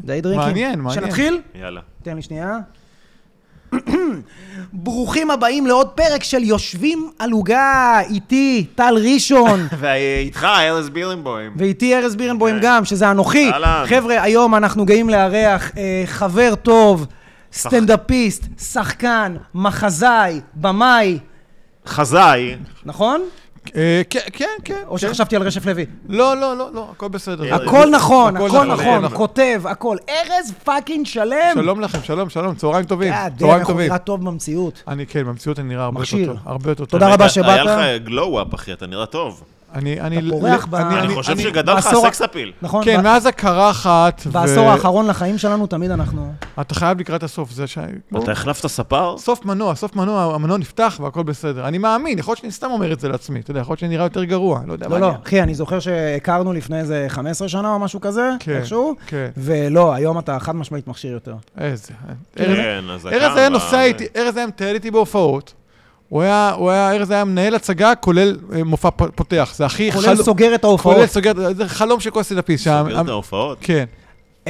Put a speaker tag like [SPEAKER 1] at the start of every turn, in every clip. [SPEAKER 1] די דרינקים.
[SPEAKER 2] מעניין, מעניין.
[SPEAKER 1] שנתחיל?
[SPEAKER 3] יאללה.
[SPEAKER 1] תן לי שנייה. ברוכים הבאים לעוד פרק של יושבים על עוגה, איתי טל ראשון,
[SPEAKER 3] ואיתך, ארז בירנבוים.
[SPEAKER 1] ואיתי ארז בירנבוים
[SPEAKER 3] כן.
[SPEAKER 1] גם, שזה אנוכי.
[SPEAKER 3] אהלן.
[SPEAKER 1] חבר'ה, היום אנחנו גאים לארח אה, חבר טוב, סטנדאפיסט, שחקן, מחזאי, במאי,
[SPEAKER 3] חזאי.
[SPEAKER 1] נכון?
[SPEAKER 2] אה, כן, כן, כן.
[SPEAKER 1] או
[SPEAKER 2] כן.
[SPEAKER 1] שחשבתי על רשף לוי.
[SPEAKER 2] לא, לא, לא, לא, הכל בסדר.
[SPEAKER 3] ארז.
[SPEAKER 1] הכל נכון,
[SPEAKER 2] הכל
[SPEAKER 1] הכל
[SPEAKER 2] נכון,
[SPEAKER 1] נכון,
[SPEAKER 2] נכון.
[SPEAKER 1] כותב, הכל. ארז פאקינג שלם.
[SPEAKER 2] שלום לכם, שלום, שלום, צהריים טובים.
[SPEAKER 1] יאללה,
[SPEAKER 2] צהריים
[SPEAKER 1] אנחנו
[SPEAKER 2] טובים.
[SPEAKER 1] נראה טוב במציאות.
[SPEAKER 2] אני, כן, במציאות אני נראה הרבה
[SPEAKER 1] מכשיר.
[SPEAKER 2] יותר טוב. הרבה יותר טוב.
[SPEAKER 1] תודה רבה
[SPEAKER 3] רגע,
[SPEAKER 1] שבאת.
[SPEAKER 3] היה לך glow up, אחי, אתה נראה טוב.
[SPEAKER 2] אני, אני...
[SPEAKER 1] אתה פורח
[SPEAKER 2] ל-
[SPEAKER 1] ב-
[SPEAKER 2] אני-
[SPEAKER 3] אני
[SPEAKER 2] אני-
[SPEAKER 3] חושב
[SPEAKER 2] אני-
[SPEAKER 3] שגדל לך
[SPEAKER 1] בעשור-
[SPEAKER 3] הסקס אפיל.
[SPEAKER 1] נכון? ב-
[SPEAKER 2] כן, מאז הקרחת, ו-
[SPEAKER 1] בעשור האחרון לחיים שלנו תמיד אנחנו...
[SPEAKER 2] אתה חייב לקראת הסוף, זה ש...
[SPEAKER 3] אתה החלפת ספר?
[SPEAKER 2] סוף מנוע, סוף מנוע, המנוע נפתח והכל בסדר. אני מאמין, יכול להיות שאני סתם אומר את זה לעצמי, אתה יודע, יכול להיות שאני נראה יותר גרוע, לא יודע מה
[SPEAKER 1] לא, לא,
[SPEAKER 2] אני-
[SPEAKER 1] אחי, אני זוכר שהכרנו לפני איזה 15 שנה או משהו כזה,
[SPEAKER 2] כן,
[SPEAKER 1] איכשהו,
[SPEAKER 2] כן.
[SPEAKER 1] ולא, היום אתה חד משמעית מכשיר יותר.
[SPEAKER 2] איזה... אה, ארז-
[SPEAKER 3] כן, אז
[SPEAKER 2] ארז היה נוסע איתי, ארז היה מטייל איתי בהופעות. הוא היה, הוא היה, ארז היה מנהל הצגה, כולל אה, מופע פ- פותח. זה הכי
[SPEAKER 1] כולל סוגר את ההופעות.
[SPEAKER 2] כולל סוגר, זה חלום של כל סטנדאפיסט.
[SPEAKER 3] סוגר
[SPEAKER 2] שם-
[SPEAKER 3] את ההופעות.
[SPEAKER 2] כן.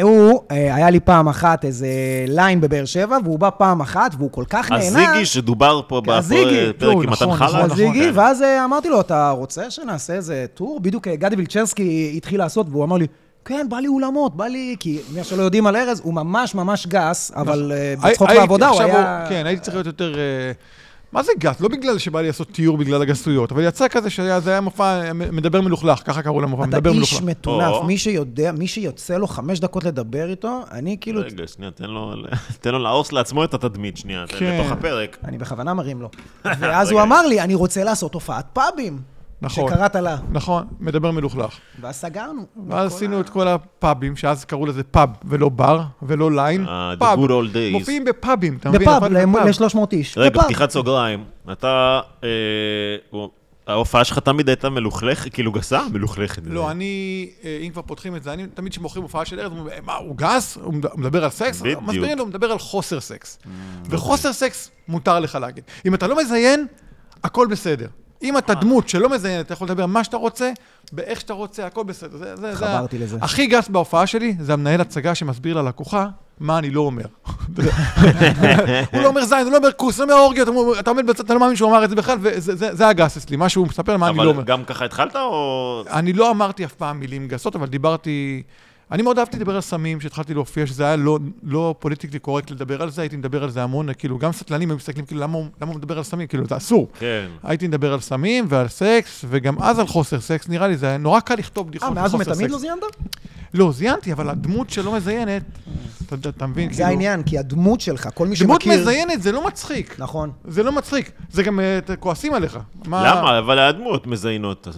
[SPEAKER 1] הוא, אה, היה לי פעם אחת איזה ליין בבאר שבע, והוא בא פעם אחת, והוא כל כך נהנה.
[SPEAKER 3] הזיגי שדובר פה
[SPEAKER 1] הזיגי.
[SPEAKER 3] בפרק
[SPEAKER 2] לא,
[SPEAKER 3] עם מתן
[SPEAKER 2] נכון,
[SPEAKER 3] חלה.
[SPEAKER 2] נכון,
[SPEAKER 1] אז זיגי,
[SPEAKER 3] כן.
[SPEAKER 1] ואז אה, אמרתי לו, אתה רוצה שנעשה איזה טור? בדיוק אה, גדי וילצ'רסקי התחיל לעשות, והוא אמר לי, כן, בא לי אולמות, בא לי... כי מה שלא יודעים על ארז, הוא ממש ממש גס, אבל אה, בצחוק
[SPEAKER 2] נכון. הי-
[SPEAKER 1] בעבודה הוא
[SPEAKER 2] עכשיו
[SPEAKER 1] היה...
[SPEAKER 2] כן, הייתי צריך להיות יותר... אה, מה זה גס? לא בגלל שבא לי לעשות תיאור בגלל הגסויות, אבל יצא כזה שהיה, זה היה מופע אה, מ- מדבר מלוכלך, ככה קראו למופע,
[SPEAKER 1] אתה
[SPEAKER 2] מדבר
[SPEAKER 1] איש
[SPEAKER 2] מלוכלך.
[SPEAKER 1] מטונף,
[SPEAKER 3] או.
[SPEAKER 1] מי שיודע, מי שיוצא לו חמש דקות לדבר איתו, אני כאילו...
[SPEAKER 3] רגע, שנייה, תן לו- תן לו להרוס לעצמו את התדמית, שנייה, תן-
[SPEAKER 2] כן.
[SPEAKER 3] לתוך הפרק.
[SPEAKER 1] אני בכוונה מרים לו. ואז הוא
[SPEAKER 3] רגע.
[SPEAKER 1] אמר לי, אני רוצה לעשות הופעת פאבים.
[SPEAKER 2] נכון.
[SPEAKER 1] שקראת לה.
[SPEAKER 2] נכון, מדבר מלוכלך.
[SPEAKER 1] ואז סגרנו.
[SPEAKER 2] ואז עשינו את כל הפאבים, שאז קראו לזה פאב, ולא בר, ולא ליין,
[SPEAKER 3] אה, the
[SPEAKER 2] פאב.
[SPEAKER 3] good old days.
[SPEAKER 2] מופיעים בפאבים, אתה מבין?
[SPEAKER 1] בפאב,
[SPEAKER 2] נפלנו בפאב.
[SPEAKER 1] ל-300 איש.
[SPEAKER 3] רגע,
[SPEAKER 1] בפאב.
[SPEAKER 3] פתיחת סוגריים. אתה... אה, הוא- ההופעה שלך תמיד הייתה מלוכלכת, כאילו גסה? מלוכלכת.
[SPEAKER 2] לא, אני, אה, אם כבר פותחים את זה, אני תמיד כשמוכרים הופעה של ארז, אומרים, "אה, מה, הוא גס? הוא מד- הוא מדבר על סקס?
[SPEAKER 3] בדיוק. Mm.
[SPEAKER 2] מסבירים לו, הוא מדבר על חוסר סקס. וחוסר סקס מותר לך להגיד. אם אתה לא מזיין, הכל בסדר. אם
[SPEAKER 3] אה.
[SPEAKER 2] אתה דמות שלא מזיינת, אתה יכול לדבר מה שאתה רוצה, באיך שאתה רוצה, הכל בסדר. זה- זה- זה
[SPEAKER 1] חברתי
[SPEAKER 2] ה-
[SPEAKER 1] לזה.
[SPEAKER 2] הכי גס בהופעה שלי, זה המנהל הצגה שמסביר ללקוחה מה אני לא אומר. אתה יודע, הוא לא אומר זין, הוא לא אומר כוס, הוא לא אומר אורגיות, הוא אומר- אתה עומד בצד, אתה לא מאמין שהוא אמר את זה בכלל, וזה זה- זה הגס אצלי, מה שהוא מספר, מה אני לא אומר.
[SPEAKER 3] אבל גם ככה התחלת, או...
[SPEAKER 2] אני לא אמרתי אף פעם מילים גסות, אבל דיברתי... אני מאוד אהבתי לדבר על סמים, כשהתחלתי להופיע, שזה היה לא, לא פוליטיקלי קורקט לדבר על זה, הייתי מדבר על זה המון, כאילו, גם סטלנים היו מסתכלים, כאילו, למה, הוא- למה הוא מדבר על סמים? כאילו, זה אסור.
[SPEAKER 3] כן.
[SPEAKER 2] הייתי מדבר על סמים ועל סקס, וגם אז על חוסר סקס, נראה לי, זה היה נורא קל לכתוב בדיחות
[SPEAKER 1] אה,
[SPEAKER 2] על
[SPEAKER 1] מאז
[SPEAKER 2] חוסר
[SPEAKER 1] ומתמיד
[SPEAKER 2] סקס.
[SPEAKER 1] לא זיינת?
[SPEAKER 2] לא, זיינתי, אבל הדמות שלא מזיינת, אתה, אתה, אתה מבין, כאילו,
[SPEAKER 1] זה העניין, כי הדמות שלך, כל מי
[SPEAKER 2] דמות
[SPEAKER 1] שמכיר...
[SPEAKER 2] מזיינת זה לא מצחיק.
[SPEAKER 1] נכון.
[SPEAKER 2] זה לא מצחיק, זה גם אה, ת- כועסים עליך. מה-
[SPEAKER 3] למה? אבל היה דמות מזיינות.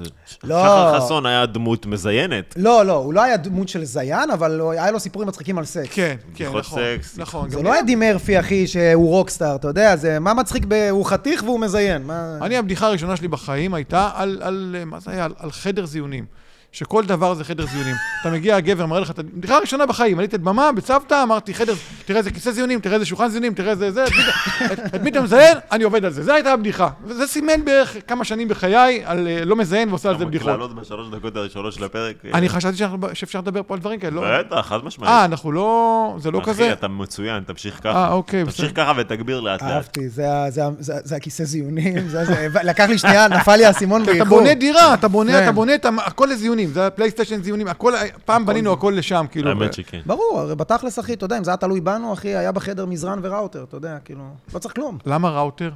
[SPEAKER 1] לא.
[SPEAKER 3] שחר חסון היה דמות מזיינת.
[SPEAKER 1] לא, לא, הוא לא היה דמות של זיין, אבל הוא- היה לו סיפורים מצחיקים על סקס.
[SPEAKER 2] כן, כן,
[SPEAKER 3] בדיחות
[SPEAKER 2] נכון.
[SPEAKER 3] סקס.
[SPEAKER 2] נכון,
[SPEAKER 1] זה
[SPEAKER 2] גם
[SPEAKER 1] לא אדי מרפי, אחי, שהוא רוקסטאר, אתה יודע, זה מה מצחיק, ב... הוא חתיך והוא מזיין. מה...
[SPEAKER 2] כן. אני, הבדיחה הראשונה שלי בחיים הייתה על, על אה, מה זה היה? על, על חדר זיונים. שכל דבר זה חדר זיונים. אתה מגיע, הגבר מראה לך את הבדיחה הראשונה בחיים, עליתי את במה, בצוותא, אמרתי חדר, תראה איזה כיסא זיונים, תראה איזה שולחן זיונים, תראה איזה זה, את מי אתה- את- את מי אתה מזיין? אני עובד על זה. זו הייתה הבדיחה. וזה סימן בערך כמה שנים בחיי על אה, לא מזיין ועושה על זה בדיחות.
[SPEAKER 3] לעלות בשלוש דקות הראשונות של הפרק.
[SPEAKER 2] אני חשבתי שאנחנו- שאפשר לדבר פה על דברים כאלה, לא?
[SPEAKER 3] בטח, חד
[SPEAKER 2] אה,
[SPEAKER 3] משמעית.
[SPEAKER 2] אנחנו לא... זה לא
[SPEAKER 3] אחי,
[SPEAKER 2] כזה?
[SPEAKER 3] אתה מצוין, תמשיך
[SPEAKER 2] אה,
[SPEAKER 3] ככה.
[SPEAKER 2] אוקיי, בסדר.
[SPEAKER 3] תמשיך ככה ותגביר לאט
[SPEAKER 2] אה,
[SPEAKER 3] לאט.
[SPEAKER 1] אהבתי, זה ה- זה ה- זה ה- זה הכיסא זיונים, זה- זה- לקח לי שנייה, נפל לי האסימון
[SPEAKER 2] אתה
[SPEAKER 1] באיחור.
[SPEAKER 2] בונה דירה, אתה בונה,
[SPEAKER 1] כן.
[SPEAKER 2] אתה בונה, את המ- הכל לזיונים, זה הפלייסטיישן זיונים, הכל, פעם בנינו הכל לשם, כאילו.
[SPEAKER 3] האמת שכן.
[SPEAKER 1] ברור, הרי בתכלס, אחי, אתה יודע, אם זה היה תלוי בנו, אחי, היה בחדר מזרן וראוטר, אתה יודע, כאילו, לא צריך כלום,
[SPEAKER 2] למה ראוטר?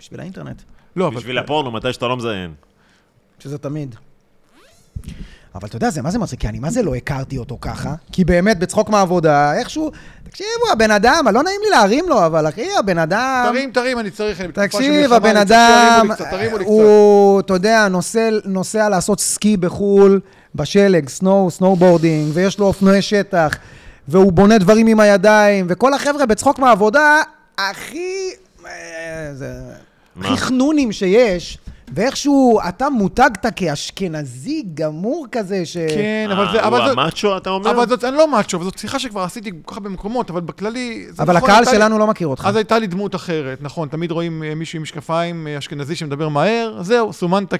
[SPEAKER 1] בשביל האינטרנט,
[SPEAKER 2] לא, אבל...
[SPEAKER 3] בשביל הפורנו, מתי שאתה לא מזיין.
[SPEAKER 1] שזה תמיד. אבל אתה יודע, זה מה זה מצחיק, כי אני מה זה לא הכרתי אותו ככה, כי באמת, בצחוק מהעבודה, איכשהו, תקשיבו, הבן אדם, לא נעים לי להרים לו, אבל אחי, הבן אדם...
[SPEAKER 2] תרים, תרים, אני צריך... אני בתקופה של
[SPEAKER 1] תקשיב,
[SPEAKER 2] מלחמה,
[SPEAKER 1] הבן
[SPEAKER 2] אני צריך שירימו
[SPEAKER 1] אדם, אה,
[SPEAKER 2] לי קצת, תרימו לי קצת.
[SPEAKER 1] הוא, אתה יודע, נוסע, נוסע לעשות סקי בחו"ל, בשלג, סנואו, סנואובורדינג, ויש לו אופנועי שטח, והוא בונה דברים עם הידיים, וכל החבר'ה בצחוק מהעבודה, הכי... אה, זה-
[SPEAKER 3] מה?
[SPEAKER 1] הכי חנונים שיש, ואיכשהו אתה מותגת כאשכנזי גמור כזה, ש...
[SPEAKER 2] כן,
[SPEAKER 3] אה,
[SPEAKER 2] אבל זה... אבל
[SPEAKER 3] הוא
[SPEAKER 2] זה-
[SPEAKER 3] המאצ'ו, אתה אומר?
[SPEAKER 2] אבל זאת, אני לא מאצ'ו, אבל זאת שיחה שכבר עשיתי כל כך הרבה מקומות, אבל בכללי... זה
[SPEAKER 1] אבל
[SPEAKER 2] נכון,
[SPEAKER 1] הקהל
[SPEAKER 2] הייתה לי-
[SPEAKER 1] שלנו לא מכיר אותך.
[SPEAKER 2] אז הייתה לי דמות אחרת, נכון, תמיד רואים אה, מישהו עם משקפיים, אה, אשכנזי שמדבר מהר, זהו, סומנת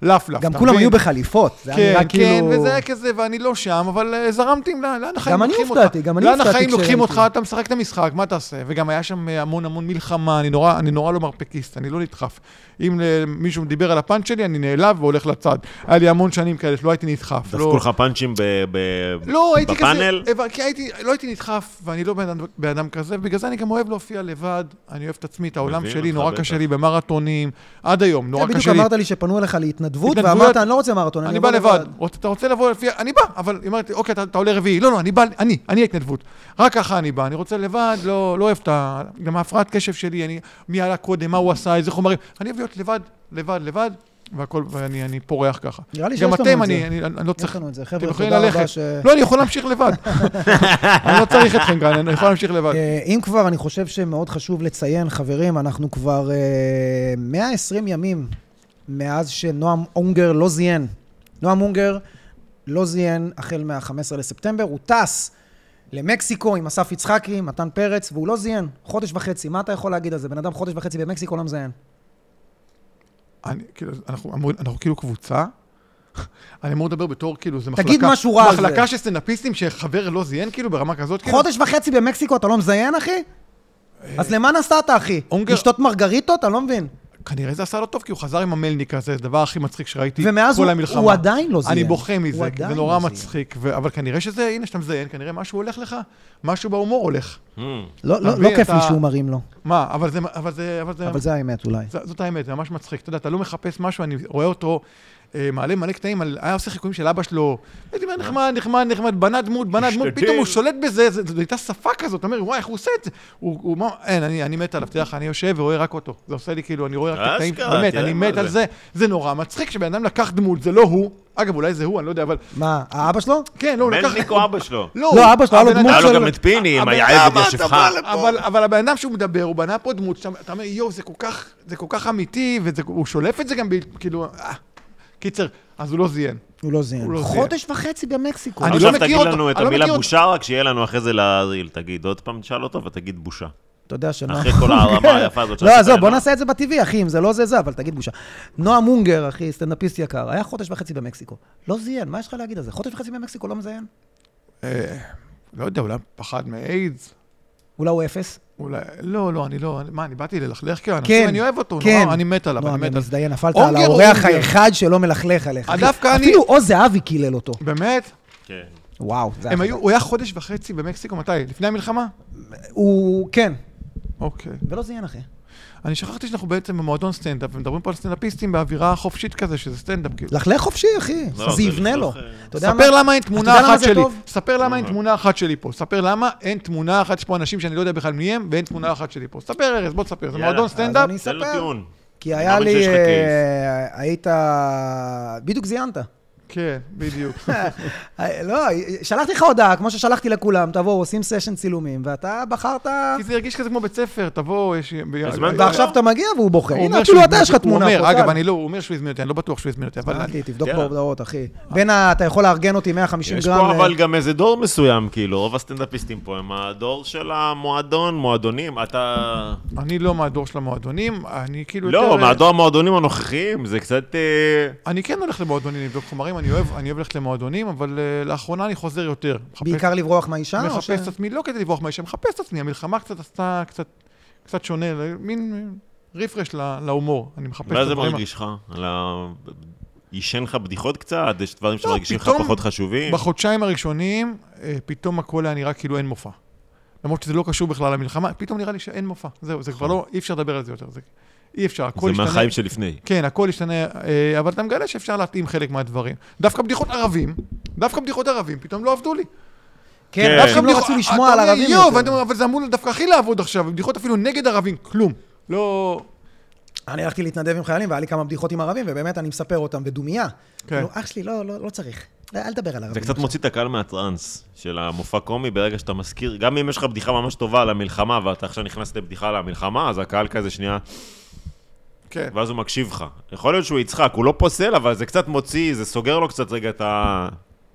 [SPEAKER 2] כלפלף.
[SPEAKER 1] גם
[SPEAKER 2] אתה
[SPEAKER 1] כולם
[SPEAKER 2] מבין?
[SPEAKER 1] היו בחליפות, זה היה נראה
[SPEAKER 2] כן,
[SPEAKER 1] כאילו...
[SPEAKER 2] כן, וזה היה כזה, ואני לא שם, אבל אה, זרמתי, עם- לאן החיים
[SPEAKER 1] גם אני
[SPEAKER 2] לוקחים אותך?
[SPEAKER 1] הופתעתי, גם אני
[SPEAKER 2] לאן
[SPEAKER 1] הופתעתי
[SPEAKER 2] החיים לוקחים
[SPEAKER 1] כשראיתי.
[SPEAKER 2] אותך, אתה משחק את המשחק, מה תעשה? וגם היה שם אה, המון המון מלחמה, אני נורא, אני נורא לא מרפקיסט, אני לא נדחף. אם אה, מישהו דיבר על הפאנץ' שלי, אני נעלב והולך לצד. היה לי המון שנים כאלה שלא הייתי נדחף.
[SPEAKER 3] דפקו
[SPEAKER 2] לא-
[SPEAKER 3] לך פאנצ'ים ב- ב-
[SPEAKER 2] לא, הייתי
[SPEAKER 3] בפאנל?
[SPEAKER 2] כזה, אבל כי הייתי, לא הייתי נדחף, ואני לא בן אדם- בן אדם כזה, ובגלל זה אני גם אוהב להופיע לבד, אני אוהב את עצמי, את העולם
[SPEAKER 3] מבין
[SPEAKER 2] שלי,
[SPEAKER 3] אותך,
[SPEAKER 2] נורא
[SPEAKER 3] בטח.
[SPEAKER 2] קשה לי במרתונים, עד היום, נורא
[SPEAKER 1] כן, בדיוק
[SPEAKER 2] קשה לי.
[SPEAKER 1] אמרת לי שפנו אליך להתנדבות,
[SPEAKER 2] התנדבויות-
[SPEAKER 1] ואמרת, אני לא רוצה מרתון,
[SPEAKER 2] אני
[SPEAKER 1] אבוא
[SPEAKER 2] בא לבד. רוצ- אתה רוצה לבוא לפי... אני בא, אבל היא אומרת, לי, אוקיי, אתה אתה עולה רביעי. לא, לא, אני בא, אני, אני ההתנדבות. רק ככה אני בא, אני רוצה לבד, לא לא אוהב את ה... גם ההפרעת קשב שלי, אני... מי עלה קודם, מה הוא עשה, איזה חומרים. אני אוהב להיות לבד, לבד, לבד, והכל, ואני אני פורח ככה.
[SPEAKER 1] נראה לי שיש
[SPEAKER 2] גם
[SPEAKER 1] לנו את
[SPEAKER 2] אתם,
[SPEAKER 1] זה.
[SPEAKER 2] אני אני- אני לא
[SPEAKER 1] יש
[SPEAKER 2] צריך...
[SPEAKER 1] לנו את זה,
[SPEAKER 2] אתם
[SPEAKER 1] חבר'ה,
[SPEAKER 2] יכולים
[SPEAKER 1] תודה רבה
[SPEAKER 2] ללכת.
[SPEAKER 1] ש...
[SPEAKER 2] לא, אני יכול להמשיך לבד. אני לא צריך אתכם כאן, אני יכול להמשיך לבד.
[SPEAKER 1] אה, אם כבר, אני חושב שמאוד חשוב לציין, חברים, אנחנו כבר אה, 120 ימים מאז שנועם אונגר לא זיין. נועם אונגר לא זיין החל מה-15 לספטמבר, הוא טס למקסיקו עם אסף יצחקי, מתן פרץ, והוא לא זיין. חודש וחצי, מה אתה יכול להגיד על זה? בן אדם חודש וחצי במקסיקו לא מזיין.
[SPEAKER 2] אני, כאילו, אנחנו, אמור, אנחנו כאילו קבוצה. אני אמור לדבר בתור, כאילו, זה מחלקה...
[SPEAKER 1] תגיד משהו רע על זה.
[SPEAKER 2] מחלקה של סטנדאפיסטים שחבר לא זיין, כאילו, ברמה כזאת, כאילו. אה,
[SPEAKER 1] חודש וחצי במקסיקו אתה לא מזיין, אחי? אז למה נסעת, אחי?
[SPEAKER 2] אונגר-
[SPEAKER 1] לשתות מרגריטות? אני לא מבין.
[SPEAKER 2] כנראה זה עשה לו טוב, כי הוא חזר עם המלניק הזה, זה הדבר הכי מצחיק שראיתי
[SPEAKER 1] ומאז
[SPEAKER 2] כל
[SPEAKER 1] הוא-
[SPEAKER 2] המלחמה.
[SPEAKER 1] הוא עדיין לא זיין.
[SPEAKER 2] אני בוכה
[SPEAKER 1] הוא
[SPEAKER 2] מזה, כי
[SPEAKER 1] עדיין
[SPEAKER 2] זה נורא
[SPEAKER 1] לא זיין.
[SPEAKER 2] מצחיק, ו... אבל כנראה שזה, הנה, שאתה מזיין, כנראה משהו הולך לך, משהו בהומור הולך.
[SPEAKER 3] Hmm.
[SPEAKER 1] לא- לא
[SPEAKER 2] תביא
[SPEAKER 1] לא כיף
[SPEAKER 2] את
[SPEAKER 1] לי
[SPEAKER 2] ה-
[SPEAKER 1] שהוא מרים לו,
[SPEAKER 2] מה, אבל זה... אבל זה... אבל זה...
[SPEAKER 1] אבל זה האמת אולי.
[SPEAKER 2] ז- זאת האמת, זה ממש מצחיק. אתה יודע, אתה לא מחפש משהו, אני רואה אותו אה, מעלה מלא קטעים, על- היה עושה חיקויים של אבא שלו, הייתי
[SPEAKER 3] אה.
[SPEAKER 2] אומר, נחמד, נחמד, נחמד, בנה דמות, בנה דמות,
[SPEAKER 3] משתדל.
[SPEAKER 2] פתאום הוא שולט בזה, זה- זו הייתה שפה כזאת, אתה אומר, וואי, איך הוא עושה את זה? הוא, הוא, מה, אין, אני, אני מת עליו, תדע לך, אני יושב ורואה רק אותו. זה עושה לי כאילו, אני רואה רק את הקטעים,
[SPEAKER 3] אשכרה,
[SPEAKER 2] באמת,
[SPEAKER 3] תראה
[SPEAKER 2] אני
[SPEAKER 3] מה
[SPEAKER 2] מת
[SPEAKER 3] זה.
[SPEAKER 2] על זה. זה נורא מצחיק שבן אדם לקח דמות, זה לא הוא, אגב, אולי זה הוא, אני לא יודע, אבל...
[SPEAKER 1] מה, האבא שלו?
[SPEAKER 2] כן, לא, הוא לקח...
[SPEAKER 3] מלניק או אבא שלו?
[SPEAKER 1] לא, אבא שלו, היה לו
[SPEAKER 2] הבן
[SPEAKER 1] דמות
[SPEAKER 2] אדם-
[SPEAKER 3] היה לו
[SPEAKER 1] של-
[SPEAKER 3] גם את פיני עם
[SPEAKER 2] אבל-
[SPEAKER 3] היעבד
[SPEAKER 4] למה אתה
[SPEAKER 3] ישבך.
[SPEAKER 4] בא לפה?
[SPEAKER 2] אבל, אבל הבן אדם שהוא מדבר, הוא בנה פה דמות, שאתה אתה אומר, יואו, זה כל כך, זה כל כך אמיתי, והוא שולף את זה גם, ב- כאילו, אה. קיצר, אז הוא לא זיין.
[SPEAKER 1] הוא לא זיין.
[SPEAKER 2] הוא לא
[SPEAKER 1] חודש וחצי במקסיקו.
[SPEAKER 2] אני לא
[SPEAKER 3] עכשיו
[SPEAKER 2] מכיר
[SPEAKER 3] תגיד
[SPEAKER 2] אותו,
[SPEAKER 3] לנו את
[SPEAKER 2] אני לא
[SPEAKER 3] המילה
[SPEAKER 2] מכיר אותו.
[SPEAKER 3] בושה, רק שיהיה לנו אחרי זה להרעיל. תגיד עוד פעם, תשאל אותו ותגיד בושה.
[SPEAKER 1] אתה יודע שנועם...
[SPEAKER 3] אחרי כל ההרמה היפה הזאת
[SPEAKER 1] לא, עזוב, בוא נעשה את זה בטבעי, אחי, אם זה לא זה זה, אבל תגיד בושה. נועם אונגר, אחי, סטנדאפיסט יקר, היה חודש וחצי במקסיקו. לא זיין, מה יש לך להגיד על זה? חודש וחצי במקסיקו לא מזיין?
[SPEAKER 2] אה, לא יודע, אולי פחד מאיידס?
[SPEAKER 1] אולי הוא אפס?
[SPEAKER 2] אולי, לא, לא, אני לא, אני- מה, אני באתי ללכלך כאילו? אני
[SPEAKER 1] כן,
[SPEAKER 2] חושב, אני אוהב אותו,
[SPEAKER 1] כן.
[SPEAKER 2] נורא, אני מת עליו, אני
[SPEAKER 1] נועם, אני
[SPEAKER 2] מת עליו.
[SPEAKER 1] מזדיין, נפלת על
[SPEAKER 2] אונגר או
[SPEAKER 1] האורח
[SPEAKER 2] אונגר?
[SPEAKER 1] האחד שלא מלכלך עליך. אחי.
[SPEAKER 2] דווקא אני-
[SPEAKER 1] אפילו עוז זהבי קילל אותו.
[SPEAKER 2] באמת?
[SPEAKER 3] כן.
[SPEAKER 1] וואו, זה
[SPEAKER 2] הם
[SPEAKER 1] היה...
[SPEAKER 2] היו, הוא היה חודש וחצי במקסיקו, מתי? לפני המלחמה?
[SPEAKER 1] הוא... כן.
[SPEAKER 2] אוקיי.
[SPEAKER 1] ולא זיין, אחי.
[SPEAKER 2] אני שכחתי שאנחנו בעצם במועדון סטנדאפ, ומדברים פה על סטנדאפיסטים באווירה חופשית כזה, שזה סטנדאפ כאילו.
[SPEAKER 1] לכלך חופשי, אחי.
[SPEAKER 3] לא,
[SPEAKER 1] זה
[SPEAKER 3] זה
[SPEAKER 1] יבנה לו.
[SPEAKER 3] לכלוך, אה,
[SPEAKER 1] אתה יודע
[SPEAKER 2] ספר
[SPEAKER 1] מה?
[SPEAKER 2] למה אין
[SPEAKER 1] אתה
[SPEAKER 2] תמונה
[SPEAKER 1] יודע למה
[SPEAKER 2] אחת
[SPEAKER 1] זה
[SPEAKER 2] שלי.
[SPEAKER 1] טוב?
[SPEAKER 2] ספר למה אין תמונה אחת שלי פה. ספר למה אין תמונה אחת, יש פה אנשים שאני לא יודע בכלל מי הם, ואין תמונה אחת שלי פה. ספר, ארז, בוא תספר. זה
[SPEAKER 3] יאללה.
[SPEAKER 2] מועדון סטנדאפ?
[SPEAKER 1] אז אני-
[SPEAKER 3] תן לו
[SPEAKER 1] ספר.
[SPEAKER 3] טיעון.
[SPEAKER 1] כי
[SPEAKER 3] אני
[SPEAKER 1] היה
[SPEAKER 3] מאמין שיש
[SPEAKER 1] לי...
[SPEAKER 3] לך
[SPEAKER 1] אה,
[SPEAKER 3] קייס.
[SPEAKER 1] היית... בדיוק זיינת.
[SPEAKER 2] כן, בדיוק.
[SPEAKER 1] אה, לא, שלחתי לך הודעה, כמו ששלחתי לכולם, תבואו, עושים סשן צילומים, ואתה בחרת...
[SPEAKER 2] כי זה הרגיש כזה כמו בית ספר, תבוא, יש...
[SPEAKER 3] הזמנת אותו?
[SPEAKER 1] ועכשיו אתה מגיע והוא בוכה.
[SPEAKER 2] הוא
[SPEAKER 1] הנה,
[SPEAKER 2] אומר
[SPEAKER 1] אפילו
[SPEAKER 2] שהוא
[SPEAKER 1] אתה יש לך
[SPEAKER 2] הזמין-
[SPEAKER 1] תמונה
[SPEAKER 2] הוא
[SPEAKER 1] פה.
[SPEAKER 2] אומר, אגב,
[SPEAKER 1] טל.
[SPEAKER 2] אני לא, הוא אומר שהוא הזמין אותי, אני לא בטוח שהוא הזמין אותי, אבל...
[SPEAKER 1] הבנתי, תבדוק
[SPEAKER 3] יאללה.
[SPEAKER 1] בהודעות, אחי. בין ה... אתה יכול לארגן אותי 150
[SPEAKER 3] יש
[SPEAKER 1] גרם...
[SPEAKER 3] פה
[SPEAKER 1] ל-
[SPEAKER 3] אבל גם איזה דור מסוים, כאילו, רוב הסטנדאפיסטים פה הם הדור של המועדון, מועדונים, אתה...
[SPEAKER 2] אני לא מהדור של המועדונים, אני כאילו...
[SPEAKER 3] לא,
[SPEAKER 2] יותר-
[SPEAKER 3] מהדור המועדונים הנוכחיים, זה קצת... אה,
[SPEAKER 2] אני כן הולך למועדונים לבדוק חומרים, אני אוהב אני אוהב ללכת למועדונים, אבל אה, לאחרונה אני חוזר יותר. מחפש-
[SPEAKER 1] בעיקר לברוח מהאישה? אה, או ש-
[SPEAKER 2] מחפש את עצמי, לא כדי לברוח מהאישה, מחפש את עצמי, המלחמה קצת עשתה קצת, קצת שונה, ל- מין רפרש ל- להומור, אני מחפש את
[SPEAKER 3] מה זה
[SPEAKER 2] הדברים.
[SPEAKER 3] מרגיש לך? על ה- עישן לך בדיחות קצת? יש דברים
[SPEAKER 1] לא,
[SPEAKER 3] שמרגישים לך
[SPEAKER 2] פתאום-
[SPEAKER 3] פחות חשובים?
[SPEAKER 2] בחודשיים הראשונים, אה, פתאום הכל היה נראה כאילו אין מופע. למרות שזה לא קשור בכלל למלחמה, פתאום נראה לי שאין מופע. זהו, זה כבר לא, אי אפשר לדבר על זה יותר. זה, אי אפשר, הכל
[SPEAKER 3] זה
[SPEAKER 2] השתנה.
[SPEAKER 3] מהחיים שלפני.
[SPEAKER 2] כן, הכל השתנה, אה, אבל אתה מגלה שאפשר להתאים חלק מהדברים. דווקא בדיחות ערבים, דווקא בדיחות ערבים פתאום לא עבדו לי.
[SPEAKER 1] כן,
[SPEAKER 3] כן.
[SPEAKER 1] אנשים לא
[SPEAKER 2] אה,
[SPEAKER 1] רצו לשמוע על ערבים
[SPEAKER 2] יותר.
[SPEAKER 1] יותר.
[SPEAKER 2] אבל זה אמור דווקא הכי לעבוד עכשיו, בדיחות אפילו נגד ערבים, כלום. לא...
[SPEAKER 1] אני הלכתי להתנדב עם חיילים, והיה לי כמה בדיחות עם ערבים, ובאמת אני מספר אותם בדומייה.
[SPEAKER 2] כן.
[SPEAKER 1] כאילו, אח שלי, לא, לא לא צריך. לא, אל תדבר על ערבים.
[SPEAKER 3] זה קצת מוציא את הקהל מהטראנס של המופע קומי ברגע שאתה מזכיר, גם אם יש לך בדיחה ממש טובה על המלחמה ואתה עכשיו נכנס לבדיחה על המלחמה, אז הקהל כזה שנייה...
[SPEAKER 2] כן.
[SPEAKER 3] ואז הוא מקשיב לך. יכול להיות שהוא יצחק, הוא לא פוסל, אבל זה קצת מוציא, זה סוגר לו קצת רגע את ה...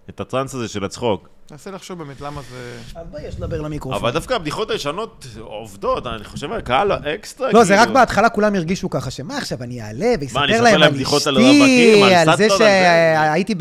[SPEAKER 3] את הטראנס הזה של הצחוק.
[SPEAKER 2] ננסה לחשוב באמת למה זה...
[SPEAKER 1] אז בואי, יש לדבר
[SPEAKER 3] אבל
[SPEAKER 1] למיקרופון.
[SPEAKER 3] דווקא הבדיחות הישנות עובדות, אני חושב על קהל האקסטרה,
[SPEAKER 1] לא, זה רק
[SPEAKER 3] כאילו.
[SPEAKER 1] בהתחלה כולם הרגישו ככה, שמה עכשיו, אני אעלה
[SPEAKER 3] מה, אני
[SPEAKER 1] ואספר
[SPEAKER 3] אספר
[SPEAKER 1] להם
[SPEAKER 3] להם
[SPEAKER 1] על
[SPEAKER 3] בדיחות על
[SPEAKER 1] אשתי,
[SPEAKER 3] רווקים, על
[SPEAKER 1] על זה
[SPEAKER 3] סבתות, על זה?
[SPEAKER 1] שהייתי ב-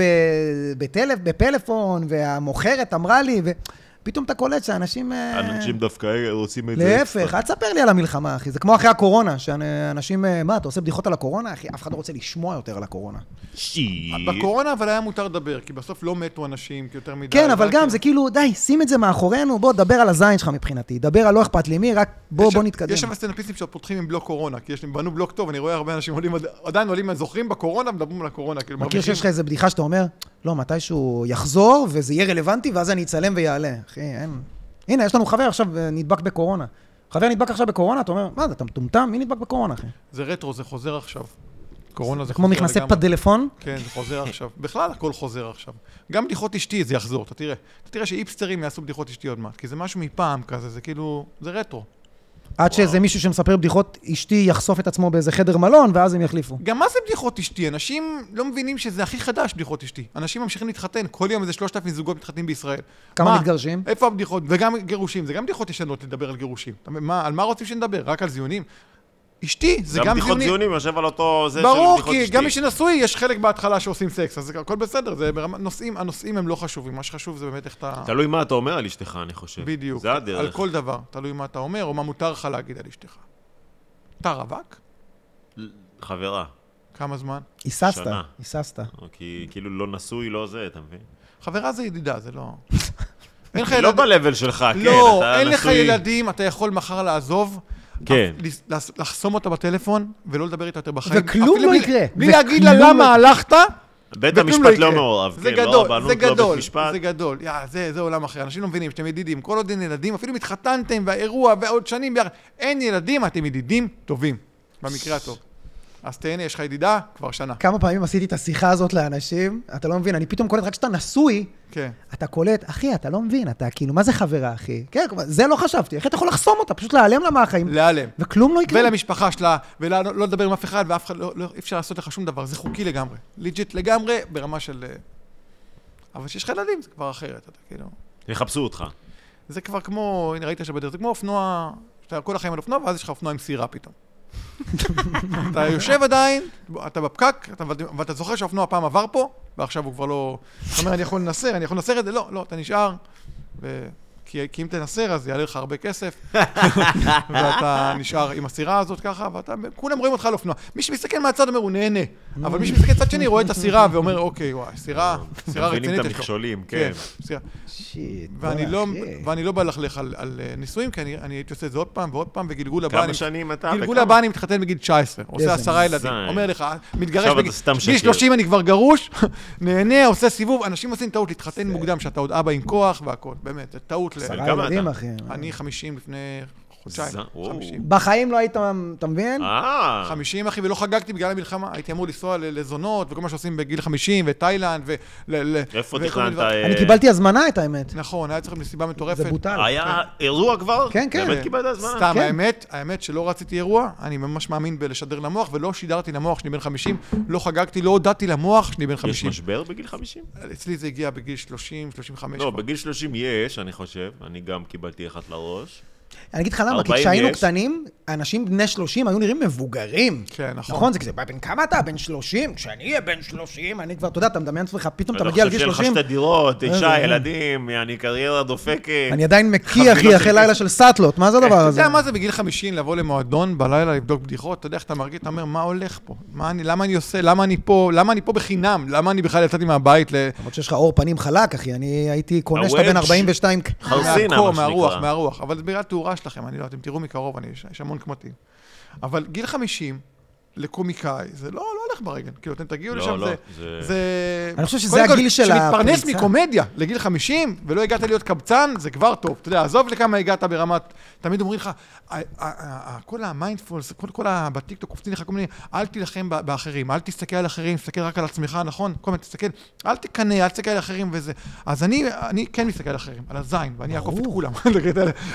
[SPEAKER 1] בטלפ- בפלאפון, והמוכרת אמרה לי, ופתאום אתה קולט שאנשים... אה,
[SPEAKER 3] אנשים דווקא רוצים את זה.
[SPEAKER 1] להפך, אל תספר לי על המלחמה, אחי. זה כמו אחרי הקורונה, שאנשים... אה, מה, אתה עושה בדיחות על הקורונה? אחי, אף אחד לא רוצה לשמוע יותר על הקורונה.
[SPEAKER 3] שי.
[SPEAKER 2] בקורונה אבל היה מותר לדבר, כי בסוף לא מתו אנשים כי יותר מדי.
[SPEAKER 1] כן, אבל
[SPEAKER 2] ואז
[SPEAKER 1] גם
[SPEAKER 2] כאילו-
[SPEAKER 1] זה כאילו, די, שים את זה מאחורינו, בוא, דבר על הזין שלך מבחינתי. דבר על לא אכפת לי מי, רק בוא,
[SPEAKER 2] יש-
[SPEAKER 1] בוא נתקדם.
[SPEAKER 2] יש שם סטנדאפיסטים שפותחים עם בלוק קורונה, כי יש להם, בנו בלוק טוב, אני רואה הרבה אנשים עולים, עד- עדיין עולים, זוכרים בקורונה, מדברים על הקורונה, כאילו
[SPEAKER 1] מכיר
[SPEAKER 2] מרוויחים.
[SPEAKER 1] שיש לך איזו בדיחה שאתה אומר, לא, מתישהו יחזור וזה יהיה רלוונטי ואז אני אצלם ויעלה. אחי, אין... הנה, יש לנו חבר עכשיו אה, נדבק בקורונה. חבר נדבק עכשיו בקורונה, אתה אומר, מה זה, אתה מטומטם? מי נדבק בקורונה, אחי?
[SPEAKER 2] זה רטרו, זה חוזר עכשיו. קורונה זה
[SPEAKER 1] זה כמו
[SPEAKER 2] חוזר
[SPEAKER 1] מכנסי
[SPEAKER 2] לגמרי.
[SPEAKER 1] פדלפון.
[SPEAKER 2] כן, זה חוזר עכשיו. בכלל הכל חוזר עכשיו. גם בדיחות אשתי זה יחזור, אתה תראה. אתה תראה שאיפסטרים יעשו בדיחות אשתי עוד מעט, כי זה משהו מפעם כזה, זה כאילו, זה רטרו.
[SPEAKER 1] עד שאיזה מישהו שמספר בדיחות, אשתי יחשוף את עצמו באיזה חדר מלון, ואז הם יחליפו.
[SPEAKER 2] גם מה זה בדיחות אשתי? אנשים לא מבינים שזה הכי חדש, בדיחות אשתי. אנשים ממשיכים להתחתן, כל יום איזה 3,000 זוגות מתחתנים בישראל.
[SPEAKER 1] כמה
[SPEAKER 2] מה?
[SPEAKER 1] מתגרשים?
[SPEAKER 2] איפה הבדיחות? וגם גירושים, זה גם בדיחות ישנות לדבר על גירושים. אתה מבין, מה, על מה רוצים שנדבר? רק על זיונים? אשתי, זה
[SPEAKER 3] גם
[SPEAKER 2] גם
[SPEAKER 3] בדיחות
[SPEAKER 2] זיונים.
[SPEAKER 3] ציונים יושב על אותו זה של
[SPEAKER 2] ברור,
[SPEAKER 3] בדיחות
[SPEAKER 2] כי
[SPEAKER 3] אשתי.
[SPEAKER 2] גם מי שנשוי, יש חלק בהתחלה שעושים סקס, אז זה הכל בסדר, זה ברמה, נושאים, הנושאים הם לא חשובים, מה שחשוב זה באמת איך אתה...
[SPEAKER 3] תלוי מה אתה אומר על אשתך, אני חושב.
[SPEAKER 2] בדיוק.
[SPEAKER 3] זה
[SPEAKER 2] על
[SPEAKER 3] הדרך.
[SPEAKER 2] כל דבר, תלוי מה אתה אומר, או מה מותר לך להגיד על אשתך. אתה רווק?
[SPEAKER 3] חברה.
[SPEAKER 2] כמה זמן?
[SPEAKER 1] היססת,
[SPEAKER 3] שנה.
[SPEAKER 1] היססת.
[SPEAKER 3] או כי כאילו לא נשוי, לא זה, אתה מבין?
[SPEAKER 2] חברה זה ידידה, זה לא... אין לך
[SPEAKER 3] לא
[SPEAKER 2] ילדים-
[SPEAKER 3] ב-level שלך, כן.
[SPEAKER 2] לא,
[SPEAKER 3] אתה
[SPEAKER 2] אין לך
[SPEAKER 3] נשוי.
[SPEAKER 2] ילדים, אתה יכול מחר לעזוב.
[SPEAKER 3] כן.
[SPEAKER 2] אף- לס- לס- לחסום אותה בטלפון ולא לדבר איתה יותר בחיים.
[SPEAKER 1] וכלום
[SPEAKER 2] אפילו
[SPEAKER 1] לא
[SPEAKER 2] בלי-
[SPEAKER 1] יקרה.
[SPEAKER 2] בלי
[SPEAKER 1] וכלום
[SPEAKER 2] להגיד לה למה
[SPEAKER 1] לא-
[SPEAKER 2] הלכת,
[SPEAKER 3] בית
[SPEAKER 2] וכלום לא
[SPEAKER 3] המשפט
[SPEAKER 2] יקרה.
[SPEAKER 3] לא מעורב,
[SPEAKER 2] זה
[SPEAKER 3] כן, לא
[SPEAKER 2] גדול, זה
[SPEAKER 3] רבנות, לא
[SPEAKER 2] גדול,
[SPEAKER 3] בית משפט.
[SPEAKER 2] זה גדול. יא, זה זה עולם אחר, אנשים לא מבינים, שאתם ידידים. כל עוד אין ילדים, אפילו אם התחתנתם והאירוע ועוד שנים ביחד, אין ילדים, אתם ידידים טובים, במקרה הטוב. אז תהנה, יש לך ידידה כבר שנה.
[SPEAKER 1] כמה פעמים עשיתי את השיחה הזאת לאנשים, אתה לא מבין, אני פתאום קולט, רק כשאתה נשוי,
[SPEAKER 2] כן.
[SPEAKER 1] אתה קולט, אחי, אתה לא מבין, אתה כאילו, מה זה חברה, אחי? כן, כלומר, זה לא חשבתי, אחי, אתה יכול לחסום אותה, פשוט להיעלם לה מהחיים,
[SPEAKER 2] להיעלם.
[SPEAKER 1] וכלום לא יקרה.
[SPEAKER 2] ולמשפחה שלה, ולא לא לדבר עם אף אחד, ואף אחד, לא, לא, אי אפשר לעשות לך שום דבר, זה חוקי לגמרי. ליג'יט לגמרי, ברמה של... אה, אבל כשיש לך ילדים זה כבר אחרת, אתה כאילו...
[SPEAKER 3] יחפשו אותך.
[SPEAKER 2] זה כבר כמו, הנה ראית שבדרך, זה כמו אופנוע, שאתה כל החיים על אופנוע, ואז יש לך אופנוע עם סירה פתאום. אתה יושב עדיין, אתה בפקק, אתה, ואתה זוכר שהאופנוע פעם עבר פה, ועכשיו הוא כבר לא... אתה אומר, אני יכול לנסר, אני יכול לנסר את זה? לא, לא, אתה נשאר. ו... כי, כי אם תנסר, אז יעלה לך הרבה כסף, ואתה נשאר עם הסירה הזאת ככה, ואתה, כולם רואים אותך על אופנוע. מי שמסתכל מהצד אומר, הוא נהנה, אבל מי שמסתכל צד שני רואה את הסירה ואומר, אוקיי, וואי, סירה, סירה
[SPEAKER 3] מבינים
[SPEAKER 2] רצינית
[SPEAKER 3] את
[SPEAKER 2] יש לו.
[SPEAKER 3] המכשולים,
[SPEAKER 2] כן,
[SPEAKER 3] כן.
[SPEAKER 2] סירה.
[SPEAKER 1] שיט,
[SPEAKER 2] ואני
[SPEAKER 3] אה,
[SPEAKER 1] בוא'נה,
[SPEAKER 2] לא,
[SPEAKER 1] אחי.
[SPEAKER 2] ואני לא בלכלך על, על אה, נישואים, כי אני, אני הייתי עושה את זה עוד פעם ועוד פעם, וגלגול הבא,
[SPEAKER 3] כמה
[SPEAKER 2] אני,
[SPEAKER 3] שנים אתה?
[SPEAKER 2] גלגול
[SPEAKER 3] וכמה?
[SPEAKER 2] הבא אני מתחתן בגיל 19, עושה
[SPEAKER 1] איזה
[SPEAKER 2] עשרה ילדים,
[SPEAKER 3] זין.
[SPEAKER 2] אומר לך, מתגרש,
[SPEAKER 3] עכשיו אתה
[SPEAKER 2] בגיל
[SPEAKER 3] סתם
[SPEAKER 2] בגיל
[SPEAKER 3] שקר.
[SPEAKER 2] 30 אני כבר גרוש, נהנה, עושה סיבוב, אנשים עושים טעות להתחתן מוקדם, שאתה עוד אבא עם כוח והכל, באמת, זה טעות, ל...
[SPEAKER 1] עשרה
[SPEAKER 3] כמה
[SPEAKER 1] ילדים,
[SPEAKER 3] אתה?
[SPEAKER 1] אחי.
[SPEAKER 2] אני 50 לפני חודשיים,
[SPEAKER 3] ז- וואו.
[SPEAKER 2] 50.
[SPEAKER 1] בחיים לא היית, אתה מבין?
[SPEAKER 3] אה,
[SPEAKER 2] 50 אחי, ולא חגגתי בגלל המלחמה, הייתי אמור לנסוע ל- לזונות, וכל מה שעושים בגיל 50, ותאילנד, ו... ל- ל-
[SPEAKER 3] איפה
[SPEAKER 2] וכל מיני
[SPEAKER 3] תכננת?
[SPEAKER 2] דברים.
[SPEAKER 3] אה,
[SPEAKER 1] אני קיבלתי הזמנה, את האמת.
[SPEAKER 2] נכון, היה צריך מסיבה מטורפת.
[SPEAKER 1] זה בוטל.
[SPEAKER 3] היה אירוע כבר?
[SPEAKER 1] כן, כן.
[SPEAKER 3] באמת קיבלת הזמנה?
[SPEAKER 2] סתם,
[SPEAKER 1] כן.
[SPEAKER 2] האמת, האמת שלא רציתי אירוע, אני ממש מאמין בלשדר למוח, ולא שידרתי למוח שאני בן 50, לא חגגתי, לא הודעתי למוח שאני בן
[SPEAKER 3] יש
[SPEAKER 2] 50.
[SPEAKER 3] משבר בגיל 50?
[SPEAKER 2] אצלי זה הגיע בגיל 30, 35. כבר.
[SPEAKER 3] לא, בגיל 30 יש, אני חושב. אני גם קיבלתי אחת לראש.
[SPEAKER 1] אני אגיד לך למה, כי
[SPEAKER 3] ארבעים
[SPEAKER 1] כשהיינו
[SPEAKER 3] יש.
[SPEAKER 1] קטנים, אנשים בני 30 היו נראים מבוגרים.
[SPEAKER 2] כן, נכון.
[SPEAKER 1] נכון, זה כזה, בן כמה אתה? בן 30? כשאני אהיה בן 30, אני כבר, אתה יודע, אתה מדמיין לעצמך, פתאום אתה מגיע לגיל
[SPEAKER 3] אתה לא חושב שיהיה
[SPEAKER 1] 30,
[SPEAKER 3] לך שתי דירות,
[SPEAKER 1] אה,
[SPEAKER 3] אישה,
[SPEAKER 1] אה.
[SPEAKER 3] ילדים, יעני קריירה דופקת.
[SPEAKER 1] אני עדיין מקיא,
[SPEAKER 3] חבילות
[SPEAKER 1] אחי, אחרי
[SPEAKER 3] של
[SPEAKER 1] לילה
[SPEAKER 3] כסף.
[SPEAKER 1] של סאטלות, מה זה הדבר
[SPEAKER 2] כן, אתה
[SPEAKER 1] הזה?
[SPEAKER 2] יודע מה זה בגיל 50 לבוא למועדון בלילה, לבדוק בדיחות? אתה יודע איך אתה מרגיש, אתה אומר, מה הולך פה? מה אני, למה אני עושה, למה אני פה, למה אני פה בחינם? למה אני בכלל יצאתי מהבית ל...
[SPEAKER 1] למרות שיש לך עור פנים חלק, אחי, אני הייתי קונה שאתה בן
[SPEAKER 3] הוודג'.
[SPEAKER 1] 42.
[SPEAKER 3] חרסינה, מה
[SPEAKER 2] מהקור,
[SPEAKER 3] שנקרא.
[SPEAKER 2] מהרוח, מהרוח. אבל זה בגלל התאורה שלכם, אני לא, אתם תראו מקרוב, אני, יש, יש המון קמטים. אבל גיל 50, לקומיקאי, זה לא, לא לך ברגל. כאילו, אתם תגיעו
[SPEAKER 3] לא,
[SPEAKER 2] לשם,
[SPEAKER 3] לא,
[SPEAKER 2] זה...
[SPEAKER 3] זה-
[SPEAKER 2] זה...
[SPEAKER 1] אני חושב שזה
[SPEAKER 2] קודם כל,
[SPEAKER 1] הגיל של
[SPEAKER 2] שמתפרנס
[SPEAKER 1] הפריצה.
[SPEAKER 2] מקומדיה לגיל 50, ולא הגעת להיות קבצן, זה כבר טוב. אתה יודע, עזוב לכמה הגעת ברמת... תמיד אומרים לך, "ה- ה- ה- ה- כל המיינדפולס, כל- כל ה... בטיקטוק קופצים לך כל מיני, אל תילחם ב- באחרים, אל תסתכל על אחרים, תסתכל רק על עצמך, נכון? כל מיני, תסתכל, אל תקנא, אל תסתכל על אחרים וזה. אז אני אני כן מסתכל על אחרים, על הזין, ואני אעקוף את
[SPEAKER 1] ברור.
[SPEAKER 2] כולם.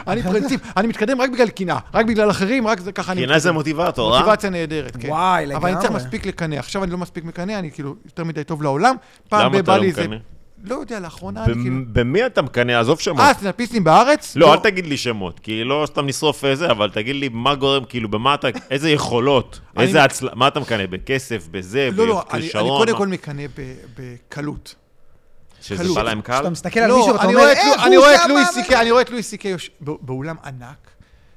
[SPEAKER 2] אני פרינציפ, אני מתקדם רק בגלל קנאה, רק בגלל אחרים, רק זה ככה אני...
[SPEAKER 3] קנאה זה
[SPEAKER 2] מתקדם.
[SPEAKER 3] מוטיבטור, אה?
[SPEAKER 2] מוטיבציה נהדרת, כן.
[SPEAKER 1] וואי,
[SPEAKER 2] אבל אני צריך
[SPEAKER 1] לגמרי.
[SPEAKER 2] מספיק לקנא. עכשיו אני לא מספיק מקנא, אני כאילו יותר מדי טוב לעולם. פעם
[SPEAKER 3] למה
[SPEAKER 2] בא
[SPEAKER 3] אתה לא
[SPEAKER 2] לי זה...
[SPEAKER 3] מקנא?
[SPEAKER 2] לא יודע, לאחרונה אני כאילו...
[SPEAKER 3] במ- במי אתה מקנא? עזוב שמות.
[SPEAKER 2] אה, סטנדאפיסטים בארץ?
[SPEAKER 3] לא, אל תגיד לי שמות, כי לא סתם נשרוף אה, זה, אבל תגיד לי מה גורם, כאילו, במה אתה, איזה יכולות,
[SPEAKER 2] אני-
[SPEAKER 1] לא-
[SPEAKER 3] איזה הצלחה, מה אתה מקנא? בכסף, בזה,
[SPEAKER 2] לא, לא, אני אני
[SPEAKER 3] בכישרון?
[SPEAKER 2] קודם
[SPEAKER 3] מה?
[SPEAKER 2] כל מקנא ב- בקלות.
[SPEAKER 3] שזה
[SPEAKER 2] קלות.
[SPEAKER 3] בא להם קל?
[SPEAKER 1] כשאתה מסתכל על מישהו,
[SPEAKER 2] לא,
[SPEAKER 1] אתה
[SPEAKER 2] אני
[SPEAKER 1] אומר,
[SPEAKER 2] רואה את
[SPEAKER 1] איך
[SPEAKER 2] לו-
[SPEAKER 1] הוא
[SPEAKER 2] אני רואה את
[SPEAKER 1] שם
[SPEAKER 2] לואי
[SPEAKER 1] מה-
[SPEAKER 2] סי קיי, אני רואה את לואי סי קיי יוש- בא- באולם ענק,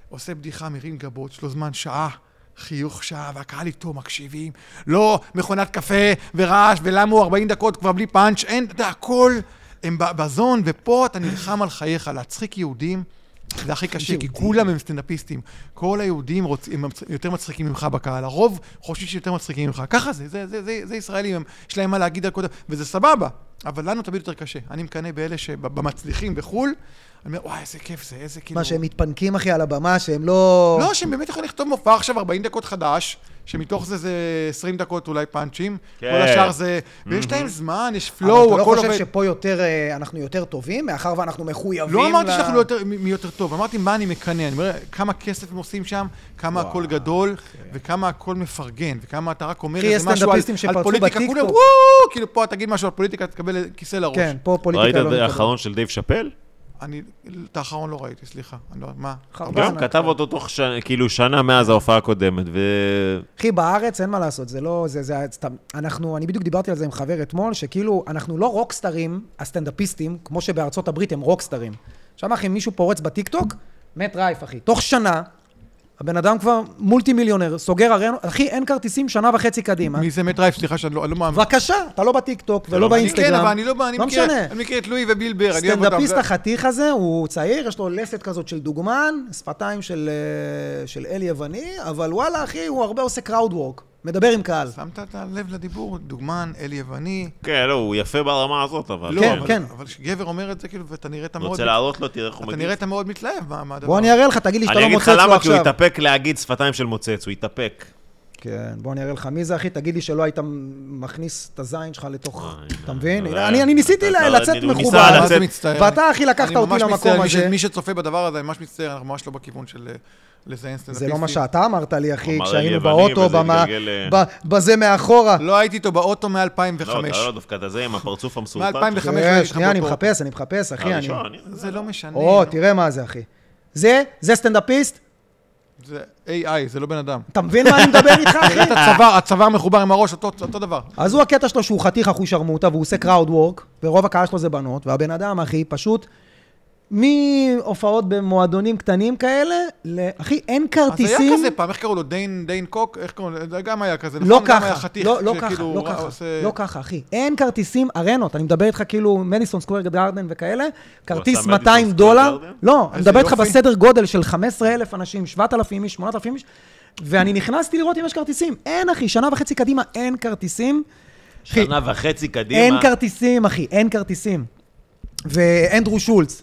[SPEAKER 2] עושה בדיחה, מרים גבות, יש לו זמן שעה. חיוך שעה, והקהל איתו מקשיבים. לא, מכונת קפה ורעש, ולמה הוא 40 דקות כבר בלי פאנץ', אין, אתה יודע, הכל, הם ב- בזון, ופה אתה נלחם על חייך, להצחיק יהודים. זה הכי קשה, כי
[SPEAKER 1] יהודים.
[SPEAKER 2] כולם הם סטנדאפיסטים. כל היהודים רוצ... הם מצ- יותר מצחיקים ממך בקהל, הרוב חושבים שיותר מצחיקים ממך. ככה זה, זה, זה, זה, זה ישראלים, הם, יש להם מה להגיד על כל דבר, וזה סבבה, אבל לנו תמיד יותר קשה. אני מקנא באלה שבמצליחים בחו"ל, אני אומר, וואי, איזה כיף זה, איזה כאילו...
[SPEAKER 1] מה, שהם מתפנקים, אחי, על הבמה, שהם לא...
[SPEAKER 2] לא, שהם באמת יכולים לכתוב מופע עכשיו 40 דקות חדש, שמתוך זה זה 20 דקות אולי פאנצ'ים,
[SPEAKER 3] כן.
[SPEAKER 2] כל השאר זה... ויש להם זמן, יש
[SPEAKER 1] אבל
[SPEAKER 2] פלואו,
[SPEAKER 1] אתה לא
[SPEAKER 2] הכל
[SPEAKER 1] חושב
[SPEAKER 2] עובד.
[SPEAKER 1] שפה יותר, אה, אנחנו יותר טובים, מאחר ואנחנו מחויבים
[SPEAKER 2] לא אמרתי
[SPEAKER 1] ל-
[SPEAKER 2] שאנחנו לא יותר, מ- מי יותר טוב, אמרתי מה אני מקנא, אני אומר כמה כסף הם עושים שם, כמה
[SPEAKER 1] וואו, כן.
[SPEAKER 2] הכל גדול, וכמה הכל מפרגן, וכמה אתה רק אומר
[SPEAKER 1] אחי, יש
[SPEAKER 2] איזה משהו על,
[SPEAKER 1] סטנדאפיסטים
[SPEAKER 2] על
[SPEAKER 1] שפרצו
[SPEAKER 2] פוליטיקה,
[SPEAKER 1] בטיקטוק.
[SPEAKER 2] כולם וואו, כאילו פה תגיד משהו על פוליטיקה, תקבל כיסא לראש.
[SPEAKER 1] כן, פה
[SPEAKER 3] ראית
[SPEAKER 1] פוליטיקה לא...
[SPEAKER 3] את
[SPEAKER 1] מקבלת.
[SPEAKER 3] האחרון של דייב שאפל?
[SPEAKER 2] אני, את האחרון לא ראיתי, סליחה, אני לא, מה?
[SPEAKER 1] חרבן,
[SPEAKER 3] גם,
[SPEAKER 1] אתה-
[SPEAKER 3] כתב אותו תוך שנה, כאילו שנה מאז ההופעה הקודמת, ו...
[SPEAKER 1] אחי, בארץ אין מה לעשות, זה לא... זה, זה, סתם, אנחנו, אני בדיוק דיברתי על זה עם חבר אתמול, שכאילו, אנחנו לא רוקסטרים, הסטנדאפיסטים, כמו שבארצות הברית הם רוקסטרים. שם, אחי, מישהו פורץ בטיקטוק, מת רייף, אחי. תוך שנה, הבן אדם כבר מולטי מיליונר, סוגר ארנו, אחי, אין כרטיסים שנה וחצי קדימה.
[SPEAKER 2] מי זה מט רייף, סליחה, שאני לא, אני לא מאמין.
[SPEAKER 1] בבקשה, אתה לא בטיקטוק ולא
[SPEAKER 2] אני
[SPEAKER 1] באינסטגרם.
[SPEAKER 2] כן, אבל אני לא, אני
[SPEAKER 1] לא
[SPEAKER 2] מכיר,
[SPEAKER 1] משנה.
[SPEAKER 2] אני מכיר את לואי וביל בר, אני אוהב אותם.
[SPEAKER 1] סטנדאפיסט
[SPEAKER 2] זה-
[SPEAKER 1] החתיך הזה, הוא צעיר, יש לו לסת כזאת של דוגמן, שפתיים של, אה, של אל יווני, אבל וואלה, אחי, הוא הרבה עושה קראוד וורק, מדבר עם קהל.
[SPEAKER 2] שמת את הלב לדיבור, דוגמן, אל יווני.
[SPEAKER 3] כן, לא, הוא יפה ברמה הזאת, אבל...
[SPEAKER 2] לא,
[SPEAKER 1] כן,
[SPEAKER 2] אבל-
[SPEAKER 1] כן.
[SPEAKER 2] אבל כשגבר אומר את זה, כאילו, ואתה נראית מאוד...
[SPEAKER 3] רוצה להראות לו, תראה איך הוא
[SPEAKER 2] אתה
[SPEAKER 3] מגיב.
[SPEAKER 2] נראית מאוד מתלהב מה- מהדבר.
[SPEAKER 1] בוא אני אראה לך, תגיד לי שאתה
[SPEAKER 3] אני
[SPEAKER 1] לא
[SPEAKER 3] אגיד
[SPEAKER 1] מוצץ לו
[SPEAKER 3] לך
[SPEAKER 1] עכשיו.
[SPEAKER 3] למה, כי הוא התאפק להגיד שפתיים של מוצץ, הוא התאפק.
[SPEAKER 1] כן, בוא אני אראה לך. מי זה, אחי? תגיד לי שלא היית מכניס את הזין שלך לתוך... אתה מבין?
[SPEAKER 3] זה-
[SPEAKER 1] אני אני ניסיתי
[SPEAKER 3] אתה-
[SPEAKER 1] ל-
[SPEAKER 3] אתה-
[SPEAKER 1] לצאת
[SPEAKER 3] הוא ניסה
[SPEAKER 1] מחובר.
[SPEAKER 2] מה
[SPEAKER 3] לצאת-
[SPEAKER 2] זה מצטער?
[SPEAKER 1] ואתה, אחי, לקחת
[SPEAKER 2] אני
[SPEAKER 1] אותי
[SPEAKER 2] ממש
[SPEAKER 1] למקום
[SPEAKER 2] מצטער, מי ש-
[SPEAKER 1] הזה.
[SPEAKER 2] מי שצופה בדבר הזה, אני ממש מצטער, אנחנו ממש לא בכיוון של אה, לזיין
[SPEAKER 1] זה
[SPEAKER 2] סטנדאפיסטים.
[SPEAKER 1] לא מה שאתה אמרת לי, אחי,
[SPEAKER 3] אמר
[SPEAKER 1] כשהיינו
[SPEAKER 3] יווני,
[SPEAKER 1] באוטו,
[SPEAKER 3] וזה
[SPEAKER 1] במה-
[SPEAKER 3] התגלגל, אה.
[SPEAKER 1] ב- בזה מאחורה.
[SPEAKER 2] לא הייתי איתו באוטו
[SPEAKER 3] לא,
[SPEAKER 2] מ-2005.
[SPEAKER 3] אתה לא, דווקא אתה זה עם הפרצוף המסורפן.
[SPEAKER 2] מ-2005.
[SPEAKER 3] שלך.
[SPEAKER 2] חמש
[SPEAKER 1] תראה,
[SPEAKER 2] ראיתי
[SPEAKER 1] כן, שנייה, אני
[SPEAKER 2] אותך באוטו.
[SPEAKER 1] מחפש, אני מחפש, אחי, אני...
[SPEAKER 3] הראשון, הנה.
[SPEAKER 2] זה לא משנה.
[SPEAKER 1] או,
[SPEAKER 2] נו.
[SPEAKER 1] תראה מה זה, אחי. זה, זה סטנדאפיסט,
[SPEAKER 2] זה AI, זה לא בן אדם.
[SPEAKER 1] אתה מבין מה אני מדבר איתך, אחי?
[SPEAKER 2] הצוואר, הצוואר מחובר עם הראש, אותו אותו דבר.
[SPEAKER 1] אז הוא הקטע שלו שהוא חתיך אחושרמוטה, והוא עושה קראוד וורק, ורוב הקהל שלו זה בנות, והבן אדם, אחי, פשוט, מהופעות במועדונים קטנים כאלה, ל... אחי, אין
[SPEAKER 2] אז היה
[SPEAKER 1] כרטיסים.
[SPEAKER 2] כזה פעם, איך קראו לו? דיין דיין קוק? איך קראו לו? זה גם היה כזה.
[SPEAKER 1] לא
[SPEAKER 2] נכון? גם היה
[SPEAKER 1] ככה,
[SPEAKER 2] חתיך,
[SPEAKER 1] לא לא ככה,
[SPEAKER 2] שכאילו
[SPEAKER 1] לא
[SPEAKER 2] ראה-
[SPEAKER 1] ככה,
[SPEAKER 2] עושה-
[SPEAKER 1] לא ככה, אחי. אין כרטיסים ארנות, אני מדבר איתך כאילו מדיסון סקוויר גארדן וכאלה, כרטיס
[SPEAKER 3] מדיסון
[SPEAKER 1] 200
[SPEAKER 3] סקוויר
[SPEAKER 1] דולר,
[SPEAKER 3] גארדן?
[SPEAKER 1] לא, אני
[SPEAKER 2] איזה
[SPEAKER 1] מדבר איתך
[SPEAKER 2] יופי.
[SPEAKER 1] בסדר גודל של 15,000 אנשים, 7,000 איש, 8,000 איש, ואני נכנסתי לראות אם יש כרטיסים. אין, אחי, שנה וחצי קדימה אין כרטיסים. אחי,
[SPEAKER 3] שנה וחצי קדימה.
[SPEAKER 1] אין כרטיסים, אחי, אין כרטיסים. ואנדרו שולץ,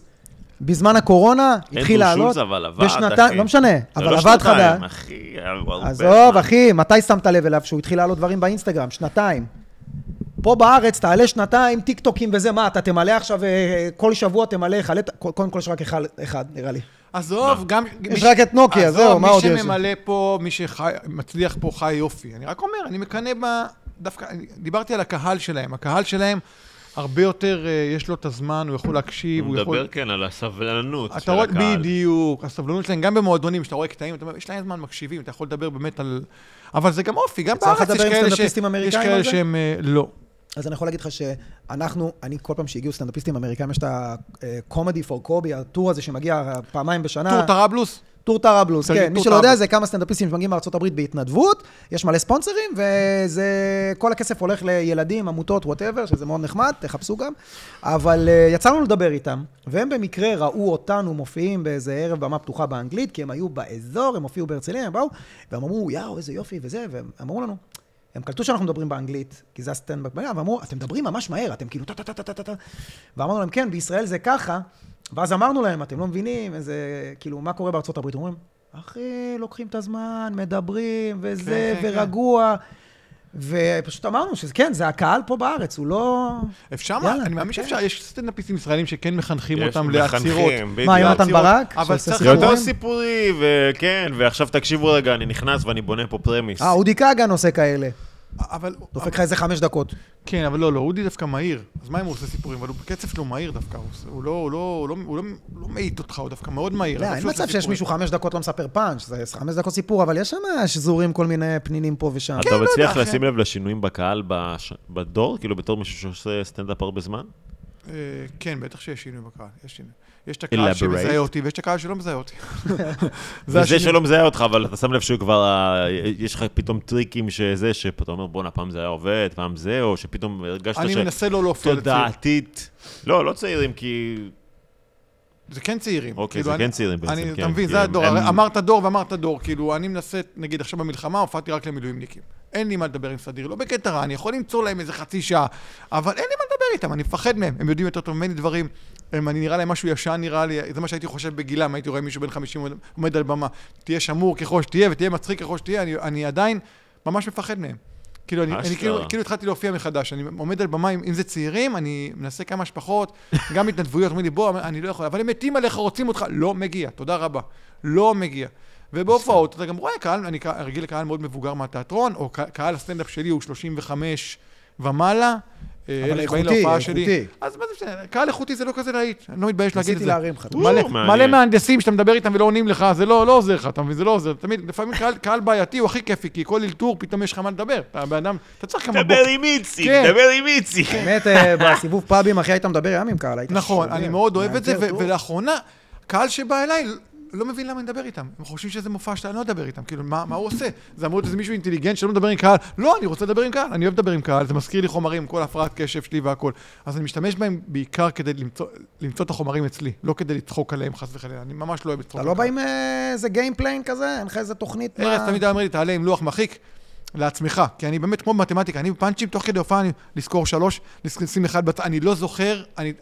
[SPEAKER 1] בזמן הקורונה, התחיל לעלות.
[SPEAKER 3] אנדרו שולץ אבל עבד,
[SPEAKER 1] בשנתה-
[SPEAKER 3] אחי.
[SPEAKER 1] לא משנה,
[SPEAKER 3] זה
[SPEAKER 1] אבל
[SPEAKER 3] לא
[SPEAKER 1] עבד
[SPEAKER 3] שנתיים,
[SPEAKER 1] חדש.
[SPEAKER 3] אחי, הוא הרבה
[SPEAKER 1] עזוב,
[SPEAKER 3] זמן.
[SPEAKER 1] אחי, מתי שמת לב אליו שהוא התחיל לעלות דברים באינסטגרם? שנתיים. פה בארץ תעלה שנתיים, טיק טוקים וזה, מה, אתה תמלא עכשיו, אה, אה, כל שבוע תמלא, חלה, קודם כל יש רק אחד, אחד נראה לי.
[SPEAKER 3] לא.
[SPEAKER 2] עזוב, גם...
[SPEAKER 1] יש רק את נוקיה,
[SPEAKER 2] עזוב,
[SPEAKER 1] זהו, מה עוד
[SPEAKER 2] מי
[SPEAKER 1] יש?
[SPEAKER 2] שממלא פה, מי שמצליח פה חי יופי. אני רק אומר, אני מקנא ב... דווקא, אני- דיברתי על הקהל שלהם. הקהל שלהם, הרבה יותר, אה, יש לו את הזמן, הוא יכול להקשיב,
[SPEAKER 3] הוא
[SPEAKER 2] הוא
[SPEAKER 3] מדבר,
[SPEAKER 2] יכול...
[SPEAKER 3] כן, על הסבלנות של
[SPEAKER 2] אתה רואה,
[SPEAKER 3] הקהל.
[SPEAKER 2] בדיוק, הסבלנות שלהם, גם במועדונים, שאתה רואה קטעים, אתה אומר, יש להם זמן מקשיבים, אתה יכול לדבר באמת על... אבל זה גם אופי, גם
[SPEAKER 1] יצא לך
[SPEAKER 2] בארץ יש
[SPEAKER 1] לדבר עם
[SPEAKER 2] כאלה ש...
[SPEAKER 1] סטנדאפיסטים
[SPEAKER 2] יש
[SPEAKER 1] אמריקאים
[SPEAKER 2] כאלה
[SPEAKER 1] על זה?
[SPEAKER 2] שהם... אה, לא.
[SPEAKER 1] אז אני יכול להגיד לך שאנחנו, אני כל פעם שהגיעו סטנדאפיסטים אמריקאים, יש את ה-comedy for Kobe, הטור הזה שמגיע פעמיים בשנה.
[SPEAKER 2] טור טראבלוס?
[SPEAKER 1] טור טראבלוס,
[SPEAKER 2] תגיד,
[SPEAKER 1] כן. מי
[SPEAKER 2] טור
[SPEAKER 1] שלא יודע
[SPEAKER 2] טראבלוס.
[SPEAKER 1] זה כמה סטנדאפיסטים שמגיעים מארצות הברית בהתנדבות, יש מלא ספונסרים, וזה... כל הכסף הולך לילדים, עמותות, וואטאבר, שזה מאוד נחמד, תחפשו גם. אבל אה, יצא לנו לדבר איתם, והם במקרה ראו אותנו מופיעים באיזה ערב במה פתוחה באנגלית, כי הם היו באזור, הם הופיעו בהרצליה, הם באו, והם אמרו, יאו, איזה יופי וזה, והם אמרו לנו, הם קלטו שאנחנו מדברים באנגלית, כי זה הסטנדבק בעיה, ואמרו, אתם מדברים ממש מהר, אתם כאילו טה-טה-טה-טה-טה. ואמרנו להם, כן, בישראל זה ככה. ואז אמרנו להם, אתם לא מבינים, איזה, כאילו, מה קורה בארצות הברית? אומרים, אחי, לוקחים את הזמן, מדברים, וזה,
[SPEAKER 2] כן, כן, כן.
[SPEAKER 1] ורגוע. ופשוט אמרנו שכן, זה הקהל פה בארץ, הוא לא...
[SPEAKER 2] אפשר,
[SPEAKER 1] יאללה,
[SPEAKER 2] אני מאמין
[SPEAKER 1] כן.
[SPEAKER 2] שאפשר, יש סטנדאפיסטים ישראלים שכן מחנכים
[SPEAKER 3] יש
[SPEAKER 2] אותם לעצירות.
[SPEAKER 3] מחנכים, בדיוק.
[SPEAKER 1] מה, יונתן
[SPEAKER 2] עצירות.
[SPEAKER 1] ברק?
[SPEAKER 2] אבל
[SPEAKER 1] שעושה
[SPEAKER 2] צריך-
[SPEAKER 3] זה יותר
[SPEAKER 1] סיפורים?
[SPEAKER 3] סיפורי, וכן, ועכשיו תקשיבו רגע, אני נכנס ואני בונה פה פרמיס.
[SPEAKER 1] אה, אודי כגן עושה כאלה.
[SPEAKER 2] אבל...
[SPEAKER 1] דופק לך איזה חמש דקות.
[SPEAKER 2] כן, אבל לא, לא, אודי דווקא מהיר. אז מה אם הוא עושה סיפורים? אבל הוא בקצב שלו מהיר דווקא. הוא עושה- הוא לא- הוא לא- הוא לא- הוא לא- הוא לא מאיט אותך, הוא דווקא מאוד מהיר.
[SPEAKER 1] לא,
[SPEAKER 2] אבל
[SPEAKER 1] אין
[SPEAKER 2] שהוא עושה
[SPEAKER 1] מצב שיש
[SPEAKER 2] סיפורים.
[SPEAKER 1] מישהו חמש דקות לא מספר פאנץ', זה חמש דקות סיפור, אבל יש שם שזורים כל מיני פנינים פה ושם.
[SPEAKER 3] אתה
[SPEAKER 2] לא
[SPEAKER 3] מצליח
[SPEAKER 2] יודע,
[SPEAKER 1] כן.
[SPEAKER 3] לשים לב לשינויים בקהל בש- בדור? כאילו בתור מישהו שעושה סטנדאפ הרבה זמן?
[SPEAKER 2] אה, כן, בטח שיש שינוי בקהל. יש שינוי. יש את הקהל
[SPEAKER 3] Elaborate.
[SPEAKER 2] שמזהה אותי, ויש את הקהל שלא מזהה אותי.
[SPEAKER 3] זה
[SPEAKER 2] השינוי.
[SPEAKER 3] שלא מזהה אותך, אבל אתה שם לב שהוא כבר, אה, יש לך פתאום טריקים שזה, שאתה אומר, בואנה, פעם זה היה עובד, פעם זה, או שפתאום הרגשת
[SPEAKER 2] אני מנסה לא להופיע לצעירים.
[SPEAKER 3] שתודעתית. לא, לא צעירים, כי...
[SPEAKER 2] זה כן צעירים.
[SPEAKER 3] אוקיי,
[SPEAKER 2] כאילו,
[SPEAKER 3] זה
[SPEAKER 2] אני-
[SPEAKER 3] כן צעירים בעצם,
[SPEAKER 2] אני,
[SPEAKER 3] כן.
[SPEAKER 2] אתה מבין,
[SPEAKER 3] כי
[SPEAKER 2] זה
[SPEAKER 3] הם-
[SPEAKER 2] הדור,
[SPEAKER 3] הם-
[SPEAKER 2] הרי אמרת דור ואמרת דור, כאילו, אני מנסה, נגיד, עכשיו במלחמה הופעתי רק למילואימניקים. אין לי מה לדבר עם סדיר, לא בקטע רע, אני יכול למצוא להם איזה חצי שעה, אבל אין לי מה לדבר איתם, אני מפחד מהם, הם יודעים יותר טוב ממני דברים, הם, אני נראה להם משהו ישן, נראה לי, זה מה שהייתי חושב בגילם, הייתי רואה מישהו בן 50 עומד- עומד על במה, תהיה שמור ככל שתהיה ותהיה מצחיק ככל שתהיה, אני, אני עדיין ממש מפחד מהם. כאילו, אני, אני
[SPEAKER 3] אשכרה.
[SPEAKER 2] כאילו, כאילו התחלתי להופיע מחדש, אני עומד על במה, אם אם זה צעירים, אני מנסה כמה שפחות, גם התנדבויות, אומרים לי, בוא, אני לא יכול, אבל הם מתים עליך, רוצים אותך, לא מגיע, תודה רבה, לא מגיע. ובהופעות אתה גם רואה קהל, אני קה- רגיל לקהל מאוד מבוגר מהתיאטרון, או קה- קהל הסטנדאפ שלי הוא 35 ומעלה. אה, אלה שבאים
[SPEAKER 1] איכותי,
[SPEAKER 2] להופעה שלי.
[SPEAKER 1] איכותי.
[SPEAKER 2] אז מה זה משנה, קהל איכותי זה לא כזה להיט, אני לא מתבייש להגיד את
[SPEAKER 1] ניסיתי
[SPEAKER 2] זה.
[SPEAKER 1] להרים לך.
[SPEAKER 3] הוא-
[SPEAKER 2] מלא,
[SPEAKER 3] מעניין.
[SPEAKER 2] מלא מהנדסים שאתה מדבר איתם ולא עונים לך, זה לא, לא עוזר לך, אתה מבין? זה לא עוזר. תמיד, לפעמים קהל, קהל בעייתי הוא הכי כיפי, כי כל אלתור פתאום יש לך מה לדבר. אתה בן אדם, אתה צריך כמה
[SPEAKER 3] דבר
[SPEAKER 2] בוקר.
[SPEAKER 3] עם איציק,
[SPEAKER 2] כן.
[SPEAKER 3] דבר עם איציק.
[SPEAKER 1] באמת, אה, בסיבוב פאבים, אחי, היית מדבר ים עם קהל, היית אה,
[SPEAKER 2] נכון,
[SPEAKER 1] שובר.
[SPEAKER 2] אני מאוד אוהב
[SPEAKER 1] היה
[SPEAKER 2] את זה,
[SPEAKER 1] יותר
[SPEAKER 2] ו-
[SPEAKER 1] טוב.
[SPEAKER 2] ולאחרונה, קהל שבא אליי לא- לא מבין למה אני מדבר איתם. הם חושבים שזה מופע שאתה לא מדבר איתם, כאילו, מה מה הוא עושה? זה אמור להיות איזה מישהו אינטליגנט שלא מדבר עם קהל. לא, אני רוצה לדבר עם קהל, אני אוהב לדבר עם קהל, זה מזכיר לי חומרים, כל הפרעת קשב שלי והכול. אז אני משתמש בהם בעיקר כדי למצוא- למצוא את החומרים אצלי, לא כדי לצחוק עליהם חס וחלילה, אני ממש לא אוהב לצחוק
[SPEAKER 1] אתה
[SPEAKER 2] על
[SPEAKER 1] לא
[SPEAKER 2] קהל.
[SPEAKER 1] בא עם אה, איזה גיימפליין כזה? אין לך איזה תוכנית? מה-
[SPEAKER 2] ארז תמיד היה אומר לי, תעלה עם לוח מרחיק לעצמך, כי אני באמת כמו במתמטיקה, אני בפאנצ'ים, תוך כדי הופעה אני לזכור שלוש, לשים אחד בצד, אני לא זוכר, אני...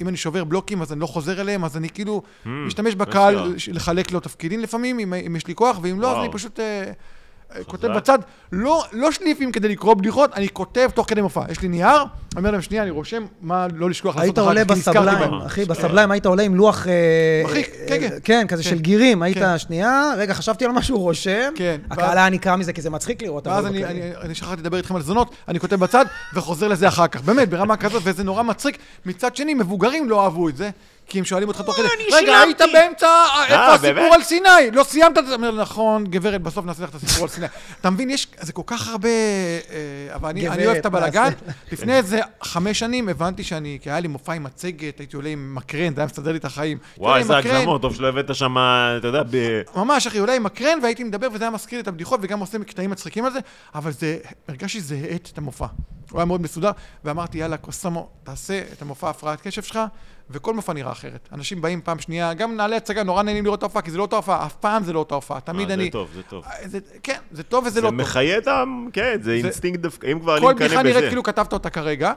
[SPEAKER 2] אם אני שובר בלוקים אז אני לא חוזר אליהם, אז אני כאילו
[SPEAKER 3] Hmm,
[SPEAKER 2] משתמש בקהל
[SPEAKER 3] אשכרה.
[SPEAKER 2] ש- לחלק לו תפקידים לפעמים, אם, אם יש לי כוח, ואם לא, אז
[SPEAKER 3] וואו.
[SPEAKER 2] אני פשוט אה, אה, כותב
[SPEAKER 3] חזק.
[SPEAKER 2] בצד. לא, לא שליפים כדי לקרוא בדיחות, אני כותב תוך כדי מופע. יש לי נייר, אני אומר להם, שנייה, אני רושם מה לא לשכוח לעשות
[SPEAKER 1] היית
[SPEAKER 2] אחר
[SPEAKER 1] עולה
[SPEAKER 2] כך, כי נזכרתי בהם."
[SPEAKER 1] בסבליים, אחי, בסבליים היית עולה עם לוח... אה,
[SPEAKER 2] אה, מרחיק,
[SPEAKER 1] אה,
[SPEAKER 2] כן,
[SPEAKER 1] אה,
[SPEAKER 2] כן.
[SPEAKER 1] כן, כזה
[SPEAKER 2] כן.
[SPEAKER 1] של גירים, היית
[SPEAKER 2] כן.
[SPEAKER 1] שנייה, רגע, חשבתי על משהו רושם,
[SPEAKER 2] כן, ואז-
[SPEAKER 1] הקהל היה נקרע מזה, כי זה מצחיק לראות,
[SPEAKER 2] ואז
[SPEAKER 1] אבל אוקיי.
[SPEAKER 2] אני,
[SPEAKER 1] בכללי.
[SPEAKER 2] אני, אני שכחתי לדבר איתכם על זונות, אני כותב בצד וחוזר לזה אחר כך. באמת, ברמה כזאת, וזה נורא מצחיק. מצד שני, מבוגרים לא אהבו את זה, כי הם שואלים אותך תוך כדי,
[SPEAKER 3] לא, אני
[SPEAKER 2] רגע, היית
[SPEAKER 3] שילמתי."
[SPEAKER 2] באמצע, אה, איפה
[SPEAKER 3] אה,
[SPEAKER 2] הסיפור
[SPEAKER 3] באמת?
[SPEAKER 2] על סיני? לא סיימת את זה? אומר, נכון, גברת, בסוף נעשה לך את הסיפור על סיני. אתה מבין, יש, זה כל כך הרבה... אה, אבל אני, אני
[SPEAKER 1] גברת,
[SPEAKER 2] אוהב את הבלאגן.
[SPEAKER 1] נעשה.
[SPEAKER 2] לפני איזה חמש שנים הבנתי שאני, כי היה לי מופע עם מצגת, הייתי עולה עם מקרן, זה היה מסדר לי את החיים.
[SPEAKER 3] וואי,
[SPEAKER 2] הייתי
[SPEAKER 3] איזה
[SPEAKER 2] עולה עם מקרן,
[SPEAKER 3] הגזמות, טוב שלא הבאת שם, אתה יודע, ב-
[SPEAKER 2] ממש, אחי, אולי עם מקרן, והייתי מדבר, וזה היה מזכיר לי את הבדיחות, וגם עושה קטעים מצחיקים על זה, אבל זה, הרגשתי שזה האט את המופע. הוא היה מאוד מסודר, ואמרתי, יאללה, קוסמו, תעשה את המופע הפרעת קשב שלך, וכל מופע נראה אחרת. אנשים באים פעם שנייה, גם מנהלי הצגה, נורא נהנים לראות את ההופעה, כי זה לא אותה הופעה, אף פעם זה לא אותה הופעה, תמיד
[SPEAKER 3] אה,
[SPEAKER 2] אני...
[SPEAKER 3] זה טוב, זה טוב.
[SPEAKER 2] אה, זה- כן, זה טוב וזה לא
[SPEAKER 3] זה
[SPEAKER 2] טוב.
[SPEAKER 3] מחיה את ה... כן, זה אינסטינקט דווקא, אם כבר אני
[SPEAKER 2] כל
[SPEAKER 3] מקנא בזה.
[SPEAKER 2] בדיחה נראית כאילו כתבת אותה כרגע.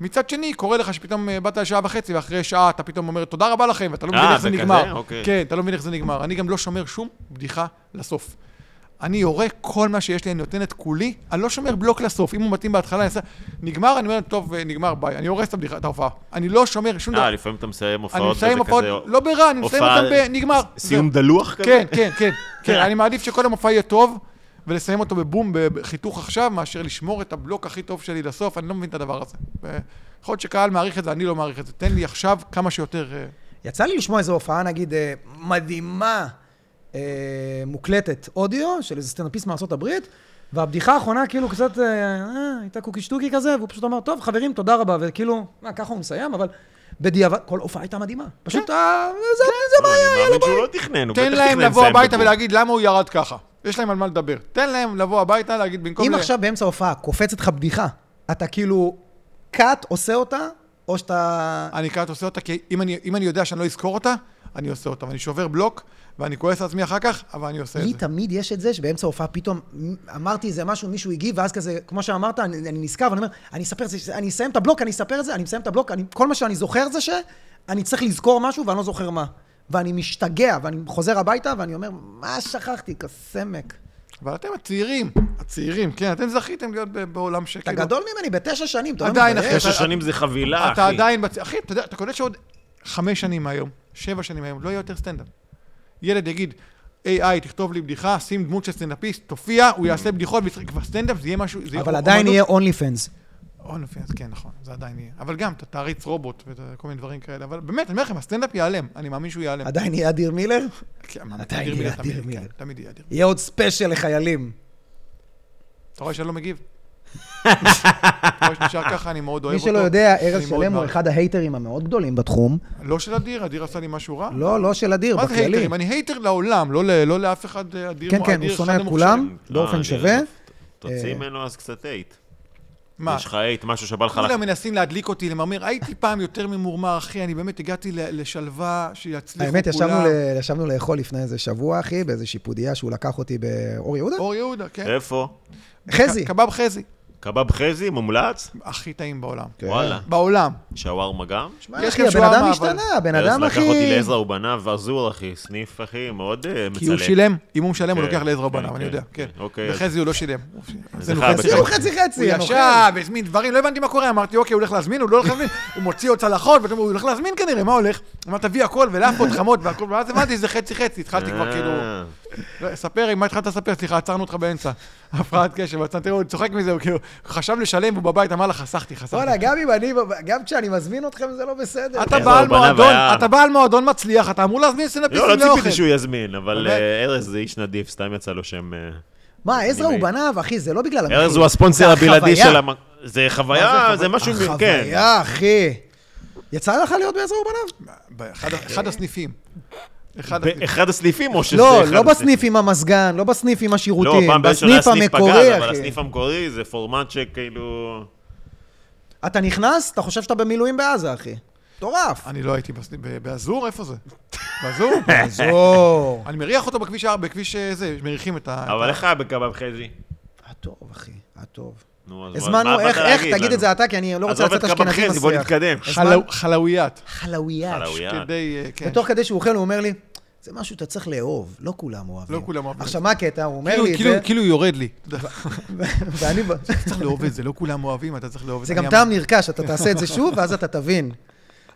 [SPEAKER 2] מצד שני, קורה לך שפתאום אה, באת לשעה וחצי, ואחרי שעה אתה פתאום אומר תודה רבה לכם, ואתה לא
[SPEAKER 3] אה,
[SPEAKER 2] מבין איך זה
[SPEAKER 3] זה כזה?
[SPEAKER 2] נגמר.
[SPEAKER 3] אוקיי.
[SPEAKER 2] כן, אתה לא מבין איך זה נגמר. אני גם לא שומר שום בדיחה לסוף. אני יורה כל מה שיש לי, אני נותן את כולי, אני לא שומר בלוק לסוף. אם הוא מתאים בהתחלה, אני עושה... נגמר, אני אומר, טוב, אה, נגמר, ביי. אני הורס את הבדיחה, את ההופעה. אני לא שומר שום
[SPEAKER 3] אה,
[SPEAKER 2] דבר.
[SPEAKER 3] לפעמים אתה מסיים
[SPEAKER 2] אני
[SPEAKER 3] הופעות,
[SPEAKER 2] מסיים
[SPEAKER 3] וזה
[SPEAKER 2] הופעות,
[SPEAKER 3] כזה...
[SPEAKER 2] לא ברע, אני מסיים
[SPEAKER 3] הופעה-
[SPEAKER 2] אותם בנגמר.
[SPEAKER 3] סיום דלוח כזה?
[SPEAKER 2] כן, כן, כן. כן, אני מעדיף שכל המופע יהיה טוב, ולסיים אותו בבום, בחיתוך עכשיו, מאשר לשמור את הבלוק הכי טוב שלי לסוף, אני לא מבין את הדבר הזה. ו- יכול להיות שקהל מעריך את זה, אני לא מעריך את זה. תן לי עכשיו כמה שיותר... אה,
[SPEAKER 1] יצא לי לשמוע איזו הופעה, נגיד, אה, מדהימה, אה, מוקלטת אודיו, של איזה סטנדאפיסט מארצות הברית, והבדיחה האחרונה כאילו קצת אה, אה, הייתה קוקי שטוקי כזה, והוא פשוט אמר, טוב, חברים, תודה רבה, וכאילו, מה, ככה הוא מסיים, אבל בדיעבד, כל הופעה הייתה מדהימה. פשוט, אה, זה- זה בעיה,
[SPEAKER 3] אני מאמין שהוא לא תכנן, הוא בטח
[SPEAKER 2] תן
[SPEAKER 3] תכנן
[SPEAKER 2] להם לבוא
[SPEAKER 3] לסיים
[SPEAKER 2] הביתה
[SPEAKER 3] בבום.
[SPEAKER 2] ולהגיד למה הוא ירד ככה. יש להם על מה לדבר. תן להם לבוא הביתה, להגיד במקום...
[SPEAKER 1] אם
[SPEAKER 2] ל-
[SPEAKER 1] עכשיו באמצע הופעה קופצת לך בדיחה, אתה כאילו קאט עושה אותה, או שאתה...
[SPEAKER 2] אני כעת עושה אותה, כי אם אני, אם אני יודע שאני לא אזכור אותה, אני עושה אותם. אני שובר בלוק, ואני כועס על עצמי אחר כך, אבל אני עושה את
[SPEAKER 1] לי
[SPEAKER 2] זה.
[SPEAKER 1] תמיד יש את זה שבאמצע ההופעה פתאום מ- אמרתי איזה משהו, מישהו הגיב, ואז כזה, כמו שאמרת, אני, אני נזכר, ואני אומר, אני אספר את זה, אני אסיים את הבלוק, אני אספר את זה, אני מסיים את הבלוק, אני, כל מה שאני זוכר זה שאני צריך לזכור משהו ואני לא זוכר מה. ואני משתגע, ואני חוזר הביתה, ואני אומר, מה שכחתי, כסמק.
[SPEAKER 2] אבל אתם הצעירים, הצעירים, כן, אתם זכיתם להיות ב- בעולם
[SPEAKER 1] אתה
[SPEAKER 2] שכאילו...
[SPEAKER 1] גדול ממני בתשע שנים, אתה לא
[SPEAKER 2] כאילו- עדיין,
[SPEAKER 1] מבייש?
[SPEAKER 2] אחי,
[SPEAKER 3] תשע
[SPEAKER 2] אתה-
[SPEAKER 3] שנים זה חבילה,
[SPEAKER 2] אתה
[SPEAKER 3] אה, אחי.
[SPEAKER 2] עדיין... בצ- אחי, אתה יודע, אתה קולט שעוד חמש שנים מהיום, שבע שנים מהיום, לא יהיה יותר סטנדאפ. ילד יגיד, AI, תכתוב לי בדיחה, שים דמות של סטנדאפיסט, תופיע, הוא יעשה בדיחות, ויצחק. כבר סטנדאפ, זה יהיה משהו... זה
[SPEAKER 1] אבל
[SPEAKER 2] אומנות.
[SPEAKER 1] עדיין יהיה אונלי פנס.
[SPEAKER 2] און אופיינס, כן, נכון, זה עדיין יהיה. אבל גם, אתה תעריץ רובוט וכל מיני דברים כאלה. אבל באמת, אני אומר לכם, הסטנדאפ ייעלם. אני מאמין שהוא ייעלם.
[SPEAKER 1] עדיין יהיה אדיר מילר?
[SPEAKER 2] כן, מאמין,
[SPEAKER 1] עדיין
[SPEAKER 2] אדיר
[SPEAKER 1] יהיה
[SPEAKER 2] מילר תמיד,
[SPEAKER 1] אדיר
[SPEAKER 2] כן,
[SPEAKER 1] מילר.
[SPEAKER 2] תמיד יהיה אדיר.
[SPEAKER 1] יהיה עוד ספיישל לחיילים.
[SPEAKER 2] אתה רואה שאני לא מגיב? אתה רואה שנשאר ככה, אני מאוד אוהב
[SPEAKER 1] מי
[SPEAKER 2] אותו.
[SPEAKER 1] שלא יודע,
[SPEAKER 2] אני
[SPEAKER 1] ארז
[SPEAKER 2] מאוד
[SPEAKER 1] שלם הוא
[SPEAKER 2] מעריך.
[SPEAKER 1] אחד ההייטרים המאוד גדולים בתחום.
[SPEAKER 2] לא של אדיר, אדיר עשה לי משהו רע?
[SPEAKER 1] לא, לא של אדיר,
[SPEAKER 2] מה זה
[SPEAKER 1] בכללי.
[SPEAKER 2] הייטרים? אני הייטר לעולם, לא ל- לא לאף אחד אה, אדיר.
[SPEAKER 1] כן,
[SPEAKER 2] מועדיר,
[SPEAKER 1] כן, הוא שונא
[SPEAKER 2] אחד
[SPEAKER 1] את
[SPEAKER 2] המוכשרים.
[SPEAKER 1] כולם
[SPEAKER 3] לא,
[SPEAKER 1] באופן
[SPEAKER 3] אני-
[SPEAKER 1] שווה.
[SPEAKER 3] תוציא
[SPEAKER 1] אה,
[SPEAKER 3] ממנו אז קצת אייט.
[SPEAKER 2] מה?
[SPEAKER 3] יש לך אייט, משהו שבא לך...
[SPEAKER 2] כולם
[SPEAKER 3] לח-
[SPEAKER 2] מנסים להדליק אותי, למרמר. הייתי פעם יותר ממורמר, אחי, אני באמת הגעתי ל- לשלווה, שיצליחו כולם.
[SPEAKER 1] האמת, ישבנו, ל... ישבנו לאכול לפני איזה שבוע, אחי, באיזה שיפודיה שהוא לקח אותי באור יהודה.
[SPEAKER 2] אור יהודה, כן.
[SPEAKER 3] איפה?
[SPEAKER 1] חזי.
[SPEAKER 2] ק- קבב חזי,
[SPEAKER 3] קבב חזי, מומלץ?
[SPEAKER 2] הכי טעים בעולם.
[SPEAKER 1] כן.
[SPEAKER 3] וואלה.
[SPEAKER 2] בעולם.
[SPEAKER 3] שווארמה גם?
[SPEAKER 1] מה,
[SPEAKER 2] יש
[SPEAKER 1] אחי,
[SPEAKER 2] גם
[SPEAKER 1] הבן אדם
[SPEAKER 2] שווארמה,
[SPEAKER 1] השתנה, הבן
[SPEAKER 3] ארז
[SPEAKER 1] אדם, אחי...
[SPEAKER 3] לקח אותי לעזרא ובניו, ועזור, אחי, סניף, אחי, מאוד אה, מצלם.
[SPEAKER 2] כי הוא שילם, אם הוא משלם, הוא
[SPEAKER 3] כן,
[SPEAKER 2] לוקח לעזרה
[SPEAKER 3] כן,
[SPEAKER 2] בניו, אני
[SPEAKER 3] כן.
[SPEAKER 2] יודע, כן.
[SPEAKER 3] אוקיי, אז-
[SPEAKER 2] וחזי הוא לא שילם. הוא
[SPEAKER 3] אז
[SPEAKER 2] עשינו
[SPEAKER 3] אחד
[SPEAKER 2] חצי
[SPEAKER 3] בצד.
[SPEAKER 1] הוא
[SPEAKER 2] חצי.
[SPEAKER 1] חצי
[SPEAKER 2] הוא
[SPEAKER 1] חצי, אני אוכל.
[SPEAKER 2] ישב,
[SPEAKER 3] אוקיי.
[SPEAKER 2] הזמין דברים, לא הבנתי מה קורה, אמרתי, אוקיי, הוא הולך להזמין, הוא לא הולך להזמין, הוא מוציא עוד צלחות, ואתה אומר, הוא הולך להזמין כנראה, מה הולך? אמר, תביא הכל, ולאפות חמות והכל, ואז הבנתי שזה חצי חצי, התחלתי כבר כאילו...
[SPEAKER 3] אה,
[SPEAKER 2] לא, ספר, מה התחלת לספר? סליחה, עצרנו אותך באמצע. הפרעת קשר, ואתה תראה, הוא צוחק מזה, הוא כאילו, חשב לשלם, והוא בבית, אמר לה, חסכתי, חסכתי.
[SPEAKER 1] וואלה, גם אם אני... גם כשאני מזמין אתכם זה לא בסדר.
[SPEAKER 2] אתה
[SPEAKER 3] איך זה
[SPEAKER 2] בעל
[SPEAKER 3] הוא בנה
[SPEAKER 2] מועדון,
[SPEAKER 3] והיה-
[SPEAKER 2] אתה בעל מועדון מצליח, אתה אמור להזמין סטנדאפיסטים
[SPEAKER 3] אה. לא,
[SPEAKER 2] לאוכל.
[SPEAKER 3] לא ציפיתי שהוא יזמין, אבל
[SPEAKER 2] באמת?
[SPEAKER 3] אה, ארז זה איש נדיב, סתם יצא לו שם... אה,
[SPEAKER 1] מה, עזרא
[SPEAKER 3] אני
[SPEAKER 1] הוא בניו, אחי, זה לא בגלל...
[SPEAKER 3] ארז
[SPEAKER 1] המחיר.
[SPEAKER 3] הוא הספונסר
[SPEAKER 1] זה
[SPEAKER 3] הבלעדי
[SPEAKER 1] החוויה.
[SPEAKER 3] של המ... זה חוויה,
[SPEAKER 2] מה זה
[SPEAKER 3] זה משהו... מ- כן.
[SPEAKER 1] החוויה, אחי. יצא לך להיות בעזרא ובניו?
[SPEAKER 2] באחד- אחד הסניפים. אחד הסניפים.
[SPEAKER 3] באחד הסניפים, או שזה
[SPEAKER 1] כאילו- לא,
[SPEAKER 3] אחד
[SPEAKER 1] לא
[SPEAKER 3] הסניפים?
[SPEAKER 1] בסניף עם המזגן, לא בסניף עם
[SPEAKER 3] לא,
[SPEAKER 1] השירותים,
[SPEAKER 3] פעם ראשונה
[SPEAKER 1] בסניף
[SPEAKER 3] הסניף פגז,
[SPEAKER 1] המקורי,
[SPEAKER 3] אבל
[SPEAKER 1] אחי.
[SPEAKER 3] הסניף המקורי זה פורמט שכאילו...
[SPEAKER 1] אתה נכנס, אתה חושב שאתה במילואים בעזה, אחי. מטורף.
[SPEAKER 2] אני לא הייתי בסניף, ב- באזור? איפה זה? באזור?
[SPEAKER 1] עזור.
[SPEAKER 2] אני מריח אותו בכביש ארבע, בכביש אה, זה, מריחים את ה...
[SPEAKER 3] אבל איך היה בקבב חזי?
[SPEAKER 1] היה טוב, אחי, היה טוב.
[SPEAKER 3] נו, אז מה- מה
[SPEAKER 1] הזמנו, איך,
[SPEAKER 3] באת
[SPEAKER 1] איך,
[SPEAKER 3] להגיד
[SPEAKER 1] תגיד
[SPEAKER 3] לנו?
[SPEAKER 1] את זה אתה, כי אני לא רוצה
[SPEAKER 3] עזוב
[SPEAKER 1] לצאת
[SPEAKER 3] את קבב
[SPEAKER 1] אשכנזי
[SPEAKER 3] חזי, בוא
[SPEAKER 1] מסריח.
[SPEAKER 3] נתקדם.
[SPEAKER 1] הזמן-
[SPEAKER 2] חלאו- חלאויית.
[SPEAKER 1] חלאויאש.
[SPEAKER 3] חלאויאש.
[SPEAKER 2] כדי, אה, כן.
[SPEAKER 1] ותוך כדי שהוא אוכל, הוא אומר לי, זה משהו שאתה צריך לאהוב, לא כולם אוהבים.
[SPEAKER 2] לא כולם אוהבים.
[SPEAKER 1] עכשיו, מה הקטע? הוא אומר
[SPEAKER 2] כאילו-
[SPEAKER 1] לי את
[SPEAKER 2] כאילו-
[SPEAKER 1] זה,
[SPEAKER 2] כאילו יורד לי. אתה
[SPEAKER 1] ואני... ב-
[SPEAKER 2] צריך לאהוב את זה, לא כולם אוהבים, אתה צריך לאהוב את
[SPEAKER 1] זה
[SPEAKER 2] זה.
[SPEAKER 1] גם
[SPEAKER 2] אני אמ-
[SPEAKER 1] טעם
[SPEAKER 2] אמרתי,
[SPEAKER 1] נרכש, אתה תעשה את זה שוב, ואז אתה תבין.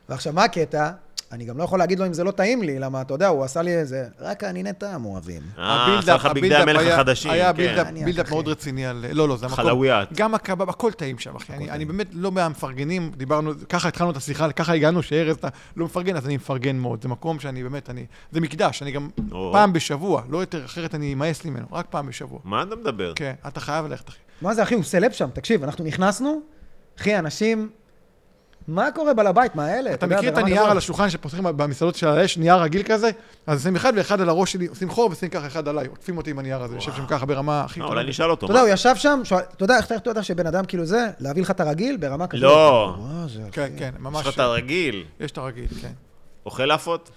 [SPEAKER 1] ועכשיו, מה הקטע? אני גם לא יכול להגיד לו אם זה לא טעים לי, למה, אתה יודע, הוא עשה לי איזה, רק הענייני טעם אוהבים.
[SPEAKER 3] אה, עשה
[SPEAKER 2] הבילדאפ-
[SPEAKER 3] לך בגדי
[SPEAKER 2] הבילדאפ
[SPEAKER 3] המלך
[SPEAKER 2] היה-
[SPEAKER 3] החדשים,
[SPEAKER 2] היה
[SPEAKER 3] כן.
[SPEAKER 2] בילדאפ
[SPEAKER 1] אני
[SPEAKER 2] בילדאפ
[SPEAKER 1] אחי.
[SPEAKER 2] מאוד רציני על... לא, לא, זה המקום.
[SPEAKER 3] חלאויית.
[SPEAKER 2] גם הקבב, הכל טעים שם, אחי. אני- אני באמת לא מהמפרגנים, דיברנו, ככה התחלנו את השיחה, ככה הגענו, שארז, אתה לא מפרגן, אז אני מפרגן מאוד. זה מקום שאני באמת, אני... זה מקדש, אני גם
[SPEAKER 3] או.
[SPEAKER 2] פעם בשבוע, לא יותר, אחרת אני אמאס לי ממנו, רק פעם בשבוע.
[SPEAKER 3] מה אתה מדבר?
[SPEAKER 2] כן, אתה חייב ללכת, אחי.
[SPEAKER 1] מה זה, אחי, הוא סלב שם, תקשיב, אנחנו נכנסנו, אחי, אנשים... מה קורה בעל הבית? מה אלה?
[SPEAKER 2] אתה
[SPEAKER 1] יודע, לא.
[SPEAKER 2] מכיר את
[SPEAKER 1] ברמת
[SPEAKER 2] הנייר
[SPEAKER 1] הגבוה.
[SPEAKER 2] על השולחן שפותחים במסעדות של האש, נייר רגיל כזה? אז עושים אחד ואחד על הראש שלי, עושים חור ועושים ככה אחד עליי, עוטפים אותי עם הנייר הזה, יושב שם ככה ברמה הכי
[SPEAKER 3] לא,
[SPEAKER 2] טובה.
[SPEAKER 3] אולי נשאל אותו.
[SPEAKER 1] אתה יודע,
[SPEAKER 3] מה?
[SPEAKER 1] הוא ישב שם, שואל- אתה יודע, איך איך אתה יודע שבן אדם כאילו זה, להביא לך את הרגיל ברמה כזאת?
[SPEAKER 3] לא.
[SPEAKER 1] וואו, זה-
[SPEAKER 2] כן, כן,
[SPEAKER 3] יש
[SPEAKER 2] ממש.
[SPEAKER 3] לך את הרגיל.
[SPEAKER 2] יש את הרגיל, כן.
[SPEAKER 3] אוכל עפות?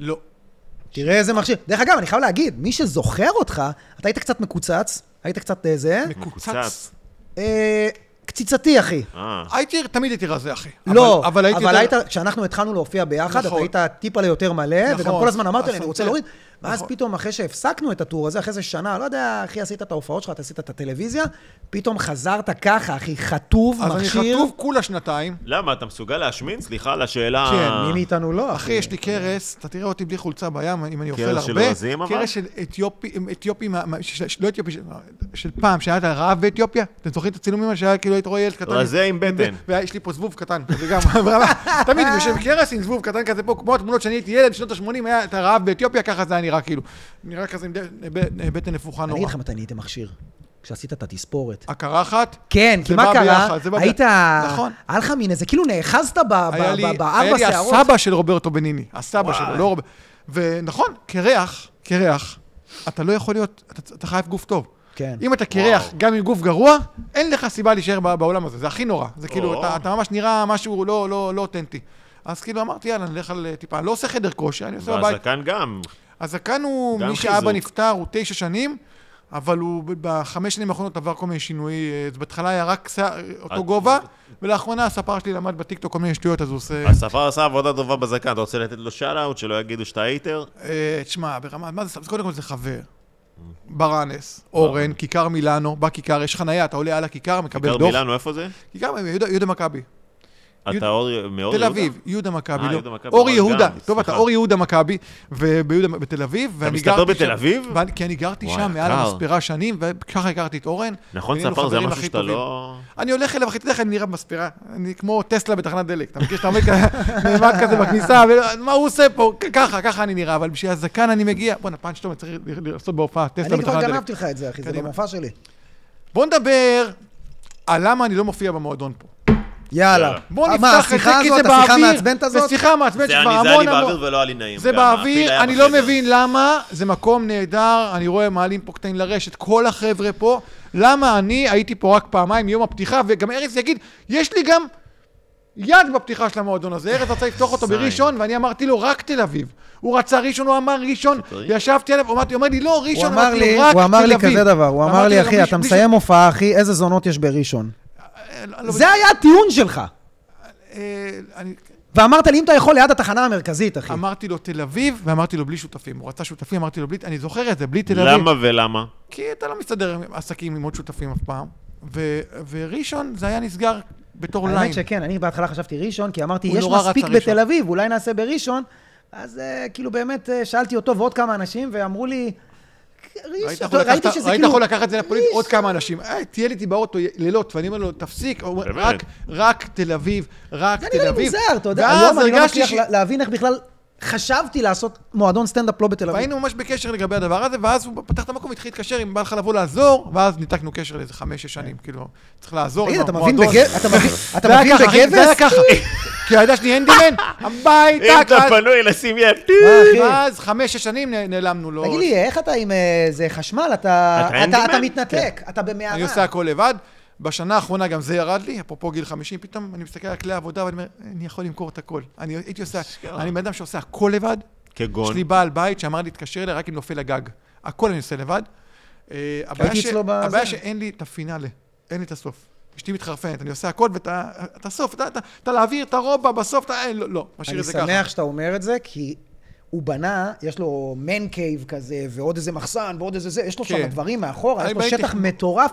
[SPEAKER 2] לא.
[SPEAKER 1] תראה איזה מכשיר. דרך אגב, אני חייב להגיד, מי שזוכר אותך, אתה היית קצת מקוצץ, היית קצת אה, זה,
[SPEAKER 2] מקוצץ.
[SPEAKER 1] אה, קציצתי, אחי.
[SPEAKER 3] אה,
[SPEAKER 2] הייתי, תמיד הייתי רזה, אחי.
[SPEAKER 1] לא,
[SPEAKER 2] אבל- אבל הייתי...
[SPEAKER 1] אבל היית,
[SPEAKER 2] יותר-
[SPEAKER 1] כשאנחנו התחלנו להופיע ביחד, אתה
[SPEAKER 2] נכון.
[SPEAKER 1] היית טיפה ליותר מלא, וגם
[SPEAKER 2] נכון.
[SPEAKER 1] כל הזמן אמרת לי,
[SPEAKER 2] אז
[SPEAKER 1] אני
[SPEAKER 2] אתה
[SPEAKER 1] רוצה
[SPEAKER 2] מבין.
[SPEAKER 1] להוריד. ואז
[SPEAKER 2] נכון.
[SPEAKER 1] פתאום, אחרי שהפסקנו את הטור הזה, אחרי איזה שנה, לא יודע, אחי, עשית את ההופעות שלך, אתה עשית את הטלוויזיה, פתאום חזרת ככה, אחי, חטוב,
[SPEAKER 2] אז אני
[SPEAKER 1] מכשיר.
[SPEAKER 2] חטוב כולה שנתיים.
[SPEAKER 3] למה, אתה מסוגל להשמין? סליחה על השאלה...
[SPEAKER 2] כן,
[SPEAKER 1] מי מאיתנו לא,
[SPEAKER 2] אחי, יש לי קרס, אתה תראה אותי בלי חולצה בים, אם אני אוכל הרבה.
[SPEAKER 3] קרס של רזים, אבל?
[SPEAKER 2] קרס של אתיופי, אתיופי, מה- מה- ש- ש- לא אתיופי, ש- של פעם, שהיה את הרעב באתיופיה. אתם זוכרים את הצילומים האלה שהיה כאילו היית רואה ילד קטן?
[SPEAKER 3] רזה עם בטן.
[SPEAKER 2] ויש לי פה זבוב קטן, זה גם, תמיד בשם קרס עם זבוב קטן כזה פה, כמו התמונות שאני הייתי ילד בשנות ה-80, היה את הרעב באתיופיה, ככה זה היה נראה כאילו. נראה כזה עם ד- ב- בטן נפוחה
[SPEAKER 1] אני אגיד
[SPEAKER 2] נורא.
[SPEAKER 1] לך מתי נהייתם מכשיר, כשעשית את התספורת.
[SPEAKER 2] הקרחת?
[SPEAKER 1] כן,
[SPEAKER 2] אה, זה
[SPEAKER 1] כי מה
[SPEAKER 2] בא
[SPEAKER 1] קרה?
[SPEAKER 2] ביחד, זה בא
[SPEAKER 1] היית...
[SPEAKER 2] ביחד. נכון.
[SPEAKER 1] היה לך מין איזה, כאילו נאחזת ב- ב-
[SPEAKER 2] היה לי,
[SPEAKER 1] ב-
[SPEAKER 2] היה
[SPEAKER 1] בארבע
[SPEAKER 2] לי
[SPEAKER 1] שערות.
[SPEAKER 2] הסבא של רוברטו בניני, הסבא
[SPEAKER 3] וואי.
[SPEAKER 2] שלו, לא רוברטו. ונכון, קרח, קרח, אתה לא יכול להיות, אתה, אתה חייב גוף טוב.
[SPEAKER 1] כן.
[SPEAKER 2] אם אתה קרח
[SPEAKER 3] וואו.
[SPEAKER 2] גם עם גוף גרוע, אין לך סיבה להישאר ב- בעולם הזה, זה הכי נורא. זה כאילו,
[SPEAKER 3] או.
[SPEAKER 2] אתה, אתה ממש נראה משהו לא, לא, לא אותנטי. אז כאילו אמרתי, יאללה, נלך על אה, טיפה. אני לא עושה חדר כושר, אני עושה בבית.
[SPEAKER 3] והזקן גם.
[SPEAKER 2] הזקן הוא,
[SPEAKER 3] גם
[SPEAKER 2] מי שאבא
[SPEAKER 3] חיזוק.
[SPEAKER 2] נפטר, הוא תשע שנים, אבל הוא ב- בחמש שנים האחרונות עבר כל מיני שינויי, אה, אז בהתחלה היה רק שיער, אה, אותו
[SPEAKER 3] את-
[SPEAKER 2] גובה, ולאחרונה הספר שלי למד בטיקטוק כל מיני שטויות, אז הוא עושה...
[SPEAKER 3] הספר עשה עבודה טובה בזקן, אתה רוצה לתת לו שאל-אאוט, שלא יגידו שאתה הייטר?
[SPEAKER 2] אה, תשמע, ברמה, מה זה, סבבה? קודם כל זה חבר.
[SPEAKER 3] Mm.
[SPEAKER 2] ברנס, אורן, כיכר מילאנו, בכיכר, יש חנייה, אתה עולה על הכיכר, מקבל
[SPEAKER 3] כיכר
[SPEAKER 2] דוח.
[SPEAKER 3] מילאנו, איפה זה?
[SPEAKER 2] כיכר מילאנו, יהודה יהודה מכבי.
[SPEAKER 3] אתה אור... מאור
[SPEAKER 2] תל
[SPEAKER 3] יהודה?
[SPEAKER 2] אביב, יהודה מכבי,
[SPEAKER 3] אה,
[SPEAKER 2] לא.
[SPEAKER 3] יהודה מכבי,
[SPEAKER 2] אור
[SPEAKER 3] אורן
[SPEAKER 2] יהודה,
[SPEAKER 3] גן,
[SPEAKER 2] טוב, אתה
[SPEAKER 3] סליחה.
[SPEAKER 2] אור יהודה מכבי, ובתל אביב, ואני גרתי
[SPEAKER 3] מסתפר
[SPEAKER 2] שם.
[SPEAKER 3] בתל אביב?
[SPEAKER 2] ואני- כי אני גרתי
[SPEAKER 3] וואי,
[SPEAKER 2] שם, מעל
[SPEAKER 3] יקר.
[SPEAKER 2] המספרה שנים, וככה הכרתי את אורן.
[SPEAKER 3] נכון,
[SPEAKER 2] ונהיינו
[SPEAKER 3] ספר זה
[SPEAKER 2] חברים
[SPEAKER 3] משהו
[SPEAKER 2] הכי
[SPEAKER 3] שאתה
[SPEAKER 2] טובים.
[SPEAKER 3] לא...
[SPEAKER 2] אני הולך אליו, אחי, אתה יודע איך אני נראה במספרה. אני כמו טסלה בתחנת דלק. אתה מכיר שאתה עומד כזה, נעמד כזה בכניסה, ולא- מה הוא עושה פה? כ- ככה, ככה אני נראה, אבל בשביל הזקן אני מגיע. בואנה, פעם שאתה צריך ל- ל- לעשות בהופעה טסלה
[SPEAKER 1] אני כבר
[SPEAKER 2] בתחנת דלק.
[SPEAKER 1] גנבתי לך את זה, אחי, זה
[SPEAKER 2] קדימה.
[SPEAKER 1] במופע שלי.
[SPEAKER 2] בוא נדבר על למה אני לא מופיע במועדון פה.
[SPEAKER 1] יאללה.
[SPEAKER 2] בוא
[SPEAKER 1] אה,
[SPEAKER 2] נפתח את זה,
[SPEAKER 1] השיחה
[SPEAKER 2] כי
[SPEAKER 1] הזאת,
[SPEAKER 2] זה באוויר.
[SPEAKER 1] השיחה המעצבנת הזאת?
[SPEAKER 2] זה שיחה מעצבנת
[SPEAKER 3] זה
[SPEAKER 2] שכבר
[SPEAKER 3] אני
[SPEAKER 2] המון
[SPEAKER 3] זה
[SPEAKER 2] המון...
[SPEAKER 3] אני באוויר ולא היה לי נעים.
[SPEAKER 2] זה
[SPEAKER 3] גם, הפיל
[SPEAKER 2] באוויר,
[SPEAKER 3] היה
[SPEAKER 2] אני לא
[SPEAKER 3] בחדר.
[SPEAKER 2] מבין למה, זה מקום נהדר, אני רואה מעלים פה קטעים לרשת, כל החבר'ה פה, למה אני הייתי פה רק פעמיים מיום הפתיחה, וגם ארז יגיד, יש לי גם יד בפתיחה של המועדון הזה, ארז רצה לפתוח אותו
[SPEAKER 3] זין.
[SPEAKER 2] בראשון, ואני אמרתי לו, רק תל אביב. הוא רצה ראשון, הוא אמר ראשון,
[SPEAKER 3] שטרי.
[SPEAKER 2] ישבתי עליו, אמרתי, הוא אומר לי, לא,
[SPEAKER 1] הוא
[SPEAKER 2] ראשון,
[SPEAKER 1] אמר
[SPEAKER 2] אמרתי
[SPEAKER 1] לי,
[SPEAKER 2] לו, רק תל אביב.
[SPEAKER 1] הוא אמר לי כזה דבר, הוא אמר
[SPEAKER 2] אמרתי
[SPEAKER 1] לי,
[SPEAKER 2] לו,
[SPEAKER 1] אחי,
[SPEAKER 2] "מי-
[SPEAKER 1] אתה
[SPEAKER 2] מי ש-
[SPEAKER 1] מסיים הופעה, אחי, איזה זונות יש בראשון.
[SPEAKER 2] אה, לא, לא,
[SPEAKER 1] זה היה הטיעון שלך.
[SPEAKER 2] אה, אני-
[SPEAKER 1] ואמרת לי, אם אתה יכול, ליד התחנה המרכזית, אחי.
[SPEAKER 2] אמרתי לו תל אביב, ואמרתי לו בלי שותפים. הוא רצה שותפים, אמרתי לו בלי, אני זוכר את זה, בלי תל אביב.
[SPEAKER 3] למה ולמה?
[SPEAKER 2] כי אתה לא מסתדר עם עסקים עם עוד שותפים אף פעם. ו- וראשון זה היה נסגר בתור ליין.
[SPEAKER 1] האמת שכן, אני בהתחלה חשבתי ראשון, כי אמרתי,
[SPEAKER 2] הוא
[SPEAKER 1] יש
[SPEAKER 2] נורא רצה
[SPEAKER 1] מספיק
[SPEAKER 2] ראשון."
[SPEAKER 1] בתל אביב, אולי נעשה בראשון. אז אה, כאילו באמת אה, שאלתי אותו ועוד כמה אנשים, ואמרו לי,
[SPEAKER 2] ראית
[SPEAKER 1] ראשון,
[SPEAKER 2] איך הוא לקח-
[SPEAKER 1] ראיתי שזה
[SPEAKER 2] ראית
[SPEAKER 1] כאילו...
[SPEAKER 2] איך הוא לקח את זה לפוליט
[SPEAKER 1] ראשון.
[SPEAKER 2] עוד כמה אנשים. "אה, טייל איתי באוטו לילות, ואני אומר לו, תפסיק. הוא אומר,
[SPEAKER 3] באמת?
[SPEAKER 2] רק, רק תל אביב, רק
[SPEAKER 1] זה
[SPEAKER 2] תל
[SPEAKER 1] נראה לי
[SPEAKER 2] אביב.
[SPEAKER 1] לא מוזר, אתה יודע,
[SPEAKER 2] ואז
[SPEAKER 1] היום אני לא
[SPEAKER 2] הרגשתי
[SPEAKER 1] מצליח
[SPEAKER 2] ש-
[SPEAKER 1] לה- להבין איך בכלל חשבתי לעשות מועדון סטנדאפ לא בתל אביב.
[SPEAKER 2] והיינו ממש בקשר לגבי הדבר הזה, ואז הוא פתח את המקום והתחיל להתקשר אם בא לך לבוא לעזור, ואז ניתקנו קשר לאיזה חמש-שש שנים, כאילו, צריך לעזור
[SPEAKER 1] תגיד,
[SPEAKER 2] עם
[SPEAKER 1] אתה מבין
[SPEAKER 2] המועדון.
[SPEAKER 1] בגבס? אתה מבין- אתה
[SPEAKER 2] זה היה
[SPEAKER 1] מבין
[SPEAKER 2] ככה, אחי, זה היה
[SPEAKER 1] בגבס?
[SPEAKER 2] ככה. כי הילדה שלי הנדימן,
[SPEAKER 3] אם אתה
[SPEAKER 2] הביתה,
[SPEAKER 3] פנוי, לשים יד.
[SPEAKER 1] אה, אחי?
[SPEAKER 2] ואז חמש-שש שנים נ- נעלמנו לא לו.
[SPEAKER 1] תגיד לי, איך אתה עם אה, זה חשמל? אתה
[SPEAKER 3] אתה
[SPEAKER 1] אתה- אתה
[SPEAKER 3] הנדימן?
[SPEAKER 1] מתנתק, אתה במערה.
[SPEAKER 2] כן. אני עושה הכל לבד. בשנה האחרונה גם זה ירד לי, אפרופו גיל 50, פתאום אני מסתכל על כלי העבודה ואני אומר, אני יכול למכור את הכל. אני הייתי עושה, אני בן אדם שעושה הכל לבד. יש
[SPEAKER 3] כגון.
[SPEAKER 2] לי בעל בית שאמר לי, תתקשר אליי רק אם נופל הגג. הכל אני עושה לבד. אה, הבעיה
[SPEAKER 1] הייתי
[SPEAKER 2] ש-
[SPEAKER 1] אצלו בזה.
[SPEAKER 2] הבעיה שאין לי את הפינאלה, אין לי את הסוף. אשתי מתחרפנת, אני עושה הכל ואת ה- את הסוף, אתה- אתה- אתה להעביר, אתה רובע, בסוף אתה... אין, לא, לא, משאיר
[SPEAKER 1] אני
[SPEAKER 2] את זה ככה.
[SPEAKER 1] שמח שאתה אומר את זה, כי הוא בנה, יש לו מן קייב כזה, ועוד איזה מחסן, ועוד איזה זה, יש לו
[SPEAKER 2] כן.
[SPEAKER 1] שם דברים מאחורה,
[SPEAKER 2] אני
[SPEAKER 1] יש לו
[SPEAKER 2] בניתי-
[SPEAKER 1] שטח מטורף,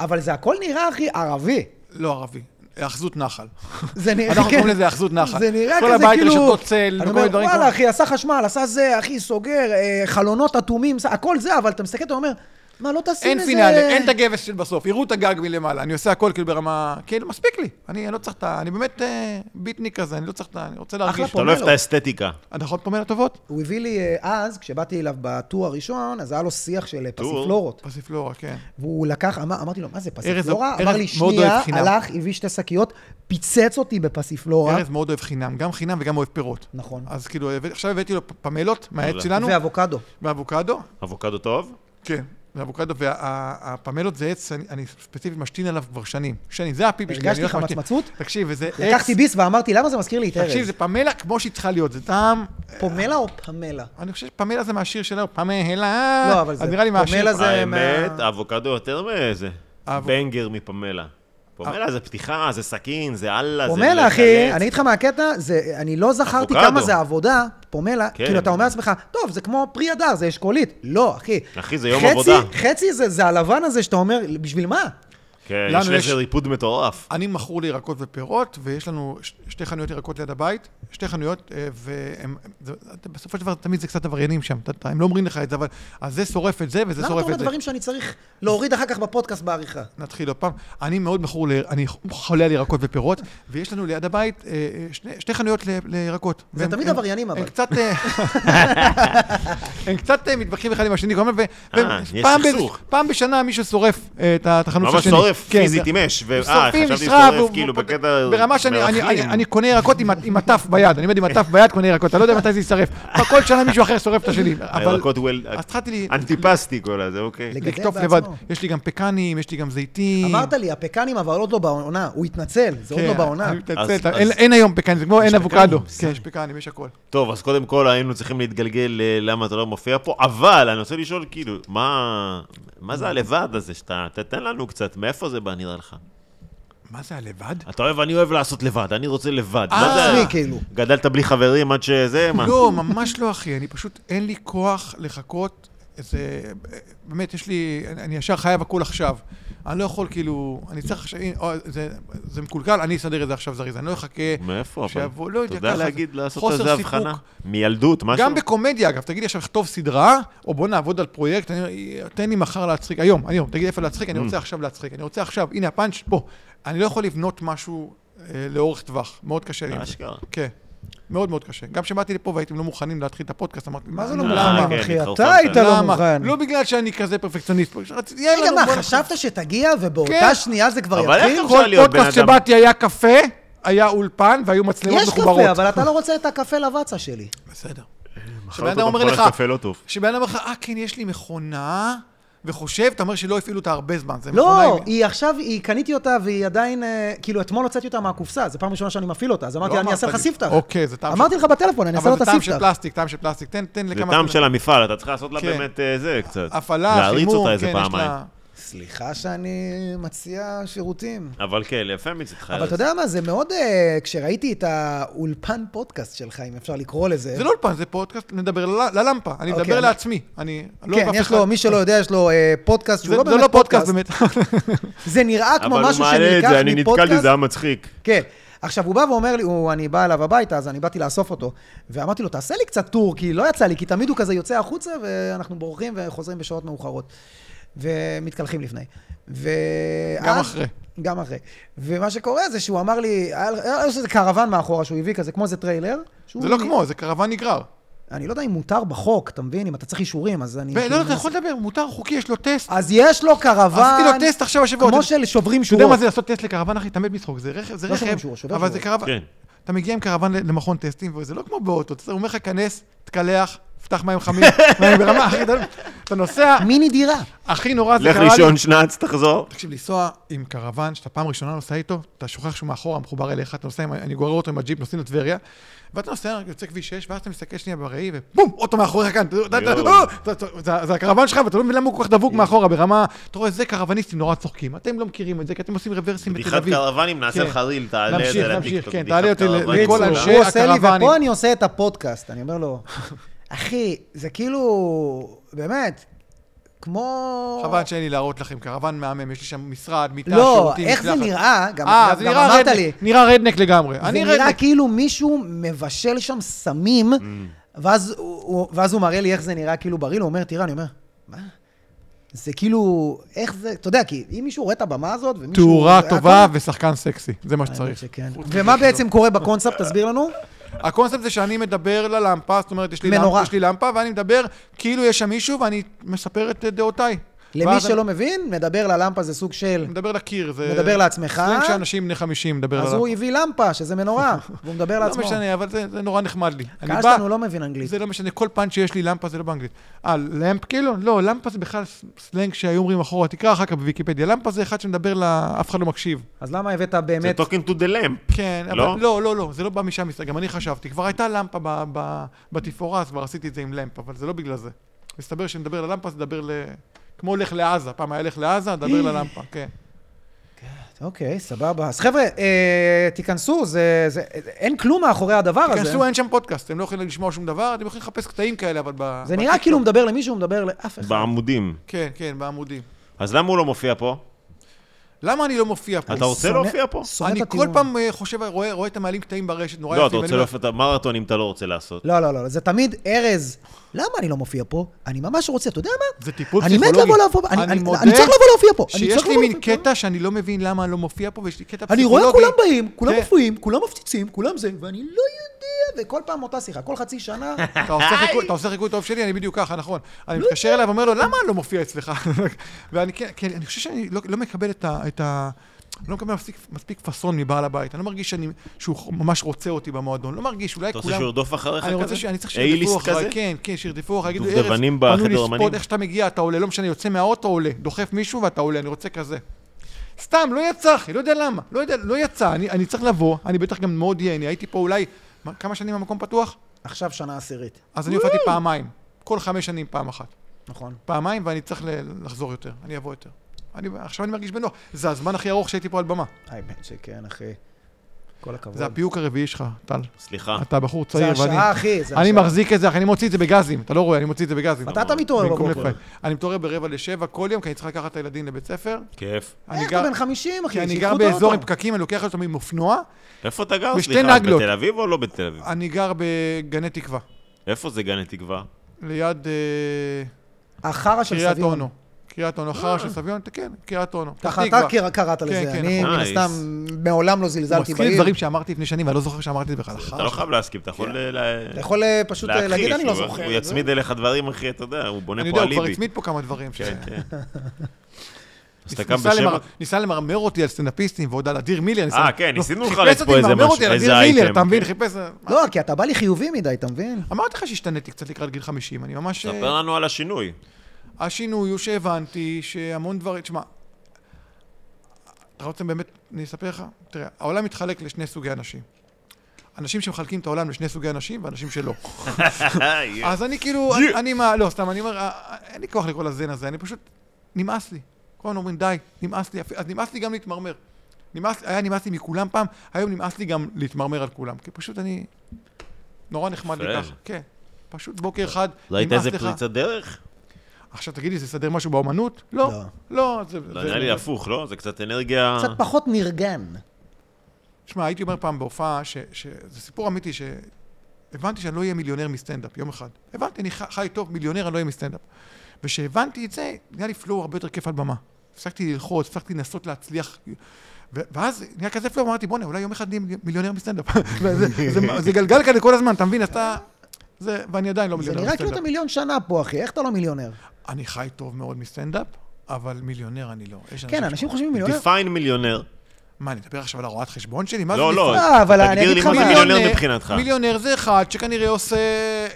[SPEAKER 1] אבל זה הכל נראה, אחי, ערבי.
[SPEAKER 2] לא ערבי, היאחזות נחל.
[SPEAKER 1] זה נראה,
[SPEAKER 2] אנחנו
[SPEAKER 1] כן.
[SPEAKER 2] קוראים לזה היאחזות נחל.
[SPEAKER 1] זה נראה
[SPEAKER 2] כל
[SPEAKER 1] כזה
[SPEAKER 2] הבית
[SPEAKER 1] כאילו...
[SPEAKER 2] רשתות צל,
[SPEAKER 1] אני
[SPEAKER 2] וכל מיני
[SPEAKER 1] אומר,
[SPEAKER 2] דברים.
[SPEAKER 1] וואלה,
[SPEAKER 2] כמו-
[SPEAKER 1] אחי, עשה חשמל, עשה זה, אחי, סוגר, אה, חלונות אטומים, זה- הכל זה, אבל אתה מסתכל, אתה אומר, מה, לא תשים
[SPEAKER 2] אין
[SPEAKER 1] איזה...
[SPEAKER 2] פינאלה, אין את הגבס של בסוף, יראו את הגג מלמעלה, אני עושה הכל כאילו ברמה, כאילו מספיק לי, אני לא צריך את ה... אני באמת אה, ביטניק כזה, אני לא צריך את ה... אני רוצה להרגיש.
[SPEAKER 1] פה.
[SPEAKER 3] אתה לא אוהב את האסתטיקה.
[SPEAKER 2] הנחות פה מהטובות?
[SPEAKER 1] הוא הביא לי אה, אז, כשבאתי אליו בטור הראשון, אז היה לו שיח של אה,
[SPEAKER 3] טור?
[SPEAKER 1] פסיפלורות.
[SPEAKER 2] פסיפלורה, כן.
[SPEAKER 1] והוא לקח, אמר, אמרתי לו, מה זה פסיפלורה?
[SPEAKER 2] ארז
[SPEAKER 1] אמר לי,
[SPEAKER 2] מאוד אוהב
[SPEAKER 1] שנייה,
[SPEAKER 2] חינם."
[SPEAKER 1] הלך, הביא שתי שקיות, פיצץ אותי בפסיפלורה.
[SPEAKER 2] ארז מאוד אוהב חינם, גם חינם וגם אוהב פירות.
[SPEAKER 1] נכון.
[SPEAKER 2] אז כאילו, הבאתי- עכשיו הבאתי לו פ- פמלות מהעץ
[SPEAKER 3] וואלה.
[SPEAKER 2] שלנו,
[SPEAKER 1] ואבוקדו.
[SPEAKER 2] ואבוקדו,
[SPEAKER 3] אבוקדו טוב?
[SPEAKER 2] כן, ואבוקדו, והפמלות זה עץ, אני- אני ספציפית משתין עליו כבר שנים. שנים, זה הפיפי שלי,
[SPEAKER 1] הרגשתי
[SPEAKER 2] הולך משתין.
[SPEAKER 1] חמצמצות?
[SPEAKER 2] תקשיב, וזה עץ...
[SPEAKER 1] לקחתי ביס ואמרתי, למה זה מזכיר לי את ארז?
[SPEAKER 2] תקשיב, זה פמלה כמו שהיא צריכה להיות, זה טעם...
[SPEAKER 1] פומלה או פמלה?
[SPEAKER 3] אה,
[SPEAKER 2] אני חושב שפמלה זה מהשיר שלנו, פמלה.
[SPEAKER 1] לא, אבל זה-
[SPEAKER 2] אז נראה לי מהשיר.
[SPEAKER 1] פמלה זה מה-
[SPEAKER 3] האמת, האבוקדו יותר מאיזה.
[SPEAKER 2] האבוק-
[SPEAKER 3] בנגר מפמלה. פמלה זה פתיחה, זה סכין, זה אללה, זה...
[SPEAKER 1] פומלה,
[SPEAKER 3] לחלץ.
[SPEAKER 1] אחי, אני אגיד לך מהקטע, זה- אני לא זכרתי
[SPEAKER 3] אבוקדו.
[SPEAKER 1] כמה זה עבודה, פומלה,
[SPEAKER 3] כן.
[SPEAKER 1] כאילו, אתה אומר לעצמך, טוב, זה כמו פרי הדר, זה אשכולית. לא, אחי.
[SPEAKER 3] אחי, זה יום
[SPEAKER 1] חצי-
[SPEAKER 3] עבודה.
[SPEAKER 1] חצי זה זה הלבן הזה שאתה אומר, בשביל מה?
[SPEAKER 3] כן,
[SPEAKER 2] לנו
[SPEAKER 3] יש לזה
[SPEAKER 2] יש- אה,
[SPEAKER 3] ריפוד מטורף.
[SPEAKER 2] אני מכור לירקות ופירות, ויש לנו ש- שתי חנויות ירקות ליד הבית, שתי חנויות, אה, והם... זה- זה- בסופו של דבר, תמיד זה קצת עבריינים שם, אתה- אתה- הם לא אומרים לך את זה, אבל... אז זה שורף את זה,
[SPEAKER 1] למה
[SPEAKER 2] וזה
[SPEAKER 1] אתה
[SPEAKER 2] שורף
[SPEAKER 1] אומר
[SPEAKER 2] את זה.
[SPEAKER 1] דברים שאני צריך להוריד אחר כך בפודקאסט בעריכה?
[SPEAKER 2] נתחיל עוד פעם. אני מאוד מכור, ל... אני חולה על ירקות ופירות, ויש לנו ליד הבית אה, אה, שני, שתי חנויות ל... לירקות.
[SPEAKER 1] זה
[SPEAKER 2] והם-
[SPEAKER 1] תמיד
[SPEAKER 2] הם-
[SPEAKER 1] עבריינים, אבל.
[SPEAKER 2] הם קצת... אה, הם קצת אה, מתווכחים אחד עם השני, כל הזמן, ו...
[SPEAKER 3] אה,
[SPEAKER 2] והם-
[SPEAKER 3] יש
[SPEAKER 2] פעם
[SPEAKER 3] סכסוך.
[SPEAKER 2] באיזה- פעם בשנה מישהו שורף אה, את ה- את החנות של
[SPEAKER 3] ממש
[SPEAKER 2] השני.
[SPEAKER 3] שורף, נשרף
[SPEAKER 2] כן,
[SPEAKER 3] פיזית
[SPEAKER 2] זה-
[SPEAKER 3] עם אש, ו- אה,
[SPEAKER 2] שורפים,
[SPEAKER 3] חשבתי
[SPEAKER 2] נשרף,
[SPEAKER 3] שורף,
[SPEAKER 2] והוא-
[SPEAKER 3] כאילו,
[SPEAKER 2] והוא-
[SPEAKER 3] בקטע
[SPEAKER 2] ברמה שאני אני-
[SPEAKER 3] מרחים.
[SPEAKER 2] אני- אני קונה ירקות עם ה- עם הטף ביד, אני עומד עם הטף ביד, קונה ירקות, אתה לא יודע מתי זה יישרף. כל שנה מישהו אחר שורף את השני. אבל...
[SPEAKER 3] הירקות וול...
[SPEAKER 2] אז התחלתי לי-
[SPEAKER 3] אה, אנטיפסטי כל הזה, אוקיי.
[SPEAKER 1] לגדל
[SPEAKER 2] לקטוף
[SPEAKER 1] בעצמו.
[SPEAKER 2] לבד. יש לי גם פקנים, יש לי גם זיתים.
[SPEAKER 1] אמרת לי, הפקנים אבל עוד לא בעונה, הוא התנצל, זה עוד
[SPEAKER 2] כן,
[SPEAKER 1] לא בעונה.
[SPEAKER 2] אני מתנצל,
[SPEAKER 3] אז-
[SPEAKER 2] אתה-
[SPEAKER 3] אז-
[SPEAKER 2] אין- אין היום פקנים, זה כמו אין אבוקדו.
[SPEAKER 3] פקנים,
[SPEAKER 2] כן, יש פקנים, יש הכל.
[SPEAKER 3] טוב, אז קודם כל היינו צריכים להתגלגל אה, למה אתה לא מופיע פה, אבל אני רוצה לשאול, כאילו, מה... מה זה הלבד הזה שאתה... תתן לנו קצת, מאיפה זה בא, נראה לך?
[SPEAKER 2] מה זה הלבד?
[SPEAKER 3] אתה אוהב, אני אוהב לעשות לבד, אני רוצה לבד.
[SPEAKER 2] אה,
[SPEAKER 3] מה זה...
[SPEAKER 1] עצמי, כאילו.
[SPEAKER 3] גדלת בלי חברים עד שזה, מה?
[SPEAKER 2] לא, ממש לא, אחי. אני פשוט, אין לי כוח לחכות. זה... באמת, יש לי... אני אני ישר חייב הכול עכשיו. אני לא יכול, כאילו... אני צריך עכשיו... הנה, אוי, זה- זה מקולקל, אני אסדר את זה עכשיו זריז. אני לא אחכה...
[SPEAKER 3] מאיפה? אבל?
[SPEAKER 2] שיבוא, לא יודע,
[SPEAKER 3] אתה יודע
[SPEAKER 2] ככה זה.
[SPEAKER 3] להגיד, לעשות
[SPEAKER 2] חוסר
[SPEAKER 3] איזה
[SPEAKER 2] סיפוק.
[SPEAKER 3] הבחנה? מילדות, משהו?
[SPEAKER 2] גם בקומדיה, אגב, תגיד לי עכשיו, לכתוב סדרה, או בוא נעבוד על פרויקט, אני, תן לי מחר להצחיק, היום, היום, תגיד לי איפה להצחיק,
[SPEAKER 3] Mm.
[SPEAKER 2] אני רוצה עכשיו להצחיק, אני רוצה עכשיו, הנה הפאנץ', בוא. אני לא יכול לבנות משהו אה, לאורך טווח, מאוד קשה לי. עם זה.
[SPEAKER 3] אשכרה.
[SPEAKER 2] כן, מאוד מאוד קשה. גם כשבאתי לפה והייתם לא מוכנים להתחיל את הפודקאסט, אמרתי,
[SPEAKER 1] מה זה לא
[SPEAKER 2] למה?
[SPEAKER 3] אה,
[SPEAKER 1] מוכן,
[SPEAKER 3] כן,
[SPEAKER 1] אחי?
[SPEAKER 3] התחרפנת.
[SPEAKER 1] אתה היית לא
[SPEAKER 2] למה?
[SPEAKER 1] מוכן.
[SPEAKER 2] לא בגלל שאני כזה פרפקציוניסט. פשוט רציתי- יאללה,
[SPEAKER 1] רגע,
[SPEAKER 2] נו,
[SPEAKER 1] מה,
[SPEAKER 2] בוא נעשה.
[SPEAKER 1] חשבת שתגיע ובאותה
[SPEAKER 2] כן.
[SPEAKER 1] שנייה זה כבר
[SPEAKER 3] אבל איך
[SPEAKER 1] יתחיל?
[SPEAKER 3] אתה אפשר
[SPEAKER 2] כל
[SPEAKER 3] להיות בן
[SPEAKER 2] פודקאסט
[SPEAKER 3] אדם.
[SPEAKER 2] שבאתי היה קפה, היה אולפן והיו מצלמות
[SPEAKER 1] יש
[SPEAKER 2] מחוברות.
[SPEAKER 1] קפה, אבל אתה לא רוצה את הקפה לבצה שלי.
[SPEAKER 2] בסדר.
[SPEAKER 3] מחר
[SPEAKER 2] שבן
[SPEAKER 3] אותו
[SPEAKER 2] אדם אומר
[SPEAKER 3] כבר
[SPEAKER 2] לך,
[SPEAKER 3] לקפה לא טוב.
[SPEAKER 2] שבן אדם אומר לך, אה, כן, יש לי מכונה, וחושב, אתה אומר שלא הפעילו אותה הרבה זמן. זה מכונה
[SPEAKER 1] לא,
[SPEAKER 2] עם-
[SPEAKER 1] היא עכשיו, היא קניתי אותה והיא עדיין, אה, כאילו אתמול הוצאתי אותה מהקופסה, זו פעם ראשונה שאני מפעיל אותה, אז אמרתי,
[SPEAKER 2] לא
[SPEAKER 1] אני אעשה לך
[SPEAKER 2] אמרת לי.
[SPEAKER 1] ספתח.
[SPEAKER 2] אוקיי, זה טעם
[SPEAKER 1] אמרתי לך בטלפון, אני אעשה לו את
[SPEAKER 2] אבל זה טעם של
[SPEAKER 1] הספתח.
[SPEAKER 2] פלסטיק, טעם של פלסטיק. תן, תן
[SPEAKER 3] זה
[SPEAKER 2] לכמה...
[SPEAKER 3] טעם של המפעל, אתה צריך לעשות לה
[SPEAKER 2] כן.
[SPEAKER 3] באמת אה, זה קצת.
[SPEAKER 2] הפעלה,
[SPEAKER 3] להריץ
[SPEAKER 2] חימום,
[SPEAKER 3] אותה
[SPEAKER 2] כן,
[SPEAKER 3] איזה
[SPEAKER 2] יש
[SPEAKER 3] פעמיים.
[SPEAKER 2] לה-
[SPEAKER 1] סליחה שאני מציע שירותים.
[SPEAKER 3] אבל כן, יפה מצדך.
[SPEAKER 1] אבל
[SPEAKER 3] ארז.
[SPEAKER 1] אתה יודע מה, זה מאוד, אה, כשראיתי את האולפן פודקאסט שלך, אם אפשר לקרוא לזה.
[SPEAKER 2] זה לא אולפן, זה פודקאסט, נדבר ל- ללמפה. אני
[SPEAKER 1] אוקיי,
[SPEAKER 2] מדבר
[SPEAKER 1] אני-
[SPEAKER 2] לעצמי. אני לא
[SPEAKER 1] כן,
[SPEAKER 2] אוהב
[SPEAKER 1] יש
[SPEAKER 2] אף אחד.
[SPEAKER 1] לו, מי שלא יודע, יש לו אה, פודקאסט שהוא
[SPEAKER 2] זה
[SPEAKER 1] לא
[SPEAKER 2] זה לא
[SPEAKER 1] באמת
[SPEAKER 2] פודקאסט
[SPEAKER 1] פודקאסט.
[SPEAKER 2] באמת.
[SPEAKER 1] זה נראה כמו
[SPEAKER 3] אבל הוא
[SPEAKER 1] משהו
[SPEAKER 3] מעלה את
[SPEAKER 1] שנלקח
[SPEAKER 3] זה, אני נתקלתי,
[SPEAKER 1] מפודקאסט.
[SPEAKER 3] זה היה מצחיק.
[SPEAKER 1] כן. עכשיו, הוא בא ואומר לי, הוא, אני בא אליו הביתה, אז אני באתי לאסוף אותו, ואמרתי לו, תעשה לי קצת טור, כי לא יצא לי, כי תמיד הוא כזה יוצא החוצה, ואנחנו בורחים וחוזרים בשעות מאוחרות. ומתקלחים לפני. ו...
[SPEAKER 2] גם
[SPEAKER 1] אז-
[SPEAKER 2] אחרי.
[SPEAKER 1] גם אחרי. ומה שקורה זה שהוא אמר לי, היה- היה- יש איזה קרוון מאחורה שהוא הביא כזה, כמו איזה טריילר. שהוא-
[SPEAKER 2] זה לא כמו, זה קרוון נגרר.
[SPEAKER 1] אני לא יודע אם מותר בחוק, אתה מבין? אם אתה צריך אישורים, אז אני... כאילו-
[SPEAKER 2] ו- לא, אתה יכול לדבר, מותר, חוקי, יש לו טסט.
[SPEAKER 1] אז יש לו קרוון...
[SPEAKER 2] עשיתי לו טסט עכשיו השבוע.
[SPEAKER 1] כמו
[SPEAKER 2] אתה-
[SPEAKER 1] של שוברים
[SPEAKER 2] אתה יודע מה
[SPEAKER 1] שורות.
[SPEAKER 2] זה לעשות טסט לקרוון, אחי? תמת מצחוק, זה רכב, זה
[SPEAKER 1] לא שובר
[SPEAKER 2] רכב,
[SPEAKER 1] שורות, שובר
[SPEAKER 2] אבל זה
[SPEAKER 1] שורות.
[SPEAKER 2] קרוון.
[SPEAKER 3] כן.
[SPEAKER 2] אתה מגיע עם קרוון ל- למכון טסטים, וזה לא כמו באוטו, אתה אומר לך, כנס, תקלח, פתח מים חמים, מים ברמה, אחי, אתה- אתה נוסע,
[SPEAKER 1] מיני דירה.
[SPEAKER 2] הכי נורא זה
[SPEAKER 3] לך
[SPEAKER 2] קרה לי.
[SPEAKER 3] לישון שנץ, תחזור.
[SPEAKER 2] תקשיב, לנסוע עם קרוון, שאתה פעם ראשונה נוסע איתו, אתה שוכח שהוא מאחורה, מחובר אליך, אתה נוסע, עם- אני גורר אותו עם הג'יפ, נוסעים לטבריה, ואתה נוסע, יוצא כביש 6, ואז אתה מסתכל שנייה בראי, ובום, אוטו מאחוריך כאן, אתה- אתה-
[SPEAKER 3] יואו. כן.
[SPEAKER 2] אה, אתה- אתה- זה- זה הקרוון שלך, ואתה לא מבין למה הוא כל כך דבוק מאחורה, ברמה, אתה רואה, זה קרוואניסטים נורא צוחקים, אתם לא מכירים את זה, כי אתם עושים רוורסים בתל
[SPEAKER 3] בדיחת
[SPEAKER 2] אביב.
[SPEAKER 3] קרוונים, נעשה
[SPEAKER 2] כן.
[SPEAKER 3] לך ריל, תעלה את
[SPEAKER 2] נמשיך,
[SPEAKER 3] זה
[SPEAKER 2] נמשיך,
[SPEAKER 3] לטיקטוק.
[SPEAKER 2] כן,
[SPEAKER 3] בדיחת
[SPEAKER 2] תעלה אותי ל-
[SPEAKER 3] קרוונים.
[SPEAKER 2] לכל
[SPEAKER 1] בקיצור,
[SPEAKER 2] אנשי
[SPEAKER 1] הוא עושה לי,
[SPEAKER 2] הקרוונים.
[SPEAKER 1] ופה אני עושה את הפודקאסט. אני אומר לו, אחי, זה כאילו, באמת, כמו...
[SPEAKER 2] חבל שאין לי להראות לכם, קרוון מהמם, יש לי שם משרד, מיטה,
[SPEAKER 1] לא,
[SPEAKER 2] שירותים,
[SPEAKER 1] איך זה
[SPEAKER 2] מקלחת.
[SPEAKER 1] נראה, גם
[SPEAKER 2] אה,
[SPEAKER 1] גם-
[SPEAKER 2] זה
[SPEAKER 1] גם
[SPEAKER 2] נראה
[SPEAKER 1] אמרת
[SPEAKER 2] רדנק,
[SPEAKER 1] לי,
[SPEAKER 2] נראה רדנק לגמרי.
[SPEAKER 1] זה
[SPEAKER 2] אני
[SPEAKER 1] נראה
[SPEAKER 2] רדנק.
[SPEAKER 1] כאילו מישהו מבשל שם סמים, ואז הוא- הוא- ואז הוא מראה לי איך זה נראה כאילו בריל, הוא אומר, תראה, אני אומר, מה? זה כאילו, איך זה, אתה יודע, כי אם מישהו רואה את הבמה הזאת, ומישהו...
[SPEAKER 2] תאורה
[SPEAKER 1] הכל- אה,
[SPEAKER 2] טובה ושחקן סקסי, זה מה
[SPEAKER 1] האמת
[SPEAKER 2] שצריך.
[SPEAKER 1] שכן. ומה בעצם קורה בקונספט, תסביר לנו?
[SPEAKER 2] הקונספט זה שאני מדבר ללמפה, זאת אומרת, יש לי,
[SPEAKER 1] מנורה.
[SPEAKER 2] למפה, יש לי למפה, ואני מדבר כאילו יש שם מישהו, ואני מספר את אה, דעותיי.
[SPEAKER 1] למי
[SPEAKER 2] ואז אני
[SPEAKER 1] שלא מבין, מדבר ללמפה זה סוג של...
[SPEAKER 2] מדבר לקיר, זה...
[SPEAKER 1] מדבר לעצמך.
[SPEAKER 2] סלנג שאנשים בני 50 מדבר
[SPEAKER 1] אז
[SPEAKER 2] ללמפה.
[SPEAKER 1] הוא הביא למפה, שזה מנורה, והוא מדבר
[SPEAKER 2] לא
[SPEAKER 1] לעצמו.
[SPEAKER 2] משנה, אבל זה, זה נורא נחמד לי. אני
[SPEAKER 1] הקהל
[SPEAKER 2] בא-
[SPEAKER 1] שלנו לא מבין אנגלית.
[SPEAKER 2] זה לא משנה, כל פאנץ' שיש לי למפה זה לא באנגלית. אה, למפ כאילו? לא, למפה זה בכלל ס- סלנג שהיו אומרים אחורה, תקרא אחר כך בוויקיפדיה. למפה זה אחד שמדבר ל... אף אחד לא מקשיב.
[SPEAKER 1] אז למה הבאת
[SPEAKER 3] זה
[SPEAKER 1] באמת...
[SPEAKER 3] talking to the lamp.
[SPEAKER 2] כן,
[SPEAKER 3] לא?
[SPEAKER 2] אבל לא, לא, לא, זה לא בא משם, מסתבר, גם אני חשבתי. כבר הייתה למפה ב- ב- בתפאורה, אז כבר עשיתי את זה עם למפ, אבל זה לא בגלל זה. מסתבר שנדבר ללמפה, זה לדבר ל... כמו לך לעזה, פעם היה לך לעזה, דבר ללמפה, כן.
[SPEAKER 1] אוקיי, סבבה. אז חבר'ה, אה, תיכנסו, זה... זה- אין כלום מאחורי הדבר הזה.
[SPEAKER 2] תיכנסו, אין שם פודקאסט, אתם לא יכולים לשמוע שום דבר, אתם יכולים לחפש קטעים כאלה, אבל ב...
[SPEAKER 1] זה
[SPEAKER 2] ב-
[SPEAKER 1] נראה כאילו הוא מדבר למישהו, הוא מדבר לאף אחד.
[SPEAKER 3] בעמודים.
[SPEAKER 2] כן, כן, בעמודים.
[SPEAKER 3] אז למה הוא לא מופיע פה?
[SPEAKER 2] למה אני לא מופיע פה?
[SPEAKER 3] אתה רוצה
[SPEAKER 1] שונא-
[SPEAKER 3] להופיע פה?
[SPEAKER 1] שונא
[SPEAKER 2] אני
[SPEAKER 1] את
[SPEAKER 2] כל
[SPEAKER 1] הטיעון.
[SPEAKER 2] פעם אה, חושב, רואה רואה את המעלים קטעים ברשת, נורא
[SPEAKER 3] לא, אתה
[SPEAKER 2] יפים.
[SPEAKER 3] רוצה
[SPEAKER 2] אני אומר,
[SPEAKER 3] להופיע את המרתון אם אתה לא רוצה לעשות.
[SPEAKER 1] לא, לא, לא, זה תמיד ארז. למה אני לא מופיע פה? אני ממש רוצה, אתה יודע מה?
[SPEAKER 2] זה טיפול
[SPEAKER 1] אני מת
[SPEAKER 2] פסיכולוגי.
[SPEAKER 1] לבוא לעבור- אני- אני-
[SPEAKER 2] מודה
[SPEAKER 1] אני צריך לבוא להופיע פה. אני
[SPEAKER 2] שיש
[SPEAKER 1] צריך
[SPEAKER 2] לי
[SPEAKER 1] לבוא
[SPEAKER 2] מין
[SPEAKER 1] להופיע פה.
[SPEAKER 2] קטע שאני לא מבין למה אני לא מופיע פה, ויש לי קטע
[SPEAKER 1] אני
[SPEAKER 2] פסיכולוגי.
[SPEAKER 1] רואה כולם באים, כולם
[SPEAKER 2] כן.
[SPEAKER 1] מופיעים, כולם מפציצים, כולם זה, ואני לא יודע, וכל פעם אותה שיחה, כל חצי שנה,
[SPEAKER 2] אתה עושה חיקוי- אתה עושה חיקוי טוב שלי, אני בדיוק ככה, נכון.
[SPEAKER 1] לא
[SPEAKER 2] אני מתקשר אליו ואומר לו, למה אני לא מופיע אצלך? ואני כן, כן, אני חושב שאני לא לא מקבל את ה- את ה... לא מקבל מספיק- מספיק פאסון מבעל הבית. אני לא מרגיש שאני- שהוא ממש רוצה אותי במועדון. לא מרגיש, אולי
[SPEAKER 3] אתה
[SPEAKER 2] כולם...
[SPEAKER 3] רוצה שירדוף אחריך
[SPEAKER 2] אני רוצה
[SPEAKER 3] כזה?
[SPEAKER 2] ש... אני צריך שירדפו
[SPEAKER 3] A-list
[SPEAKER 2] אחריי,
[SPEAKER 3] כזה?
[SPEAKER 2] כן, כן, שירדפו אחריי, יגידו, ארז,
[SPEAKER 3] דובדבנים
[SPEAKER 2] באנו
[SPEAKER 3] בחדר
[SPEAKER 2] לספוט
[SPEAKER 3] אמנים?"
[SPEAKER 2] איך שאתה מגיע, אתה עולה, לא משנה, יוצא מהאוטו עולה, דוחף מישהו ואתה עולה, אני רוצה כזה. סתם, לא יצא, אחי, לא יודע למה, לא יודע, לא יצא, אני, אני צריך לבוא, אני בטח גם מאוד יהיה, אני הייתי פה אולי, מה, כמה שנים המקום פתוח?
[SPEAKER 1] עכשיו שנה עשירית,
[SPEAKER 2] אז אני הופעתי פעמיים, כל חמש שנים פעם אחת.
[SPEAKER 1] נכון?
[SPEAKER 2] פעמיים ואני צריך ל- לחזור יותר, אני אבוא יותר. אני, עכשיו אני מרגיש בנוח, זה הזמן הכי ארוך שהייתי פה על במה.
[SPEAKER 1] האמת שכן, אחי. כל הכבוד.
[SPEAKER 2] זה
[SPEAKER 3] אה.
[SPEAKER 2] הפיוק הרביעי שלך, טל.
[SPEAKER 3] סליחה.
[SPEAKER 2] אתה בחור צעיר
[SPEAKER 1] זה
[SPEAKER 2] ואני...
[SPEAKER 1] השעה, אחי, זה
[SPEAKER 2] אני
[SPEAKER 1] השעה.
[SPEAKER 2] מחזיק את זה, אך אני מוציא את זה בגזים, אתה לא רואה, אני מוציא את זה בגזים.
[SPEAKER 1] מתי אתה מתעורר
[SPEAKER 2] במקום
[SPEAKER 1] בבוקר?
[SPEAKER 2] לפעמים. אני מתעורר ברבע לשבע כל יום, כי אני צריך לקחת את הילדים לבית ספר.
[SPEAKER 3] כיף.
[SPEAKER 2] אני
[SPEAKER 1] איך
[SPEAKER 2] גר-
[SPEAKER 1] אתה בן 50, אחי?
[SPEAKER 2] כי אני
[SPEAKER 1] שיקחו
[SPEAKER 2] גר
[SPEAKER 1] את האוטו.
[SPEAKER 2] באזור עם פקקים, אני לוקח אותם עם אופנוע,
[SPEAKER 3] איפה אתה גר?
[SPEAKER 2] בשתי
[SPEAKER 3] סליחה,
[SPEAKER 2] נגלות.
[SPEAKER 3] בתל אביב או לא בתל אביב?
[SPEAKER 2] אני גר בגני תקווה,
[SPEAKER 3] איפה זה גני תקווה?
[SPEAKER 2] ליד אה,
[SPEAKER 1] החרא של
[SPEAKER 2] קריית
[SPEAKER 1] סביון. אה.
[SPEAKER 2] אונו. קריית אונו, חרא של סביון, כן, קריית אונו.
[SPEAKER 1] ככה
[SPEAKER 2] פתח
[SPEAKER 1] אתה קרא-
[SPEAKER 2] תקווה.
[SPEAKER 1] קראת
[SPEAKER 2] כן,
[SPEAKER 1] לזה,
[SPEAKER 2] כן,
[SPEAKER 1] אני
[SPEAKER 3] נכון.
[SPEAKER 1] מן
[SPEAKER 3] Nice.
[SPEAKER 1] הסתם מעולם לא
[SPEAKER 2] הוא
[SPEAKER 1] זלזלתי
[SPEAKER 2] מזכיר לי
[SPEAKER 1] בעיר.
[SPEAKER 2] דברים שאמרתי לפני שנים, ואני לא זוכר שאמרתי את זה בכלל.
[SPEAKER 3] אתה לא חייב להסכים, אתה יכול אה, לה-
[SPEAKER 1] כן. אתה יכול אה, פשוט אה, להגיד,
[SPEAKER 3] להכחיש,
[SPEAKER 1] אני לא
[SPEAKER 3] הוא-
[SPEAKER 1] זוכר.
[SPEAKER 3] הוא יצמיד אליך דברים, אחי, אתה יודע, הוא בונה
[SPEAKER 2] אני
[SPEAKER 3] פה
[SPEAKER 2] יודע, הוא כבר
[SPEAKER 3] אליבי.
[SPEAKER 2] הצמיד פה כמה דברים. ש-
[SPEAKER 3] כן, כן. אז אתה
[SPEAKER 2] ניס-
[SPEAKER 3] קם
[SPEAKER 2] ניסה
[SPEAKER 3] בשבע?
[SPEAKER 2] למר- ניסה למרמר אותי על סטנדאפיסטים ועוד על אדיר מילר. ניסה-
[SPEAKER 3] אה, כן,
[SPEAKER 2] לא,
[SPEAKER 3] ניסינו
[SPEAKER 2] חיפש
[SPEAKER 3] לחלץ
[SPEAKER 2] אותי,
[SPEAKER 3] פה איזה
[SPEAKER 2] מרמר
[SPEAKER 3] משהו,
[SPEAKER 2] אותי על
[SPEAKER 3] איזה
[SPEAKER 2] אדיר מילר,
[SPEAKER 3] אייטם,
[SPEAKER 2] אתה מבין?
[SPEAKER 3] כן.
[SPEAKER 2] חיפש...
[SPEAKER 1] לא, כי אתה בא לי חיובי מדי, אתה מבין?
[SPEAKER 3] אה.
[SPEAKER 2] אמרתי לך שהשתניתי קצת לקראת גיל 50, אני ממש... אה,
[SPEAKER 3] ספר לנו על השינוי.
[SPEAKER 2] השינוי הוא שהבנתי שהמון דברים, תשמע, אתה רוצה באמת, אני אספר לך? תראה, העולם מתחלק לשני סוגי אנשים. אנשים שמחלקים את העולם לשני סוגי אנשים ואנשים שלא.
[SPEAKER 3] כן.
[SPEAKER 2] אז אני כאילו, אני- אני מה, לא, סתם, אני אומר, אה, אה, אין לי כוח לקרוא לזן הזה, אני פשוט, נמאס לי. כל הזמן אומרים, די, נמאס לי, אפילו- אז נמאס לי גם להתמרמר. נמאס, היה נמאס לי מכולם פעם, היום נמאס לי גם להתמרמר על כולם, כי פשוט אני נורא נחמד לי
[SPEAKER 3] יפה.
[SPEAKER 2] ככה. כן, פשוט בוקר אחד,
[SPEAKER 3] זה הייתה
[SPEAKER 2] נמאס
[SPEAKER 3] איזה
[SPEAKER 2] לך.
[SPEAKER 3] פריצת דרך?
[SPEAKER 2] עכשיו תגיד לי, זה יסדר משהו באומנות? לא.
[SPEAKER 1] לא.
[SPEAKER 2] לא, זה...
[SPEAKER 3] לא,
[SPEAKER 2] זה-
[SPEAKER 3] נראה לי הפוך, לא? זה קצת אנרגיה...
[SPEAKER 1] קצת פחות נרגן.
[SPEAKER 2] שמע, הייתי אומר פעם בהופעה, ש- ש- זה סיפור אמיתי, שהבנתי שאני לא אהיה מיליונר מסטנדאפ יום אחד. הבנתי, אני ח- חי טוב, מיליונר, אני לא אהיה מסטנדאפ. ושהבנתי את זה, נהיה לי פלואו הרבה יותר כיף על במה. הפסקתי ללחוץ, הפסקתי לנסות להצליח. ו- ואז נהיה כזה פלואו, אמרתי, בוא'נה, אולי יום אחד נהיה מיל- מיליונר מסטנדאפ. וזה- זה- זה גלגל כזה כל הזמן, אתה מבין? אז אתה... זה, ואני עדיין לא אה,
[SPEAKER 1] זה
[SPEAKER 2] מיליונר
[SPEAKER 1] נראה כאילו
[SPEAKER 2] מסטנדאפ.
[SPEAKER 1] אתה מיליון שנה פה, אחי, איך אתה לא מיליונר?
[SPEAKER 2] אני חי טוב מאוד מסטנדאפ, אבל מיליונר אני לא. יש
[SPEAKER 1] כן, אנשים חושבים מיליונר.
[SPEAKER 3] דיפיין מיליונר.
[SPEAKER 2] מה, אני אדבר עכשיו על הרואת חשבון שלי? מה
[SPEAKER 3] לא,
[SPEAKER 2] זה
[SPEAKER 3] לא,
[SPEAKER 2] נפרד?
[SPEAKER 1] אה, אבל אני
[SPEAKER 3] תגדיר
[SPEAKER 1] אגיד
[SPEAKER 3] לי
[SPEAKER 1] לך
[SPEAKER 3] מה זה
[SPEAKER 1] מה-
[SPEAKER 3] מיליונר מבחינתך.
[SPEAKER 2] מיליונר זה אחד שכנראה עושה...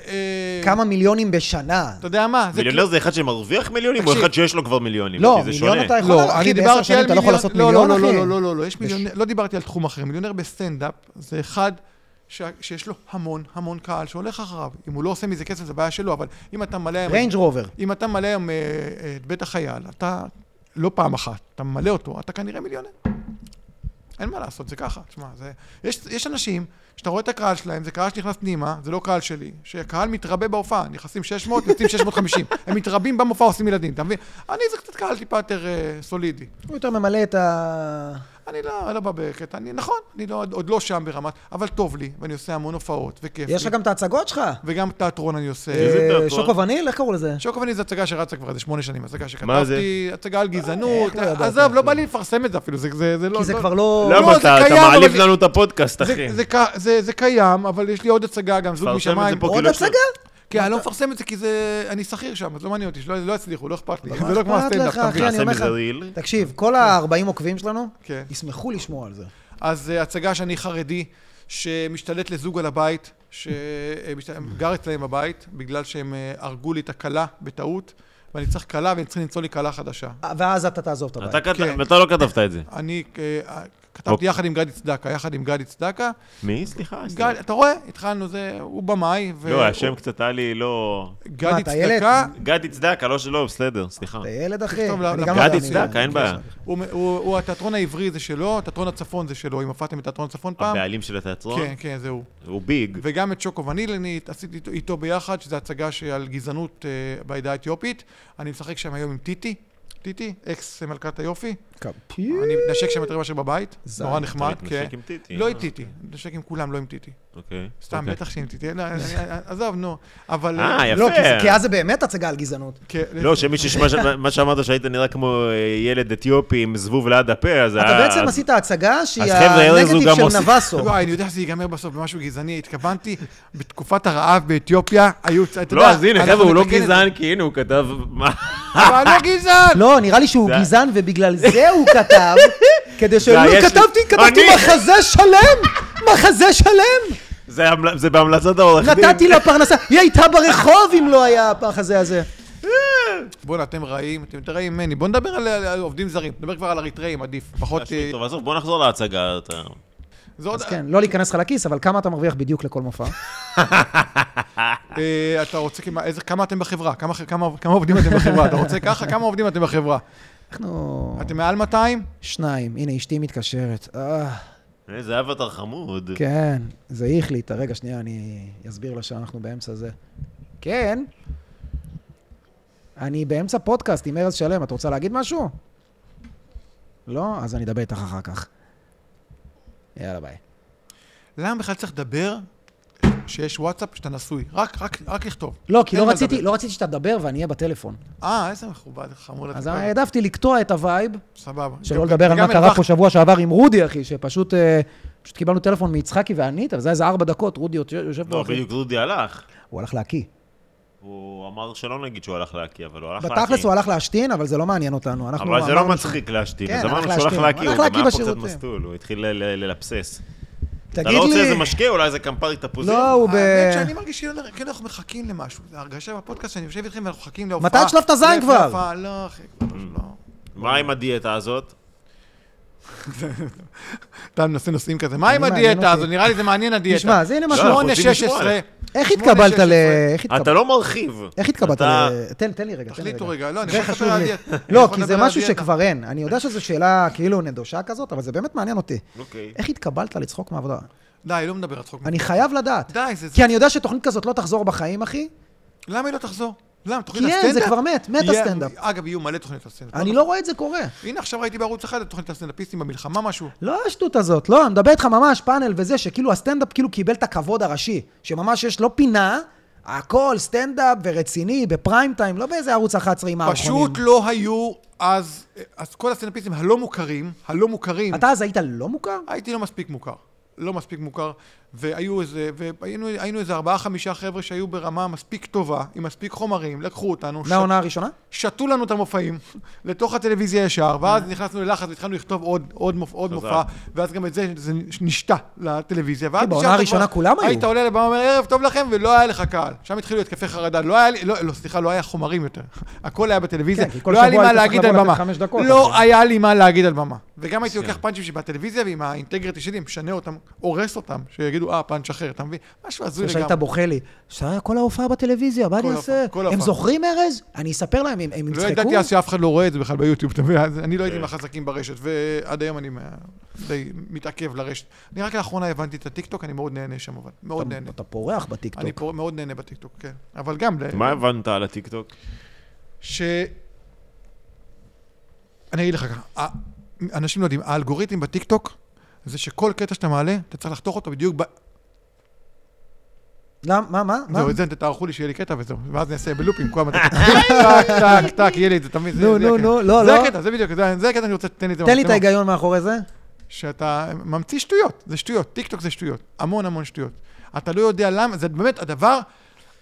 [SPEAKER 2] אה,
[SPEAKER 1] כמה מיליונים בשנה.
[SPEAKER 2] אתה יודע מה? זה כאילו-
[SPEAKER 3] מיליונר זה אחד שמרוויח מיליונים, או
[SPEAKER 2] תקשיב.
[SPEAKER 3] אחד שיש לו כבר מיליונים?
[SPEAKER 1] לא,
[SPEAKER 3] כי זה
[SPEAKER 1] מיליון
[SPEAKER 3] שונה.
[SPEAKER 1] אתה
[SPEAKER 2] כאילו-
[SPEAKER 1] יכול,
[SPEAKER 2] לא,
[SPEAKER 1] אחי,
[SPEAKER 2] אני
[SPEAKER 1] בעשר
[SPEAKER 2] דיברתי
[SPEAKER 1] שנים
[SPEAKER 2] על
[SPEAKER 1] אתה לא יכול לעשות
[SPEAKER 2] לא,
[SPEAKER 1] מיליון,
[SPEAKER 2] לא, לא,
[SPEAKER 1] אחי.
[SPEAKER 2] לא, לא, לא, לא, יש מיליונר... לא דיברתי על תחום אחר. מיליונר בסטנדאפ זה אחד ש- שיש לו המון המון קהל שהולך אחריו. אם הוא לא עושה מזה כסף, זה בעיה שלו, אבל אם אתה מלא... היום-
[SPEAKER 1] ריינג' רובר.
[SPEAKER 2] אם אתה מלא היום אה, אה, את בית החייל, אתה לא פעם אחת, אתה ממלא אותו, אתה כנראה מיליונר. אין מה לעשות, זה ככה. תשמע, זה... יש, יש אנשים שאתה רואה את הקהל שלהם, זה קהל שנכנס פנימה, זה לא קהל שלי, שהקהל מתרבה בהופעה, נכנסים 600, יוצאים 650. הם מתרבים במופע, עושים ילדים, אתה מבין? אני זה קצת קהל טיפה יותר אה, סולידי.
[SPEAKER 1] הוא יותר ממלא את ה...
[SPEAKER 2] אני לא, לא בא בקטע, אני, נכון, אני לא, עוד לא שם ברמת, אבל טוב לי, ואני עושה המון הופעות, וכיף לי.
[SPEAKER 1] יש לך גם את ההצגות שלך.
[SPEAKER 2] וגם תיאטרון אני עושה.
[SPEAKER 3] איזה
[SPEAKER 1] אה,
[SPEAKER 3] תיאטרון?
[SPEAKER 1] שוקו וניל, איך קראו לזה?
[SPEAKER 2] שוקופני זו הצגה שרצה כבר איזה שמונה שנים, הצגה
[SPEAKER 3] מה זה?
[SPEAKER 2] שכתבתי, הצגה על גזענות,
[SPEAKER 1] איך לא ידעתי?
[SPEAKER 2] עזוב, לא בא לי לפרסם את זה אפילו, זה- זה זה לא...
[SPEAKER 1] כי זה
[SPEAKER 2] לא-
[SPEAKER 1] כבר לא...
[SPEAKER 2] לא,
[SPEAKER 3] למה
[SPEAKER 2] זה
[SPEAKER 3] אתה אתה
[SPEAKER 2] קיים, אבל
[SPEAKER 3] מעליב
[SPEAKER 2] זה-
[SPEAKER 3] לנו את הפודקאסט,
[SPEAKER 2] זה-
[SPEAKER 3] אחי?
[SPEAKER 2] זה ק- זה- זה קיים, אבל יש לי עוד הצגה, גם זוג
[SPEAKER 3] תפרסם את זה
[SPEAKER 2] משמיים.
[SPEAKER 3] פה,
[SPEAKER 1] עוד
[SPEAKER 3] כאילו, יש לו-
[SPEAKER 1] הצגה?
[SPEAKER 2] כן, אני לא מפרסם את זה כי זה... אני שכיר שם, אז לא מעניין אותי, שלא לא יצליחו, לא אכפת לי.
[SPEAKER 1] מה
[SPEAKER 2] זה לא כמו
[SPEAKER 1] אכפת
[SPEAKER 2] הסטנדאפ,
[SPEAKER 1] לך,
[SPEAKER 2] אתה
[SPEAKER 1] אחי?
[SPEAKER 2] מבין?
[SPEAKER 1] אני
[SPEAKER 3] נעשה
[SPEAKER 1] אומר
[SPEAKER 3] מזה
[SPEAKER 1] לך- כן.
[SPEAKER 3] ריל.
[SPEAKER 1] תקשיב, כל ה-40 עוקבים שלנו,
[SPEAKER 2] כן.
[SPEAKER 1] ישמחו לשמוע על זה.
[SPEAKER 2] אז אה, הצגה שאני חרדי, שמשתלט לזוג על הבית, אה, שגר אצלם בבית, בגלל שהם אה, הרגו לי את הכלה בטעות, ואני צריך כלה, והם צריכים למצוא לי כלה חדשה.
[SPEAKER 1] אה, ואז אתה תעזוב את הבית.
[SPEAKER 3] אתה כת-
[SPEAKER 2] כן.
[SPEAKER 3] אתה לא כתבת את זה.
[SPEAKER 2] אני אה,
[SPEAKER 3] אוקיי.
[SPEAKER 2] כתבתי יחד עם גדי צדקה, יחד עם גדי צדקה.
[SPEAKER 3] מי? סליחה.
[SPEAKER 2] גד, אתה רואה? התחלנו, זה, הוא במאי. ו...
[SPEAKER 3] לא, השם קצת היה לי לא...
[SPEAKER 1] מה,
[SPEAKER 2] גדי
[SPEAKER 1] אתה ילד?
[SPEAKER 2] צדקה,
[SPEAKER 3] גדי צדקה, לא שלו, בסדר, סליחה.
[SPEAKER 2] אה,
[SPEAKER 1] אתה ילד, אחי.
[SPEAKER 2] תכתוב לה-
[SPEAKER 1] אני
[SPEAKER 2] לה-
[SPEAKER 1] גם לא
[SPEAKER 2] גדי
[SPEAKER 1] יודע, אני-
[SPEAKER 3] צדקה, אין בעיה.
[SPEAKER 2] הוא, הוא, הוא התיאטרון העברי זה שלו, תיאטרון הצפון זה שלו, אם הופעתם בתיאטרון הצפון פעם.
[SPEAKER 3] הבעלים של התיאטרון?
[SPEAKER 2] כן, כן, זה הוא.
[SPEAKER 3] הוא ביג.
[SPEAKER 2] וגם את שוקו וניל אני עשיתי איתו, איתו ביחד, שזו הצגה על גזענות אה, בעדה האתיופית. אני משחק שם היום עם טיטי, טיטי, אקס מלכת היופי.
[SPEAKER 1] כפיו.
[SPEAKER 2] אני מתנשק שם יותר מאשר בבית,
[SPEAKER 1] זין.
[SPEAKER 2] נורא נחמד.
[SPEAKER 3] אתה מתנשק
[SPEAKER 2] כן.
[SPEAKER 3] עם טיטי.
[SPEAKER 2] לא
[SPEAKER 3] אה.
[SPEAKER 2] עם טיטי, מתנשק עם כולם, לא עם טיטי.
[SPEAKER 3] אוקיי.
[SPEAKER 2] סתם,
[SPEAKER 3] אוקיי.
[SPEAKER 2] בטח שעם טיטי. לא, עזוב, נו. אבל...
[SPEAKER 3] אה, יפה.
[SPEAKER 1] לא, כי זה- כי אז זה באמת הצגה על גזענות.
[SPEAKER 2] כן,
[SPEAKER 3] לא, שמי שישמע ש- מה שאמרת שהיית נראה כמו אה, ילד אתיופי עם זבוב ליד הפה, אז...
[SPEAKER 1] אתה
[SPEAKER 3] אה,
[SPEAKER 1] בעצם
[SPEAKER 3] אז-
[SPEAKER 1] עשית הצגה שהיא
[SPEAKER 3] אז חבר'ה, ארז הוא
[SPEAKER 1] הנגטיב
[SPEAKER 3] גם
[SPEAKER 1] של
[SPEAKER 3] עושה-
[SPEAKER 1] נבסו.
[SPEAKER 2] וואי, לא, אני יודע שזה ייגמר בסוף במשהו גזעני, התכוונתי, בתקופת הרעב באתיופיה, היו... אתה יודע,
[SPEAKER 3] לא, אז הנה,
[SPEAKER 2] אנחנו
[SPEAKER 3] חבר'ה, הוא לא
[SPEAKER 2] נתקן את זה.
[SPEAKER 3] גזען, כי הנה, הוא כתב... מה?
[SPEAKER 2] אבל לא גזען!
[SPEAKER 1] לא, נראה לי שהוא
[SPEAKER 3] זה-
[SPEAKER 1] גזען ובגלל זה הוא כתב, כדי ש...
[SPEAKER 3] זה
[SPEAKER 1] לא,
[SPEAKER 3] היה ש-
[SPEAKER 1] כתבתי, כתבתי
[SPEAKER 3] אני-
[SPEAKER 1] מחזה שלם! מחזה שלם!
[SPEAKER 3] זה המל- זה בהמלצת העורך דין.
[SPEAKER 1] נתתי לה פרנסה, היא הייתה ברחוב אם לא היה המחזה הזה.
[SPEAKER 2] בואנה, אתם רעים, אתם יותר רעים ממני. בואו נדבר על- על על עובדים זרים, נדבר כבר על אריתראים, עדיף. פחות... אה,
[SPEAKER 3] טוב, עזוב, בוא נחזור להצגה. אתה-
[SPEAKER 2] זה עוד...
[SPEAKER 1] אז כן, לא להיכנס לך לכיס, אבל כמה אתה מרוויח בדיוק לכל מופע?
[SPEAKER 2] אה, אתה רוצה כמה, איזה, כמה אתם בחברה? כמה, ח- כמה, כמה עובדים אתם בחברה? אתה רוצה ככה? כמה עובדים אתם בחברה?
[SPEAKER 1] אנחנו...
[SPEAKER 2] אתם מעל 200?
[SPEAKER 1] שניים, הנה אשתי מתקשרת. אה,
[SPEAKER 3] אה, זה אבטר חמוד.
[SPEAKER 1] כן, זה היא החליטה. רגע, שנייה, אני אסביר לה שאנחנו באמצע זה. כן? אני באמצע פודקאסט עם ארז שלם, את רוצה להגיד משהו? לא? אז אני אדבר איתך אחר כך. יאללה, ביי.
[SPEAKER 2] למה בכלל צריך לדבר שיש וואטסאפ שאתה נשוי? רק, רק, רק לכתוב.
[SPEAKER 1] לא, כי
[SPEAKER 2] אין
[SPEAKER 1] לא
[SPEAKER 2] מה
[SPEAKER 1] רציתי,
[SPEAKER 2] לדבר.
[SPEAKER 1] לא רציתי שאתה תדבר ואני אהיה בטלפון.
[SPEAKER 2] אה, איזה מכובד, חמוד.
[SPEAKER 1] אז
[SPEAKER 2] אתה.
[SPEAKER 1] העדפתי לקטוע את הווייב,
[SPEAKER 2] סבבה.
[SPEAKER 1] שלא
[SPEAKER 2] גם-
[SPEAKER 1] לדבר על
[SPEAKER 2] וגם
[SPEAKER 1] מה קרה פה
[SPEAKER 2] הרווחת.
[SPEAKER 1] שבוע שעבר עם רודי, אחי, שפשוט... אה, פשוט קיבלנו טלפון מיצחקי וענית, וזה היה איזה ארבע דקות, רודי יושב פה,
[SPEAKER 3] לא,
[SPEAKER 1] אחי.
[SPEAKER 3] בדיוק דודי הלך.
[SPEAKER 1] הוא הלך להקיא.
[SPEAKER 3] הוא אמר שלא נגיד שהוא הלך להקיא, אבל הוא הלך להקיא.
[SPEAKER 1] בתכלס הוא הלך להשתין, אבל זה לא מעניין אותנו. אנחנו
[SPEAKER 3] אבל זה לא
[SPEAKER 1] אמרנו-
[SPEAKER 3] מצחיק להשתין,
[SPEAKER 1] כן,
[SPEAKER 3] אז
[SPEAKER 1] הלך
[SPEAKER 3] אמרנו שהוא הלך
[SPEAKER 1] להשתין.
[SPEAKER 3] להקיא,
[SPEAKER 1] הלך
[SPEAKER 3] הוא גם
[SPEAKER 1] להקיא
[SPEAKER 3] היה פה קצת
[SPEAKER 1] בשירותים.
[SPEAKER 3] מסטול, הוא התחיל ל- ל- ללפסס. אתה
[SPEAKER 1] תגיד
[SPEAKER 3] לא רוצה
[SPEAKER 1] לי-
[SPEAKER 3] איזה משקה, אולי איזה קמפרי תפוזים?
[SPEAKER 1] לא, הוא ב...
[SPEAKER 2] האמת שאני מרגיש כאילו כאילו אנחנו מחכים למשהו. זה הרגשה בפודקאסט שאני יושב איתכם ואנחנו מחכים להופעה.
[SPEAKER 1] מתי תשלוף את הזין
[SPEAKER 2] להופעה,
[SPEAKER 1] כבר?
[SPEAKER 2] להופעה, לא, אחי, כבר לא.
[SPEAKER 3] מה עם הדיאטה הזאת?
[SPEAKER 2] אתה מנסה נושאים כזה. מה עם
[SPEAKER 1] מעניין
[SPEAKER 2] הדיאטה
[SPEAKER 1] אותי.
[SPEAKER 2] הזו? נראה לי זה מעניין הדיאטה.
[SPEAKER 1] תשמע, זה הנה מה
[SPEAKER 3] לא,
[SPEAKER 1] ש...
[SPEAKER 3] אנחנו
[SPEAKER 2] 8,
[SPEAKER 3] רוצים לשמוע
[SPEAKER 2] 16.
[SPEAKER 3] עליך.
[SPEAKER 1] איך התקבלת ל... איך התקב-
[SPEAKER 3] אתה לא מרחיב.
[SPEAKER 1] איך התקבלת
[SPEAKER 3] אתה-
[SPEAKER 1] ל... תן תן לי רגע, תן לי
[SPEAKER 2] תחליטו
[SPEAKER 1] רגע.
[SPEAKER 2] רגע, לא, אני
[SPEAKER 1] זה
[SPEAKER 2] יכול
[SPEAKER 1] חשוב
[SPEAKER 2] לדבר על
[SPEAKER 1] לי.
[SPEAKER 2] דיאטה. אני
[SPEAKER 1] לא,
[SPEAKER 2] יכול
[SPEAKER 1] כי זה
[SPEAKER 2] לדבר על
[SPEAKER 1] משהו
[SPEAKER 2] דיאטה.
[SPEAKER 1] שכבר אין. אני יודע שזו שאלה כאילו נדושה כזאת, אבל זה באמת מעניין אותי.
[SPEAKER 3] אוקיי.
[SPEAKER 1] איך התקבלת לצחוק מעבודה?
[SPEAKER 2] די, לא מדבר על צחוק.
[SPEAKER 1] אני חייב לדעת.
[SPEAKER 2] די, זה... זה-
[SPEAKER 1] כי אני יודע שתוכנית כזאת לא תחזור בחיים, אחי.
[SPEAKER 2] למה היא לא תחזור? למה?
[SPEAKER 1] כי
[SPEAKER 2] תוכנית
[SPEAKER 1] אין,
[SPEAKER 2] הסטנדאפ?
[SPEAKER 1] זה כבר מת, מת
[SPEAKER 2] יהיה-
[SPEAKER 1] הסטנדאפ.
[SPEAKER 2] אגב, יהיו מלא תוכנית הסטנדאפ.
[SPEAKER 1] אני לא רואה את זה קורה.
[SPEAKER 2] הנה, עכשיו ראיתי בערוץ אחד את תוכנית הסטנדאפיסטים במלחמה משהו.
[SPEAKER 1] לא השטות הזאת, לא, אני מדבר איתך ממש פאנל וזה, שכאילו הסטנדאפ כאילו קיבל את הכבוד הראשי, שממש יש לו פינה, הכל סטנדאפ ורציני, בפריים טיים, לא באיזה ערוץ 11 עם מערכונים.
[SPEAKER 2] פשוט לא היו אז... אז כל הסטנדאפיסטים הלא מוכרים, הלא מוכרים,
[SPEAKER 1] אתה אז היית לא מוכר?
[SPEAKER 2] הייתי לא מספיק מוכר. לא מספיק מוכר, והיו איזה, והיינו היינו איזה ארבעה, חמישה חבר'ה שהיו ברמה מספיק טובה, עם מספיק חומרים, לקחו אותנו, שת-
[SPEAKER 1] מהעונה הראשונה?
[SPEAKER 2] שתו לנו את המופעים לתוך הטלוויזיה ישר,
[SPEAKER 1] אה.
[SPEAKER 2] ואז נכנסנו ללחץ והתחלנו לכתוב עוד, עוד, מופ, עוד
[SPEAKER 3] חזק.
[SPEAKER 2] מופע, ואז גם את זה, זה נשתה לטלוויזיה. ואז
[SPEAKER 1] כן, בעונה
[SPEAKER 2] נשארת
[SPEAKER 1] הראשונה
[SPEAKER 2] כבר-
[SPEAKER 1] כולם היו.
[SPEAKER 2] היית עולה לבמה ואומר, ערב טוב לכם, ולא היה לך קהל. שם התחילו התקפי חרדה, לא היה לי, לא, לא, סליחה, לא היה חומרים יותר. הכל היה בטלוויזיה,
[SPEAKER 1] כן, כי כל
[SPEAKER 2] לא היה לי
[SPEAKER 1] שבוע
[SPEAKER 2] מה
[SPEAKER 1] היית צריך
[SPEAKER 2] להגיד על
[SPEAKER 1] לבוא
[SPEAKER 2] במה.
[SPEAKER 1] לתת חמש דקות,
[SPEAKER 2] לא
[SPEAKER 1] אבל- כן.
[SPEAKER 2] היה לי מה להגיד על במה. וגם הייתי לוקח פאנצ'ים שבטלוויזיה, ועם האינטגריטי שלי, משנה אותם, הורס אותם, שיגידו, אה, פאנץ' אחר, אתה מבין? משהו הזוי
[SPEAKER 1] זה
[SPEAKER 2] לגמרי.
[SPEAKER 1] שהיית בוכה לי, שהיה כל ההופעה בטלוויזיה, מה אני
[SPEAKER 2] כל
[SPEAKER 1] אעשה?
[SPEAKER 2] ההופעה, כל
[SPEAKER 1] הם
[SPEAKER 2] ההופעה.
[SPEAKER 1] זוכרים ארז? אני אספר להם, הם הם
[SPEAKER 2] לא
[SPEAKER 1] יצחקו?
[SPEAKER 2] ידעתי אז שאף אחד לא רואה את זה בכלל ביוטיוב, אתה מבין? אז אני לא הייתי
[SPEAKER 3] כן.
[SPEAKER 2] מהחזקים ברשת, ועד היום אני מה- די מתעכב לרשת. אני רק לאחרונה הבנתי את הטיקטוק, אני מאוד נהנה שם, אבל מאוד
[SPEAKER 1] אתה-
[SPEAKER 2] נהנה.
[SPEAKER 1] אתה פורח
[SPEAKER 2] אני
[SPEAKER 1] בטיקטוק.
[SPEAKER 2] פה מאוד נהנה בטיקטוק, כן. אבל גם, ל-
[SPEAKER 3] מה הבנת על הטיקטוק?
[SPEAKER 2] ש... אני אגיד לך ככה, ה- אנשים לא יודעים, האלגוריתם בטיקטוק זה שכל קטע שאתה מעלה, אתה צריך לחתוך אותו בדיוק ב...
[SPEAKER 1] למה? מה? מה? מה?
[SPEAKER 2] זהו, את זה תערכו לי שיהיה לי קטע וזהו, ואז אני אעשה בלופים כל הזמן. טק, טק, טק, יהיה לי את זה, תמיד.
[SPEAKER 1] נו, נו, נו, לא,
[SPEAKER 2] זה
[SPEAKER 1] לא.
[SPEAKER 2] הקטע, זה בדיוק, זה זה הקטע שאני רוצה, תן לי את זה.
[SPEAKER 1] תן לי את
[SPEAKER 2] במצלמה.
[SPEAKER 1] ההיגיון מאחורי זה.
[SPEAKER 2] שאתה ממציא שטויות, זה שטויות, טיקטוק זה שטויות, המון המון שטויות. אתה לא יודע למה, זה באמת הדבר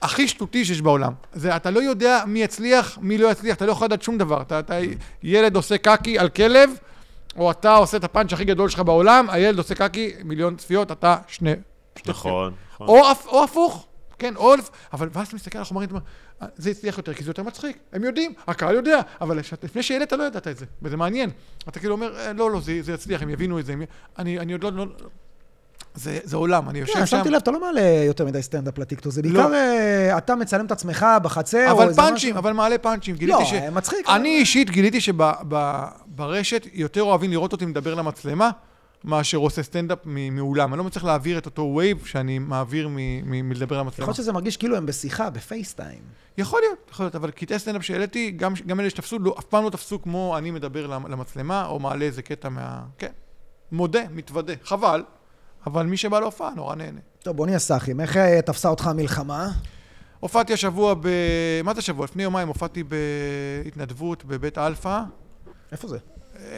[SPEAKER 2] הכי שטותי שיש בעולם. זה, אתה לא יודע מי יצליח, מי לא יצליח, אתה לא יכול לדעת שום דבר. אתה, אתה ילד עושה קקי על כלב, או אתה עושה את הפאנץ' הכי גדול שלך בעולם, הילד עושה קקי, מיליון צפיות, אתה שני... שתי
[SPEAKER 3] נכון. נכון.
[SPEAKER 2] צפיות. או, הפ- או הפוך, כן, או... לפ- אבל ואז אתה מסתכל על החומרים, אתה אומר, "אה, זה הצליח יותר, כי זה יותר מצחיק, הם יודעים, הקהל יודע, אבל שאת- לפני שהעלית לא ידעת את זה, וזה מעניין. אתה כאילו אומר, "אה, לא, לא, זה, זה יצליח, הם יבינו את זה, הם... י- אני, אני עוד לא... לא... זה, זה עולם, אני יושב
[SPEAKER 1] כן,
[SPEAKER 2] שם...
[SPEAKER 1] שמתי לב, אתה לא מעלה יותר מדי סטנדאפ לטיקטוק, זה בעיקר אה, אתה מצלם את עצמך בחצר, או
[SPEAKER 2] לא. אבל
[SPEAKER 1] איזה
[SPEAKER 2] פאנצ'ים,
[SPEAKER 1] משהו. לא, אה,
[SPEAKER 2] אבל מעלה פאנצ'ים. גיליתי ש...
[SPEAKER 1] מצחיק.
[SPEAKER 2] אני אישית גיליתי שברשת יותר אוהבים לראות אותי מדבר למצלמה, מאשר עושה סטנדאפ מ- מאולם. אני לא מצליח להעביר את אותו וייב שאני מעביר מ- מ- מלדבר
[SPEAKER 1] יכול
[SPEAKER 2] על המצלמה.
[SPEAKER 1] להיות שזה מרגיש כאילו הם בשיחה, בפייסטיים.
[SPEAKER 2] יכול להיות, יכול להיות, אבל קטעי סטנדאפ שהעליתי, גם, גם אלה שתפסו, לא, אף פעם לא תפסו כמו אני מדבר למ- למצלמה, או מעלה איזה קטע מה... כן. מודה, מתוודה, חבל, אבל מי שבא להופעה נורא נהנה.
[SPEAKER 1] טוב, בוא נהיה סאחים. איך אה, תפסה אותך המלחמה?
[SPEAKER 2] הופעתי השבוע ב... מה זה השבוע? לפני יומיים הופעתי בהתנדבות בבית אלפא,
[SPEAKER 1] איפה זה?
[SPEAKER 2] אה,
[SPEAKER 1] מה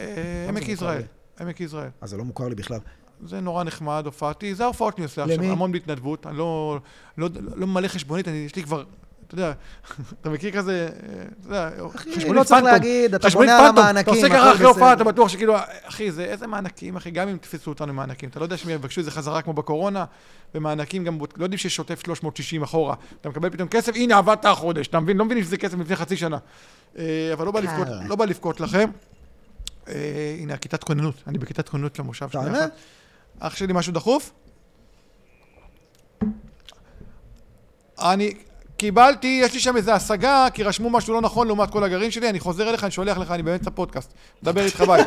[SPEAKER 1] זה
[SPEAKER 2] עמק
[SPEAKER 1] מוכר
[SPEAKER 2] יזרעאל.
[SPEAKER 1] לי?
[SPEAKER 2] עמק יזרעאל.
[SPEAKER 1] אה, זה לא מוכר לי בכלל.
[SPEAKER 2] זה נורא נחמד, הופעתי, זה ההופעות שאני עושה עכשיו,
[SPEAKER 1] למי?
[SPEAKER 2] המון בהתנדבות, אני לא, לא, לא ממלא חשבונית, אני, יש לי כבר, אתה יודע, אתה מכיר כזה, אה, אתה יודע, חשבונית
[SPEAKER 1] לא צריך
[SPEAKER 2] פנטום,
[SPEAKER 1] להגיד, אתה
[SPEAKER 2] חשבונית
[SPEAKER 1] בונה על
[SPEAKER 2] פנטום,
[SPEAKER 1] המענקים,
[SPEAKER 2] אתה עושה
[SPEAKER 1] הכל
[SPEAKER 2] ככה אחרי הופעה,
[SPEAKER 1] בסדר.
[SPEAKER 2] אתה בטוח שכאילו, אחי, זה איזה מענקים, אחי, גם אם תפסו אותנו מענקים, אתה לא יודע שהם יבקשו את זה חזרה כמו בקורונה, ומענקים גם, בודק- לא יודעים שיש שוטף 360 אחורה, אתה מקבל פתאום כסף, הנה עבדת החודש, אתה מבין, לא מבינים שזה כסף מלפני חצי שנה, אה, אבל לא בא לבכות-
[SPEAKER 1] קרה.
[SPEAKER 2] לא בא לבכות לכם. אה, הנה, הכיתת כוננות, אני בכיתת כוננות למושב שנייה
[SPEAKER 1] תענה.
[SPEAKER 2] אחת. אח שלי, משהו דחוף? אני קיבלתי, יש לי שם איזו השגה, כי רשמו משהו לא נכון לעומת כל הגרעין שלי, אני חוזר אליך, אני שולח לך, אני באמצע פודקאסט. מדבר איתך ביי.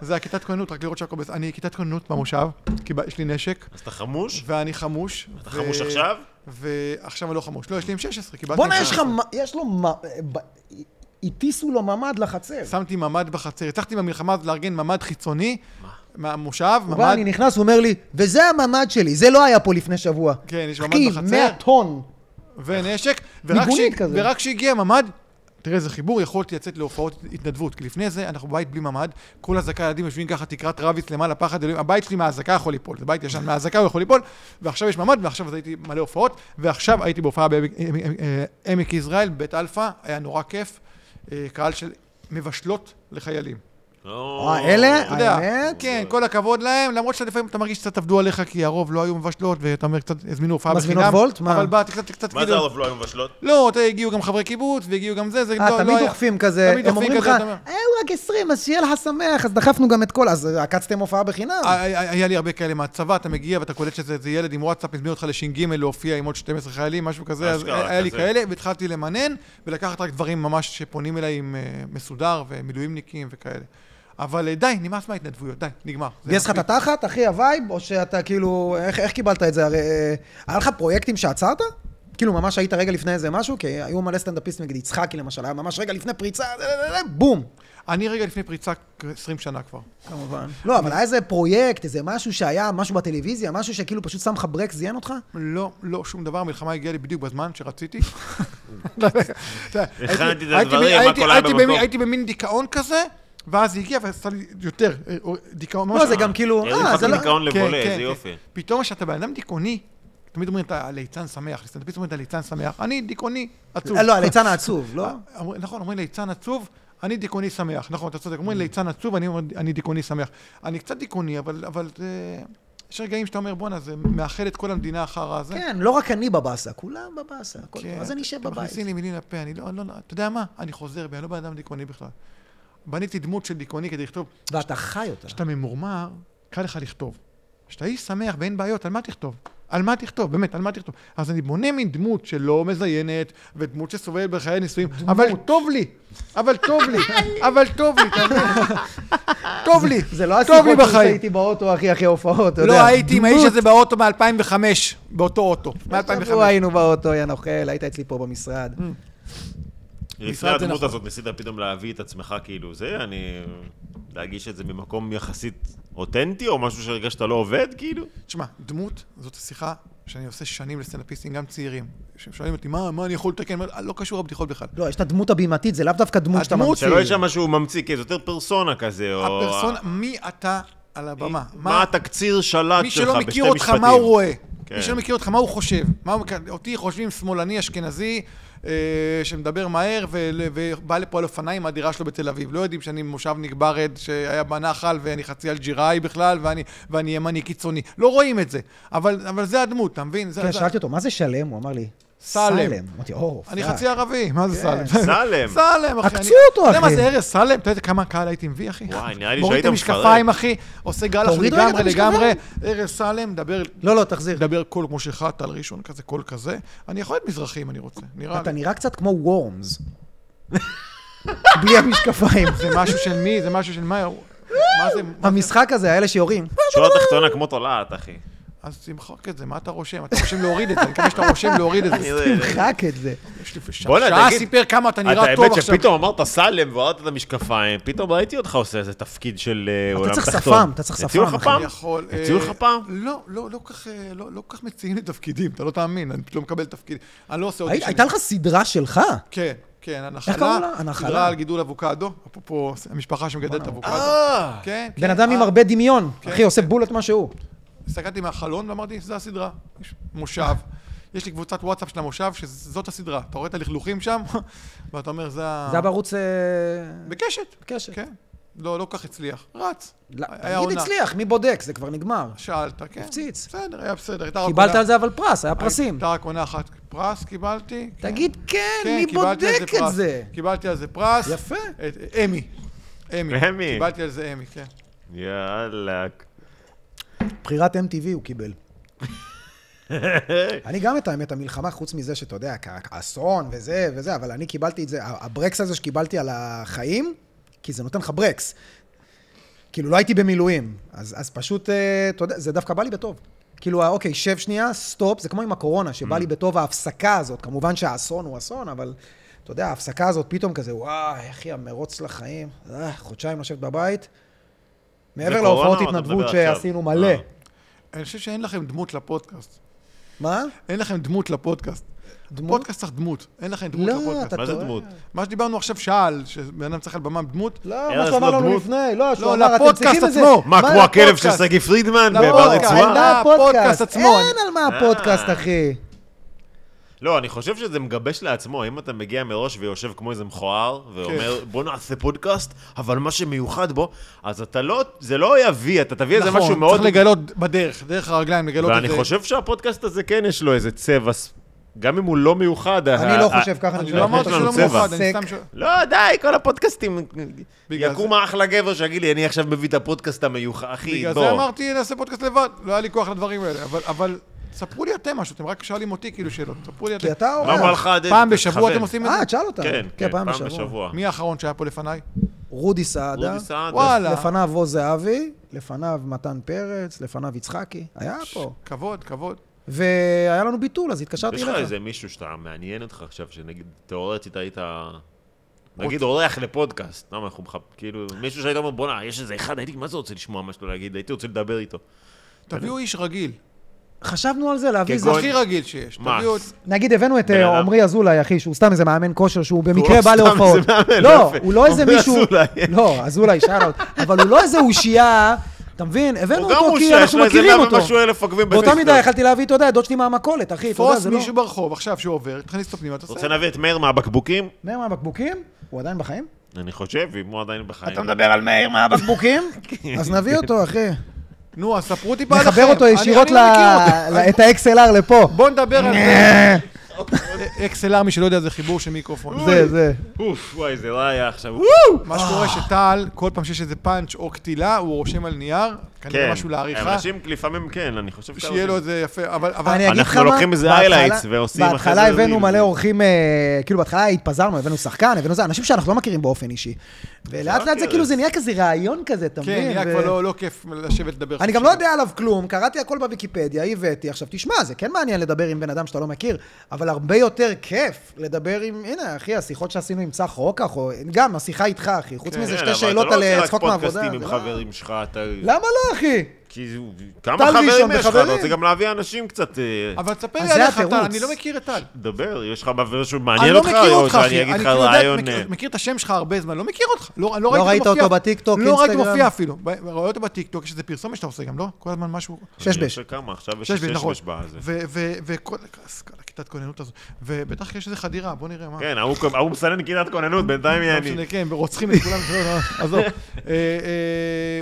[SPEAKER 2] זה הכיתת כוננות, רק לראות שהכל בסדר. אני כיתת כוננות במושב, כי ב- יש לי נשק,
[SPEAKER 3] אז אתה חמוש?
[SPEAKER 2] ואני חמוש.
[SPEAKER 3] אתה
[SPEAKER 2] ו-
[SPEAKER 3] חמוש עכשיו?
[SPEAKER 2] ועכשיו אני לא חמוש. לא, יש לי עם 16, קיבלתי...
[SPEAKER 1] בואנה,
[SPEAKER 2] עם
[SPEAKER 1] יש לך...
[SPEAKER 2] 16.
[SPEAKER 1] מ- יש לו... מ- אה, ב- הטיסו לו ממ"ד לחצר.
[SPEAKER 2] שמתי ממ"ד בחצר. הצלחתי במלחמה הזאת לארגן ממ"ד חיצוני, מהמושב,
[SPEAKER 1] הוא בא,
[SPEAKER 2] ממ"ד...
[SPEAKER 1] אני נכנס, הוא אומר לי, וזה הממ"ד שלי, זה לא היה פה לפני שבוע.
[SPEAKER 2] כן, יש ממ"ד בחצר.
[SPEAKER 1] אחי, 100 טון.
[SPEAKER 2] ונשק, ורק,
[SPEAKER 1] מיגונית כזה.
[SPEAKER 2] ורק שהגיע ממ"ד, תראה איזה חיבור, יכולתי לצאת להופעות התנדבות, כי לפני זה אנחנו בבית בלי ממ"ד, כל אזעקה ילדים יושבים ככה, תקרת רביץ למעלה, פחד אלוהים, הבית שלי מהאזעקה יכול ליפול, זה בית ישן, מהאזעקה הוא יכול ליפול, ועכשיו יש ממ"ד, ועכשיו אז הייתי מלא הופעות, ועכשיו הייתי בהופעה בעמק עמק- אה, עמק יזרעאל, בית אלפא, היה נורא כיף, אה, קהל של מבשלות לחיילים.
[SPEAKER 3] לא.
[SPEAKER 1] אה, אלה?
[SPEAKER 2] אתה יודע,
[SPEAKER 1] האמת?
[SPEAKER 2] כן, כל הכבוד להם, למרות שלפעמים אתה מרגיש שקצת עבדו עליך, כי הרוב לא היו מבשלות, ואתה אומר, קצת הזמינו הופעה בחינם.
[SPEAKER 1] מזמינות וולט? מה?
[SPEAKER 2] אבל באתי קצת, קצת,
[SPEAKER 3] מה זה הרוב לא היו מבשלות?
[SPEAKER 2] לא, אתה יודע, הגיעו גם חברי קיבוץ, והגיעו גם זה, זה לא,
[SPEAKER 1] אה,
[SPEAKER 2] לא
[SPEAKER 1] תמיד דוחפים כזה,
[SPEAKER 2] תמיד
[SPEAKER 1] הם
[SPEAKER 2] דוחפים
[SPEAKER 1] אומרים לך,
[SPEAKER 2] כזה, אתה אומר.
[SPEAKER 1] אה, הוא רק 20, אז שיהיה לך שמח, אז דחפנו גם את כל, אז עקצתם הופעה בחינם.
[SPEAKER 2] היה אה, היה לי הרבה כאלה מהצבא, אתה מגיע ואתה קולט שזה איזה ילד עם וואטסאפ, הזמין אותך לש"ג להופיע עם עוד 12 חיילים, משהו כזה, אז
[SPEAKER 3] אשכרה,
[SPEAKER 2] היה לי
[SPEAKER 3] כזה.
[SPEAKER 2] כאלה, והתחלתי למנן, ולקחת רק דברים ממש שפונים אליי עם אה, מסודר, ומילואימניקים וכאלה. אבל אה, די, נמאס מההתנדבויות, די, נגמר. זה
[SPEAKER 1] גייס לך את
[SPEAKER 2] מספיק.
[SPEAKER 1] התחת, אחי, הווייב, או שאתה כאילו, איך, איך קיבלת את זה? הרי אה, היה לך פרויקטים שעצרת? כאילו, ממש היית רגע לפני איזה משהו? כי היו מלא סטנדאפיסטים, נגיד יצחקי למשל, היה ממש רגע לפני פריצה, זה, זה, זה, זה, בום.
[SPEAKER 2] אני רגע לפני פריצה כ- 20 שנה כבר.
[SPEAKER 1] כמובן. לא, אבל היה איזה פרויקט, איזה משהו שהיה, משהו בטלוויזיה, משהו שכאילו פשוט שם לך ברקס, זיין אותך?
[SPEAKER 2] לא, לא, שום דבר, המלחמה הגיעה לי בדיוק בזמן שרציתי.
[SPEAKER 3] הכנתי את
[SPEAKER 2] הייתי-
[SPEAKER 3] הדברים,
[SPEAKER 2] הייתי-
[SPEAKER 3] הכל היה
[SPEAKER 2] הייתי במין-
[SPEAKER 3] במקום.
[SPEAKER 2] הייתי במין דיכאון כזה, ואז היא הגיעה ועשתה לי יותר אה, אה, דיכאון. ממש-
[SPEAKER 1] לא, זה גם כאילו,
[SPEAKER 3] הראו
[SPEAKER 1] אה,
[SPEAKER 3] לך
[SPEAKER 1] זה לא...
[SPEAKER 3] דיכאון
[SPEAKER 2] כן,
[SPEAKER 3] לבולה,
[SPEAKER 2] כן,
[SPEAKER 3] איזה
[SPEAKER 2] כן.
[SPEAKER 3] יופי.
[SPEAKER 2] פתאום כשאתה בן אדם דיכאוני, תמיד אומרים אתה ליצן שמח, סטנדאפיסט אומרים אתה ליצן שמח, אני דיכאוני עצוב.
[SPEAKER 1] אה, לא, הליצן העצוב, לא?
[SPEAKER 2] אמרו- נכון, אומרים ליצן עצוב, אני דיכאוני שמח. נכון, אתה צודק, אומרים ליצן עצוב, אני אומר, אני דיכאוני שמח. אני קצת דיכאוני, אבל אבל זה... יש רגעים שאתה אומר, בואנה, זה מאחד את כל המדינה אחר הזה.
[SPEAKER 1] כן, לא רק אני בבאסה, כולם בבאסה, הכל-
[SPEAKER 2] כן,
[SPEAKER 1] אז אני אשב
[SPEAKER 2] אתם
[SPEAKER 1] בבית.
[SPEAKER 2] מכניסים לי מילים לפה, אני לא, לא, לא, אתה יודע מה? אני חוזר בי, אני לא בן אדם דיכאוני בכלל. בניתי דמות של דיכאוני כדי לכתוב,
[SPEAKER 1] ואתה חי אותה.
[SPEAKER 2] כשאתה ממורמר, קל לך לכתוב. כשאתה איש שמח ואין בעיות, על מה תכתוב? על מה תכתוב? באמת, על מה תכתוב? אז אני בונה מין דמות שלא מזיינת, ודמות שסובלת בחיי נישואים, אבל טוב לי, אבל טוב לי, אבל טוב לי, אתה מבין? טוב לי,
[SPEAKER 1] זה לא
[SPEAKER 2] טוב לי
[SPEAKER 1] השיחות שעושה
[SPEAKER 2] בחיים.
[SPEAKER 1] איתי באוטו, אחי, אחרי הופעות, אתה יודע.
[SPEAKER 2] לא הייתי עם האיש
[SPEAKER 1] דמות.
[SPEAKER 2] הזה באוטו מ-2005, באותו אוטו,
[SPEAKER 1] שבוע
[SPEAKER 2] מ-2005.
[SPEAKER 1] היינו באוטו, יא נוכל, היית אצלי פה
[SPEAKER 2] Mm.
[SPEAKER 1] במשרד.
[SPEAKER 3] לפני
[SPEAKER 2] משרד זה
[SPEAKER 3] הדמות
[SPEAKER 2] נכון.
[SPEAKER 3] הזאת ניסית פתאום להביא את עצמך כאילו זה, אני... להגיש את זה ממקום יחסית אותנטי, או משהו שהרגשת לא עובד, כאילו?
[SPEAKER 2] תשמע, דמות זאת שיחה שאני עושה שנים לסטנדאפיסטים, גם צעירים. שהם שואלים אותי, מה, מה אני יכול לתקן? אני אומר, לא קשור הבדיחות בכלל.
[SPEAKER 1] לא, יש את הדמות הבימתית, זה לאו דווקא דמות שאתה
[SPEAKER 2] הדמות
[SPEAKER 1] ממציא.
[SPEAKER 3] שלא יהיה שם משהו ממציא, כי זה יותר פרסונה כזה, או...
[SPEAKER 2] הפרסונה, מי אתה על הבמה?
[SPEAKER 3] אה. מה התקציר שלט
[SPEAKER 2] מי
[SPEAKER 3] שלך
[SPEAKER 2] שלא
[SPEAKER 3] בשתי
[SPEAKER 2] מכיר אותך,
[SPEAKER 3] משפטים?
[SPEAKER 2] מה הוא רואה?
[SPEAKER 3] כן.
[SPEAKER 2] מי שלא מכיר אותך, מה הוא חושב? מה הוא- אותי חושבים שמאלני אשכנזי אה, שמדבר מהר ול- ובא לפה על אופניים מהדירה שלו בתל אביב. לא יודעים שאני מושבניק ברד שהיה בנחל ואני חצי אלג'יראי בכלל ואני- ואני ימני קיצוני. לא רואים את זה, אבל אבל זה הדמות, אתה מבין? זה-
[SPEAKER 1] כן,
[SPEAKER 2] זה-
[SPEAKER 1] שאלתי אותו, מה זה שלם? הוא אמר לי,
[SPEAKER 2] סלם.
[SPEAKER 1] אמרתי, או,
[SPEAKER 2] אני
[SPEAKER 1] פאק.
[SPEAKER 2] חצי ערבי, מה זה סלם?
[SPEAKER 3] סלם.
[SPEAKER 2] סלם, אחי.
[SPEAKER 1] כן. עקצו
[SPEAKER 2] אני-
[SPEAKER 1] אותו,
[SPEAKER 2] אתה יודע מה
[SPEAKER 1] אחי.
[SPEAKER 2] זה ארז סלם? אתה יודע כמה קהל הייתי מביא, אחי?
[SPEAKER 3] וואי, נראה לי
[SPEAKER 2] מוריד את
[SPEAKER 3] שהיית
[SPEAKER 2] המשקפיים, אחי, עושה גלח
[SPEAKER 1] תוריד רגע את
[SPEAKER 2] לגמרי, לגמרי.
[SPEAKER 1] המשקפיים.
[SPEAKER 2] ארז סלם, מדבר...
[SPEAKER 1] לא, לא, תחזיר.
[SPEAKER 2] לדבר קול כמו שלך, טל ראשון, כזה קול כזה. אני יכול להיות מזרחי אם אני רוצה, נראה
[SPEAKER 1] אתה
[SPEAKER 2] לי.
[SPEAKER 1] נראה קצת כמו וורמס. בלי המשקפיים.
[SPEAKER 2] זה משהו של מי? זה משהו של מה? מה זה... מה זה-
[SPEAKER 1] המשחק הזה, האלה שיורים.
[SPEAKER 3] שורה תחתונה כמו תולעת, אחי.
[SPEAKER 2] אז תמחק את זה, מה אתה רושם? אתה רושם להוריד את זה, אני מקווה שאתה רושם להוריד את
[SPEAKER 3] אני
[SPEAKER 2] זה.
[SPEAKER 3] יודע.
[SPEAKER 1] תמחק את זה.
[SPEAKER 2] יש לי ש-
[SPEAKER 3] בוא'נה,
[SPEAKER 2] שעה
[SPEAKER 3] תגיד,
[SPEAKER 2] סיפר כמה אתה
[SPEAKER 3] אתה
[SPEAKER 2] נראה
[SPEAKER 3] האמת
[SPEAKER 2] טוב עכשיו.
[SPEAKER 3] שפתאום אמרת סלם והורדת את המשקפיים, פתאום ראיתי אותך עושה איזה תפקיד של אה,
[SPEAKER 1] אתה
[SPEAKER 3] עולם
[SPEAKER 1] צריך
[SPEAKER 3] תחתון.
[SPEAKER 1] שפם, אתה צריך
[SPEAKER 3] הציעו
[SPEAKER 1] שפם,
[SPEAKER 3] לך
[SPEAKER 1] אחי.
[SPEAKER 3] פעם?
[SPEAKER 2] אני יכול... אה,
[SPEAKER 3] הציעו לך פעם?
[SPEAKER 2] לא, לא, לא כך, אה, לא לא כך מציעים לי תפקידים, אתה לא תאמין, אני פשוט לא מקבל תפקיד. אני לא עושה
[SPEAKER 1] הי-
[SPEAKER 2] אודישנים.
[SPEAKER 1] הייתה לך סדרה שלך?
[SPEAKER 2] כן, כן, הנחלה.
[SPEAKER 1] איך קראו לה? הנחלה.
[SPEAKER 2] סדרה על גידול אבוקדו, אפרופו המשפחה שמגדלת אבוקדו.
[SPEAKER 3] אה,
[SPEAKER 2] כן, כן.
[SPEAKER 1] בן אדם עם
[SPEAKER 2] אה,
[SPEAKER 1] הרבה דמיון. אחי,
[SPEAKER 2] כן.
[SPEAKER 1] עושה בול את מה שהוא.
[SPEAKER 2] הסתכלתי מהחלון ואמרתי, זו הסדרה. יש מושב. יש לי קבוצת וואטסאפ של המושב, שזאת הסדרה. אתה רואה את הלכלוכים שם, ואתה אומר, זה ה...
[SPEAKER 1] זה היה בערוץ... אה,
[SPEAKER 2] בקשת.
[SPEAKER 1] בקשת.
[SPEAKER 2] כן. לא, לא כך הצליח. רץ.
[SPEAKER 1] לא,
[SPEAKER 2] היה
[SPEAKER 1] תגיד
[SPEAKER 2] עונה.
[SPEAKER 1] הצליח, מי בודק? זה כבר נגמר.
[SPEAKER 2] שאלת, כן.
[SPEAKER 1] הפציץ.
[SPEAKER 2] בסדר, היה בסדר. הייתה רק
[SPEAKER 1] קיבלת
[SPEAKER 2] עונה-
[SPEAKER 1] על זה אבל פרס,
[SPEAKER 2] אה,
[SPEAKER 1] היה פרסים.
[SPEAKER 2] הייתה רק עונה אחת פרס, קיבלתי. כן.
[SPEAKER 1] תגיד, כן,
[SPEAKER 2] כן,
[SPEAKER 1] מי
[SPEAKER 2] קיבלתי על
[SPEAKER 1] בודק את
[SPEAKER 2] פרס.
[SPEAKER 1] זה?
[SPEAKER 2] קיבלתי על זה פרס.
[SPEAKER 1] יפה.
[SPEAKER 2] את- אמי. אמי.
[SPEAKER 3] אמי.
[SPEAKER 2] קיבלתי על זה אמי, כן.
[SPEAKER 3] יאללה.
[SPEAKER 1] בחירת MTV הוא קיבל. אני גם את האמת, המלחמה, חוץ מזה שאתה יודע, כ- האסון וזה וזה, אבל אני קיבלתי את זה, ה- הברקס הזה שקיבלתי על החיים, כי זה נותן לך ברקס. כאילו, לא הייתי במילואים, אז, אז פשוט, אה, אתה יודע, זה דווקא בא לי בטוב. כאילו, אה, אוקיי, שב שנייה, סטופ, זה כמו עם הקורונה, שבא
[SPEAKER 3] Mm.
[SPEAKER 1] לי בטוב ההפסקה הזאת. כמובן שהאסון הוא אסון, אבל אתה יודע, ההפסקה הזאת פתאום כזה, וואי, אחי, המרוץ לחיים, אה, חודשיים לשבת בבית. מעבר
[SPEAKER 3] זה קורונה
[SPEAKER 1] להופעות
[SPEAKER 3] או אתה
[SPEAKER 1] התנדבות
[SPEAKER 3] מדבר עכשיו?
[SPEAKER 1] שעשינו מלא.
[SPEAKER 3] אה.
[SPEAKER 2] אני חושב שאין לכם דמות לפודקאסט.
[SPEAKER 1] מה?
[SPEAKER 2] אין לכם דמות לפודקאסט.
[SPEAKER 1] דמות?
[SPEAKER 2] פודקאסט צריך דמות, אין לכם דמות
[SPEAKER 1] לא,
[SPEAKER 2] לפודקאסט.
[SPEAKER 1] אתה-
[SPEAKER 3] מה זה דמות?
[SPEAKER 2] מה שדיברנו עכשיו שעה על שבן אדם צריך על במה דמות,
[SPEAKER 1] לא,
[SPEAKER 3] ארז
[SPEAKER 1] מה שהוא אמר
[SPEAKER 3] לא
[SPEAKER 1] לנו
[SPEAKER 3] דמות.
[SPEAKER 1] לפני, לא, שהוא
[SPEAKER 2] לא,
[SPEAKER 1] אמר, אתם
[SPEAKER 2] לפודקאסט
[SPEAKER 1] צריכים איזה...
[SPEAKER 2] עצמו.
[SPEAKER 3] מה, כמו הכלב של
[SPEAKER 2] לפודקאסט?
[SPEAKER 3] שגיא פרידמן
[SPEAKER 2] לפודקאסט.
[SPEAKER 1] לא, אין
[SPEAKER 3] ברצועה?
[SPEAKER 2] אה, הפודקאסט
[SPEAKER 1] לפודקאסט,
[SPEAKER 2] עצמו,
[SPEAKER 1] אין
[SPEAKER 2] אני-
[SPEAKER 1] על מה הפודקאסט,
[SPEAKER 3] אה.
[SPEAKER 1] אחי.
[SPEAKER 3] לא, אני חושב שזה מגבש לעצמו. אם אתה מגיע מראש ויושב כמו איזה מכוער,
[SPEAKER 2] כן.
[SPEAKER 3] ואומר, בוא נעשה פודקאסט, אבל מה שמיוחד בו, אז אתה לא, זה לא יביא, אתה תביא איזה
[SPEAKER 2] נכון,
[SPEAKER 3] משהו מאוד...
[SPEAKER 2] צריך לגלות בדרך, דרך הרגליים לגלות את
[SPEAKER 3] ואני
[SPEAKER 2] זה.
[SPEAKER 3] חושב שהפודקאסט הזה כן יש לו איזה צבע, ס- גם אם הוא לא מיוחד.
[SPEAKER 1] אני לא חושב ככה,
[SPEAKER 2] אני
[SPEAKER 1] חושב
[SPEAKER 2] לא
[SPEAKER 1] שיש
[SPEAKER 2] אמרתי
[SPEAKER 1] לנו
[SPEAKER 2] שלא
[SPEAKER 1] צבע.
[SPEAKER 2] מאוחד, אני
[SPEAKER 1] סק.
[SPEAKER 2] סתם שואל.
[SPEAKER 3] לא, די, כל הפודקאסטים.
[SPEAKER 2] בגלל
[SPEAKER 3] יקום אחלה גבר שיגיד לי, אני עכשיו מביא את הפודקאסט המיוחד, אחי,
[SPEAKER 2] בגלל
[SPEAKER 3] בוא.
[SPEAKER 2] זה אמרתי, נעשה פודקאסט לבד, לא היה לי כוח לדברים האלה, אבל- אבל ספרו לי אתם משהו, אתם רק שואלים אותי כאילו שאלות, ספרו לי אתם.
[SPEAKER 1] כי אתה
[SPEAKER 3] לא אמר
[SPEAKER 1] אומר...
[SPEAKER 3] לך, עודד,
[SPEAKER 2] פעם בשבוע
[SPEAKER 3] תכוון.
[SPEAKER 2] אתם עושים את
[SPEAKER 1] אה,
[SPEAKER 2] זה?
[SPEAKER 1] תשאל אותנו.
[SPEAKER 3] כן, כן, פעם בשבוע.
[SPEAKER 2] מי האחרון שהיה פה לפניי?
[SPEAKER 1] רודי סעדה.
[SPEAKER 3] רודי סעדה.
[SPEAKER 2] וואלה.
[SPEAKER 1] לפניו עוז זהבי, לפניו מתן פרץ, לפניו יצחקי. היה פה.
[SPEAKER 2] כבוד, כבוד.
[SPEAKER 1] והיה לנו ביטול, אז התקשרתי
[SPEAKER 3] יש
[SPEAKER 1] אליך.
[SPEAKER 3] לך איזה מישהו שאתה מעניין אותך עכשיו, שנגיד, תיאורטית היית...
[SPEAKER 1] אוקיי.
[SPEAKER 3] נגיד אורח לפודקאסט, למה אנחנו מחפ... כאילו, מישהו שהיית אומר, בואנה, יש איזה אחד, הייתי, מה זה רוצה לשמוע מה שלו להגיד, הייתי רוצה לדבר איתו.
[SPEAKER 1] כן,
[SPEAKER 2] תביאו איש רגיל,
[SPEAKER 1] חשבנו על זה, להביא איזה...
[SPEAKER 3] כגון-
[SPEAKER 2] הכי רגיל שיש.
[SPEAKER 3] מה?
[SPEAKER 2] תביאו את...
[SPEAKER 1] נגיד הבאנו את
[SPEAKER 3] בן
[SPEAKER 1] אה,
[SPEAKER 3] אדם.
[SPEAKER 1] עמרי אזולאי, אחי, שהוא סתם איזה מאמן כושר, שהוא
[SPEAKER 3] לא
[SPEAKER 1] במקרה בא
[SPEAKER 3] סתם
[SPEAKER 1] להופעות.
[SPEAKER 3] איזה מאמן, לא
[SPEAKER 1] לא,
[SPEAKER 3] יפה.
[SPEAKER 1] הוא לא איזה
[SPEAKER 3] עמרי
[SPEAKER 1] מישהו...
[SPEAKER 3] אזולאי.
[SPEAKER 1] לא, אזולאי, שאלות. אבל הוא לא איזה אושייה, אתה מבין? הבאנו
[SPEAKER 3] הוא גם
[SPEAKER 1] אותו
[SPEAKER 3] הוא
[SPEAKER 1] כי
[SPEAKER 3] שיש
[SPEAKER 1] אנחנו
[SPEAKER 3] לו איזה
[SPEAKER 1] מכירים
[SPEAKER 3] מאה
[SPEAKER 1] אותו.
[SPEAKER 3] ומשהו אלף עוקבים
[SPEAKER 1] באותה
[SPEAKER 3] בפייסבוק.
[SPEAKER 1] מידה יכלתי להביא, אתה יודע, את דוד שלי מהמכולת, אחי, אתה יודע,
[SPEAKER 2] תפוס
[SPEAKER 1] זה לא...
[SPEAKER 2] מישהו ברחוב עכשיו שהוא עובר, תכניס אותו פנימה,
[SPEAKER 3] רוצה
[SPEAKER 2] תעשה.
[SPEAKER 3] להביא את מאיר מהבקבוקים?
[SPEAKER 1] מאיר מהבקבוקים? הוא עדיין בחיים?
[SPEAKER 3] אני חושב, אם הוא עדיין בחיים.
[SPEAKER 1] על מאיר מהבקבוקים? אז נביא אותו, אחי.
[SPEAKER 2] נו, אז ספרו טיפה עליכם.
[SPEAKER 1] נחבר אותו
[SPEAKER 2] אני-
[SPEAKER 1] ישירות
[SPEAKER 2] אני לא מכיר אותו.
[SPEAKER 1] ל... ל- את ה-XLR לפה.
[SPEAKER 2] בוא נדבר על זה. XLR, מי שלא יודע, זה חיבור של מיקרופון.
[SPEAKER 1] זה, אה. זה.
[SPEAKER 3] אוף, וואי, זה לא היה עכשיו.
[SPEAKER 2] מה שקורה שטל, כל פעם שיש איזה פאנץ' או קטילה, הוא רושם על נייר, כנראה
[SPEAKER 1] לא
[SPEAKER 2] משהו לעריכה,
[SPEAKER 3] אנשים כן. לפעמים כן, אני חושב
[SPEAKER 2] שיהיה לו איזה יפה, אבל... אבל-
[SPEAKER 1] אני אגיד לך
[SPEAKER 3] אנחנו
[SPEAKER 1] מה,
[SPEAKER 3] לוקחים איזה
[SPEAKER 1] בהתחלה-
[SPEAKER 3] highlights ועושים אחרי
[SPEAKER 1] בהתחלה
[SPEAKER 3] זה
[SPEAKER 1] הבאנו
[SPEAKER 3] reel.
[SPEAKER 1] מלא אורחים, אה, כאילו בהתחלה התפזרנו, הבאנו שחקן, הבאנו זה, אנשים שאנחנו לא מכירים באופן אישי. ולאט
[SPEAKER 3] רק
[SPEAKER 1] לאט זה
[SPEAKER 3] ארז.
[SPEAKER 1] כאילו, זה נהיה כזה רעיון כזה, אתה מבין?
[SPEAKER 2] כן, נראה
[SPEAKER 1] ו-
[SPEAKER 2] כבר לא- לא כיף לשבת לדבר.
[SPEAKER 1] אני
[SPEAKER 2] חצי
[SPEAKER 1] גם לא
[SPEAKER 2] שעה.
[SPEAKER 1] יודע עליו כלום, קראתי הכל בוויקיפדיה, הבאתי. עכשיו, תשמע, זה כן מעניין לדבר עם בן אדם שאתה לא מכיר, אבל הרבה יותר כיף לדבר עם, הנה, אחי, השיחות שעשינו עם צח רוקח, או גם השיחה איתך, אחי, חוץ מזה שתי שאלות על אה, צחוק
[SPEAKER 3] אתה כן, לא
[SPEAKER 1] מעבודה.
[SPEAKER 3] עושה רק פודקאסטים
[SPEAKER 1] זה
[SPEAKER 3] עם
[SPEAKER 1] לא-
[SPEAKER 3] חברים שלך, אתה...
[SPEAKER 1] למה לא, אחי?
[SPEAKER 3] כי זה- כמה
[SPEAKER 1] טל
[SPEAKER 3] חברים
[SPEAKER 1] ראשון
[SPEAKER 3] יש לך, אתה
[SPEAKER 1] וחברים.
[SPEAKER 3] רוצה גם להביא אנשים קצת... אה,
[SPEAKER 2] אבל תספר
[SPEAKER 1] אז זה
[SPEAKER 2] לי עליך,
[SPEAKER 1] התירוץ.
[SPEAKER 2] טל, אני לא מכיר את טל.
[SPEAKER 3] דבר, יש לך משהו
[SPEAKER 2] אני
[SPEAKER 3] מעניין
[SPEAKER 2] לא
[SPEAKER 3] אותך?
[SPEAKER 2] מכיר
[SPEAKER 3] או
[SPEAKER 2] אותך, אחי.
[SPEAKER 3] שאני אגיד
[SPEAKER 2] אני
[SPEAKER 3] לך
[SPEAKER 2] כאילו יודע,
[SPEAKER 3] רעיון...
[SPEAKER 2] מכיר-
[SPEAKER 3] אה,
[SPEAKER 2] מכיר את השם שלך הרבה זמן, לא מכיר אותך. לא לא
[SPEAKER 1] ראית
[SPEAKER 2] ראיתי
[SPEAKER 1] אותו בטיקטוק,
[SPEAKER 2] לא ראיתי
[SPEAKER 1] אינסטגרם?
[SPEAKER 2] מופיע אפילו. ב- רואה אותו בטיקטוק, יש איזה פרסומת שאתה עושה גם, לא? כל הזמן משהו...
[SPEAKER 1] שש
[SPEAKER 3] אני
[SPEAKER 1] בש.
[SPEAKER 3] עושה כמה, עכשיו יש לי
[SPEAKER 2] שש בש, נכון.
[SPEAKER 3] שש בש בזה.
[SPEAKER 2] ו- ו- וכל אז, כל הכיתת כוננות הזו. ובטח יש איזה חדירה, בוא נראה מה.
[SPEAKER 3] כן, ההוא כ- ההוא מסנן כיתת כוננות, בינתיים
[SPEAKER 2] לא
[SPEAKER 3] יעני.
[SPEAKER 2] משנה, כן, ורוצחים את כולם, לא, לא, עזוב. אה, אה,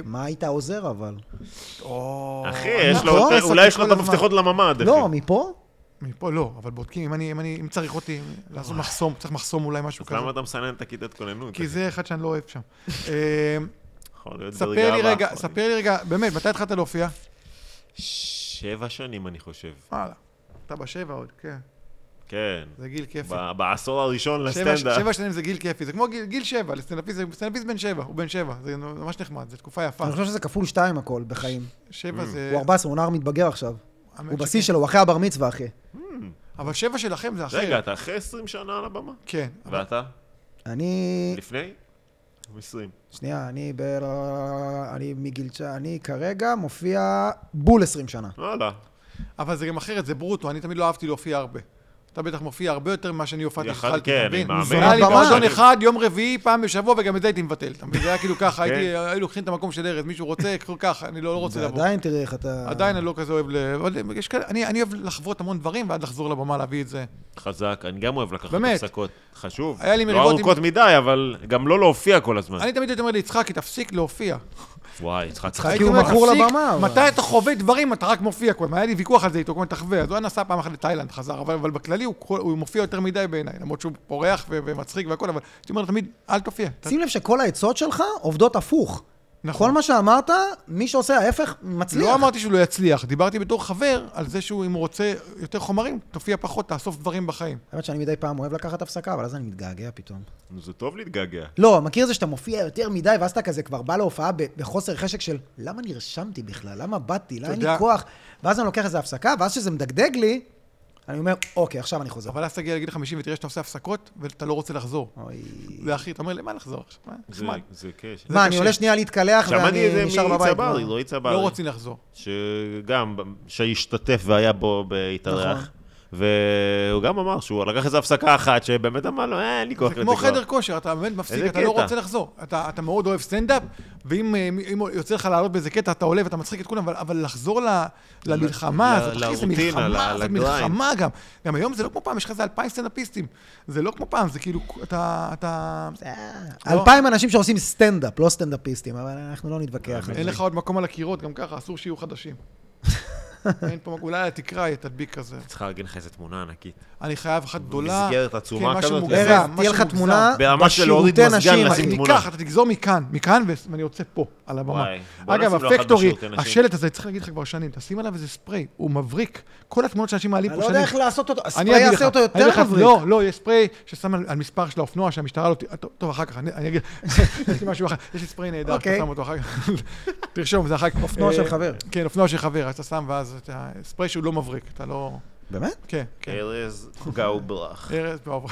[SPEAKER 1] מה היית עוזר, אבל?
[SPEAKER 2] או,
[SPEAKER 3] אחי,
[SPEAKER 2] אני
[SPEAKER 3] יש לו,
[SPEAKER 2] לא
[SPEAKER 3] יותר-
[SPEAKER 2] עסק
[SPEAKER 3] אולי יש לו
[SPEAKER 2] כל
[SPEAKER 3] את
[SPEAKER 2] הזמן.
[SPEAKER 3] המפתחות לממ"ד,
[SPEAKER 1] לא,
[SPEAKER 3] אחי.
[SPEAKER 1] מפה?
[SPEAKER 2] מפה לא, אבל בודקים, אם אני, אם אני, אם צריך אותי, לעשות מחסום, צריך מחסום אולי משהו
[SPEAKER 3] אז
[SPEAKER 2] כזה.
[SPEAKER 3] למה אתה מסנן את הכיתת כוננות?
[SPEAKER 2] כי זה אחד שאני לא אוהב שם. אה,
[SPEAKER 3] יכול להיות
[SPEAKER 2] ספר
[SPEAKER 3] ברגע
[SPEAKER 2] לי
[SPEAKER 3] הבא.
[SPEAKER 2] רגע, ספר לי רגע, באמת, מתי התחלת להופיע?
[SPEAKER 3] שבע שנים, אני חושב.
[SPEAKER 2] וואלה, אתה בשבע עוד, כן.
[SPEAKER 3] כן.
[SPEAKER 2] זה גיל כיפי.
[SPEAKER 3] ב- בעשור הראשון
[SPEAKER 2] שבע-
[SPEAKER 3] לסטנדאפ.
[SPEAKER 2] שבע שנים זה גיל כיפי, זה כמו גיל גיל שבע, לסטנדאפיסט זה- סטנדאפיסט בן שבע, הוא בן שבע, זה ממש נחמד, זו תקופה יפה.
[SPEAKER 1] אני חושב שזה כפול שתיים הכל בחיים.
[SPEAKER 3] Mm.
[SPEAKER 2] שבע זה...
[SPEAKER 1] הוא 14, הוא נער מתבגר עכשיו.
[SPEAKER 2] האמת
[SPEAKER 1] הוא
[SPEAKER 2] שכן.
[SPEAKER 1] בשיא שלו, הוא אחרי הבר מצווה, אחי.
[SPEAKER 2] אבל שבע שלכם זה אחר.
[SPEAKER 3] רגע, אתה אחרי 20 שנה על הבמה?
[SPEAKER 2] כן. אבל-
[SPEAKER 3] ואתה?
[SPEAKER 1] אני...
[SPEAKER 3] לפני? 20.
[SPEAKER 1] שנייה, אני ב... אני מגיל... ש- אני כרגע מופיע בול 20
[SPEAKER 2] לא
[SPEAKER 1] שנה.
[SPEAKER 3] וואלה.
[SPEAKER 2] אבל זה גם אחרת, זה ברוטו, אני תמיד לא אהבתי להופיע הרבה. אתה בטח מופיע הרבה יותר ממה שאני הופעתי,
[SPEAKER 3] יכל-
[SPEAKER 2] התחלתי,
[SPEAKER 3] כן,
[SPEAKER 2] אתה
[SPEAKER 3] אני
[SPEAKER 2] מבין?
[SPEAKER 3] מאמין.
[SPEAKER 2] היה לי
[SPEAKER 1] זונות במה.
[SPEAKER 2] מועדון
[SPEAKER 3] אני-
[SPEAKER 2] אחד, יום רביעי, פעם בשבוע, וגם את זה הייתי מבטל. אתה מבין? זה היה כאילו ככה,
[SPEAKER 3] כן.
[SPEAKER 2] הייתי- היו לוקחים את המקום של ארז, מישהו רוצה, קחו ככה, אני לא לא רוצה לבוא.
[SPEAKER 1] ועדיין תראה איך אתה...
[SPEAKER 2] עדיין אני לא כזה אוהב ל... אבל יש כאלה, אני אני אוהב לחוות המון דברים, ואז לחזור לבמה להביא את זה.
[SPEAKER 3] חזק, אני גם אוהב לקחת
[SPEAKER 2] באמת.
[SPEAKER 3] הפסקות. חשוב.
[SPEAKER 2] היה לי
[SPEAKER 3] לא
[SPEAKER 2] מריבות עם-
[SPEAKER 3] ארוכות מדי, אבל גם לא להופיע כל
[SPEAKER 1] אה.
[SPEAKER 3] הזמן.
[SPEAKER 2] אני תמיד הייתי אומר ליצחקי, תפסיק להופיע.
[SPEAKER 3] וואי, יצחק.
[SPEAKER 1] יצחק,
[SPEAKER 2] הייתי
[SPEAKER 1] הוא
[SPEAKER 2] אומר,
[SPEAKER 1] מכור
[SPEAKER 2] "תפסיק,
[SPEAKER 1] לבמה, אבל."
[SPEAKER 2] מתי אתה חווה דברים, אתה רק מופיע כבר. היה לי ויכוח על זה איתו, כל הזמן תחווה. אז הוא היה נסע פעם אחת לתאילנד, חזר, אבל, אבל בכללי הוא, כל- הוא מופיע יותר מדי בעיניי, למרות שהוא פורח ו- ומצחיק והכל, אבל הייתי אומר לו תמיד, אל תופיע. ת-
[SPEAKER 1] שים לב שכל העצות שלך עובדות הפוך.
[SPEAKER 2] נכון.
[SPEAKER 1] כל מה שאמרת, מי שעושה ההפך, מצליח.
[SPEAKER 2] לא אמרתי שהוא לא יצליח, דיברתי בתור חבר על זה שהוא, אם הוא רוצה יותר חומרים, תופיע פחות, תאסוף דברים בחיים.
[SPEAKER 1] האמת שאני מדי פעם אוהב לקחת הפסקה, אבל אז אני מתגעגע פתאום.
[SPEAKER 3] זה טוב להתגעגע.
[SPEAKER 1] לא, מכיר זה שאתה מופיע יותר מדי, ואז אתה כזה כבר בא להופעה ב- בחוסר חשק של למה נרשמתי בכלל? למה באתי? למה אין לי
[SPEAKER 2] יודע-
[SPEAKER 1] כוח? ואז אני לוקח איזה הפסקה, ואז כשזה מדגדג לי, אני אומר, אוקיי, עכשיו אני חוזר.
[SPEAKER 2] אבל אז תגיע לגיל 50 ותראה שאתה עושה הפסקות, ואתה לא רוצה לחזור.
[SPEAKER 1] אוי.
[SPEAKER 2] זה הכי, אתה אומר, למה לחזור עכשיו? מה?
[SPEAKER 3] זה-
[SPEAKER 2] נחמד.
[SPEAKER 3] זה קש.
[SPEAKER 1] מה, אני
[SPEAKER 2] קשה.
[SPEAKER 1] עולה שנייה להתקלח
[SPEAKER 3] שמעתי את
[SPEAKER 1] ואני
[SPEAKER 3] זה
[SPEAKER 1] נשאר בבית.
[SPEAKER 3] מצברי,
[SPEAKER 1] מה?
[SPEAKER 3] רועי צברי.
[SPEAKER 2] לא רוצים לחזור.
[SPEAKER 3] שגם, שהשתתף והיה בו
[SPEAKER 1] נכון.
[SPEAKER 3] בהתארח. והוא גם אמר שהוא לקח איזו הפסקה אחת, שבאמת אמר לו, אה, אין לי כוח
[SPEAKER 2] זה
[SPEAKER 3] לזה
[SPEAKER 2] כמו
[SPEAKER 3] כבר."
[SPEAKER 2] חדר כושר, אתה באמת מפסיק,
[SPEAKER 3] איזה
[SPEAKER 2] אתה לא
[SPEAKER 3] קטע.
[SPEAKER 2] רוצה לחזור. אתה אתה מאוד אוהב סטנדאפ, ואם אה, מי- אם יוצא לך לעלות באיזה קטע, אתה עולה ואתה מצחיק את כולם, אבל- אבל לחזור ל- למלחמה,
[SPEAKER 3] ל-
[SPEAKER 2] זאת אחי, זה
[SPEAKER 3] לרוטינה,
[SPEAKER 2] מלחמה,
[SPEAKER 3] ל-
[SPEAKER 2] זאת
[SPEAKER 3] לגריינד.
[SPEAKER 2] מלחמה גם. גם היום זה לא כמו פעם, יש לך איזה אלפיים סטנדאפיסטים. זה לא כמו פעם, זה כאילו, אתה... אתה-
[SPEAKER 3] לא.
[SPEAKER 1] אה, אלפיים אנשים שעושים סטנדאפ, לא סטנדאפיסטים, אבל אנחנו לא נתווכח
[SPEAKER 3] אה,
[SPEAKER 1] על
[SPEAKER 2] אין
[SPEAKER 1] זה.
[SPEAKER 2] לך עוד מקום על הקירות, גם ככה, אסור שיהיו חדשים. אין פה, מקום, אולי על התקרה תדביק כזה.
[SPEAKER 3] צריכה לארגן לך איזה תמונה ענקית.
[SPEAKER 2] אני חייב אחת גדולה.
[SPEAKER 3] במסגרת עצומה
[SPEAKER 2] כן, משהו
[SPEAKER 3] כזאת,
[SPEAKER 2] מוגזם,
[SPEAKER 1] ארז,
[SPEAKER 2] משהו
[SPEAKER 1] תהיה לך
[SPEAKER 2] מוגזם.
[SPEAKER 1] תמונה
[SPEAKER 3] ברמה של להוריד
[SPEAKER 1] בשירותי
[SPEAKER 3] מזגן,
[SPEAKER 1] נשים.
[SPEAKER 3] לשים
[SPEAKER 2] אני
[SPEAKER 3] תמונה.
[SPEAKER 2] אקח, אתה תגזור מכאן, מכאן, ו- ואני יוצא פה, על הבמה.
[SPEAKER 3] וואי, בוא
[SPEAKER 2] אגב,
[SPEAKER 3] נשים לו אחת
[SPEAKER 2] הפקטורי,
[SPEAKER 3] בשירותי נשים.
[SPEAKER 2] השלט הזה, צריך להגיד לך כבר שנים, תשים עליו איזה ספריי, הוא מבריק. כל התמונות שאנשים מעלים
[SPEAKER 1] אני
[SPEAKER 2] פה
[SPEAKER 1] לא
[SPEAKER 2] שנים.
[SPEAKER 1] יודע איך לעשות אותו,
[SPEAKER 2] אני
[SPEAKER 1] הספרי
[SPEAKER 2] אגיד
[SPEAKER 1] יעשה
[SPEAKER 2] לך,
[SPEAKER 1] אותו
[SPEAKER 2] אני
[SPEAKER 1] יותר
[SPEAKER 2] אגיד לך,
[SPEAKER 1] מבריק.
[SPEAKER 2] לא, לא, יש ספרי ששם על על מספר של האופנוע, שהמשטרה לא... ת- טוב, אחר כך, אני אני אגיד, יש לי משהו אחר, יש לי ספרי נהדר, אתה
[SPEAKER 1] אוקיי.
[SPEAKER 2] שם אותו אחר כך. תרשום, זה אחר כך.
[SPEAKER 1] אופנוע
[SPEAKER 2] אה,
[SPEAKER 1] של חבר.
[SPEAKER 2] כן, אופנוע של חבר, אז אתה שם, ואז אתה- ספרי שהוא לא מבריק, אתה לא...
[SPEAKER 1] באמת?
[SPEAKER 2] כן, כן.
[SPEAKER 3] ארז גאובלח.
[SPEAKER 2] ארז, טוב.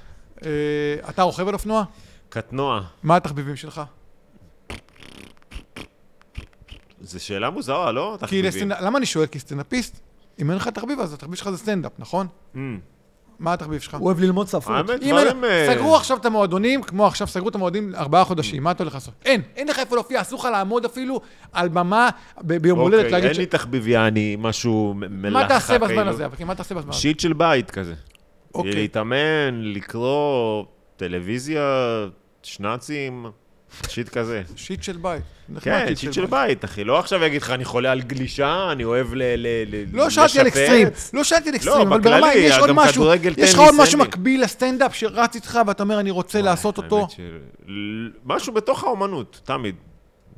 [SPEAKER 2] אה, אתה רוכב על אופנוע?
[SPEAKER 3] קטנוע.
[SPEAKER 2] מה התחביבים שלך?
[SPEAKER 3] זו שאלה מוזרה, לא?
[SPEAKER 2] כי
[SPEAKER 3] תחביבים.
[SPEAKER 2] לסטנדאפ, למה אני שואל? כי סטנדאפיסט, אם אין לך תחביב, אז התחביב שלך זה סטנדאפ, נכון?
[SPEAKER 3] אמ,
[SPEAKER 2] מה התחביב שלך?
[SPEAKER 1] הוא אוהב ללמוד שפות.
[SPEAKER 3] האמת,
[SPEAKER 2] אם אין-
[SPEAKER 3] דברים... אה, Mm.
[SPEAKER 2] סגרו עכשיו את המועדונים, כמו עכשיו סגרו את המועדונים ארבעה חודשים, מה אתה הולך לעשות? אין, אין לך איפה להופיע, אסור לך לעמוד אפילו על במה ב- ביום הולדת,
[SPEAKER 3] אוקיי,
[SPEAKER 2] להגיד
[SPEAKER 3] אין
[SPEAKER 2] ש...
[SPEAKER 3] לי תחביב יעני, משהו מ- מלאכה.
[SPEAKER 2] מה תעשה בזמן
[SPEAKER 3] כאילו.
[SPEAKER 2] הזה? אבל כן, מה תעשה בזמן הזה?
[SPEAKER 3] שיט של בית כזה.
[SPEAKER 2] אוקיי.
[SPEAKER 3] להתאמן, לקרוא, טלוויזיה, שנאצים, שיט כזה.
[SPEAKER 2] שיט של בית. נחמד,
[SPEAKER 3] כן, שיט של בית, אחי. לא עכשיו יגיד לך, אני חולה על גלישה, אני אוהב ל... ל- ל-
[SPEAKER 2] לא שאלתי על
[SPEAKER 3] לשפץ."
[SPEAKER 2] אקסטרים, לא שאלתי על אקסטרים, אבל
[SPEAKER 3] בכללי,
[SPEAKER 2] ברמה, אם יש
[SPEAKER 3] גם
[SPEAKER 2] עוד משהו,
[SPEAKER 3] כדורגל,
[SPEAKER 2] יש לך
[SPEAKER 3] טניס,
[SPEAKER 2] עוד משהו
[SPEAKER 3] אין לי.
[SPEAKER 2] מקביל לסטנדאפ שרץ איתך ואתה אומר, אני רוצה לעשות
[SPEAKER 3] האמת
[SPEAKER 2] אותו?
[SPEAKER 3] של- משהו בתוך האומנות, תמיד.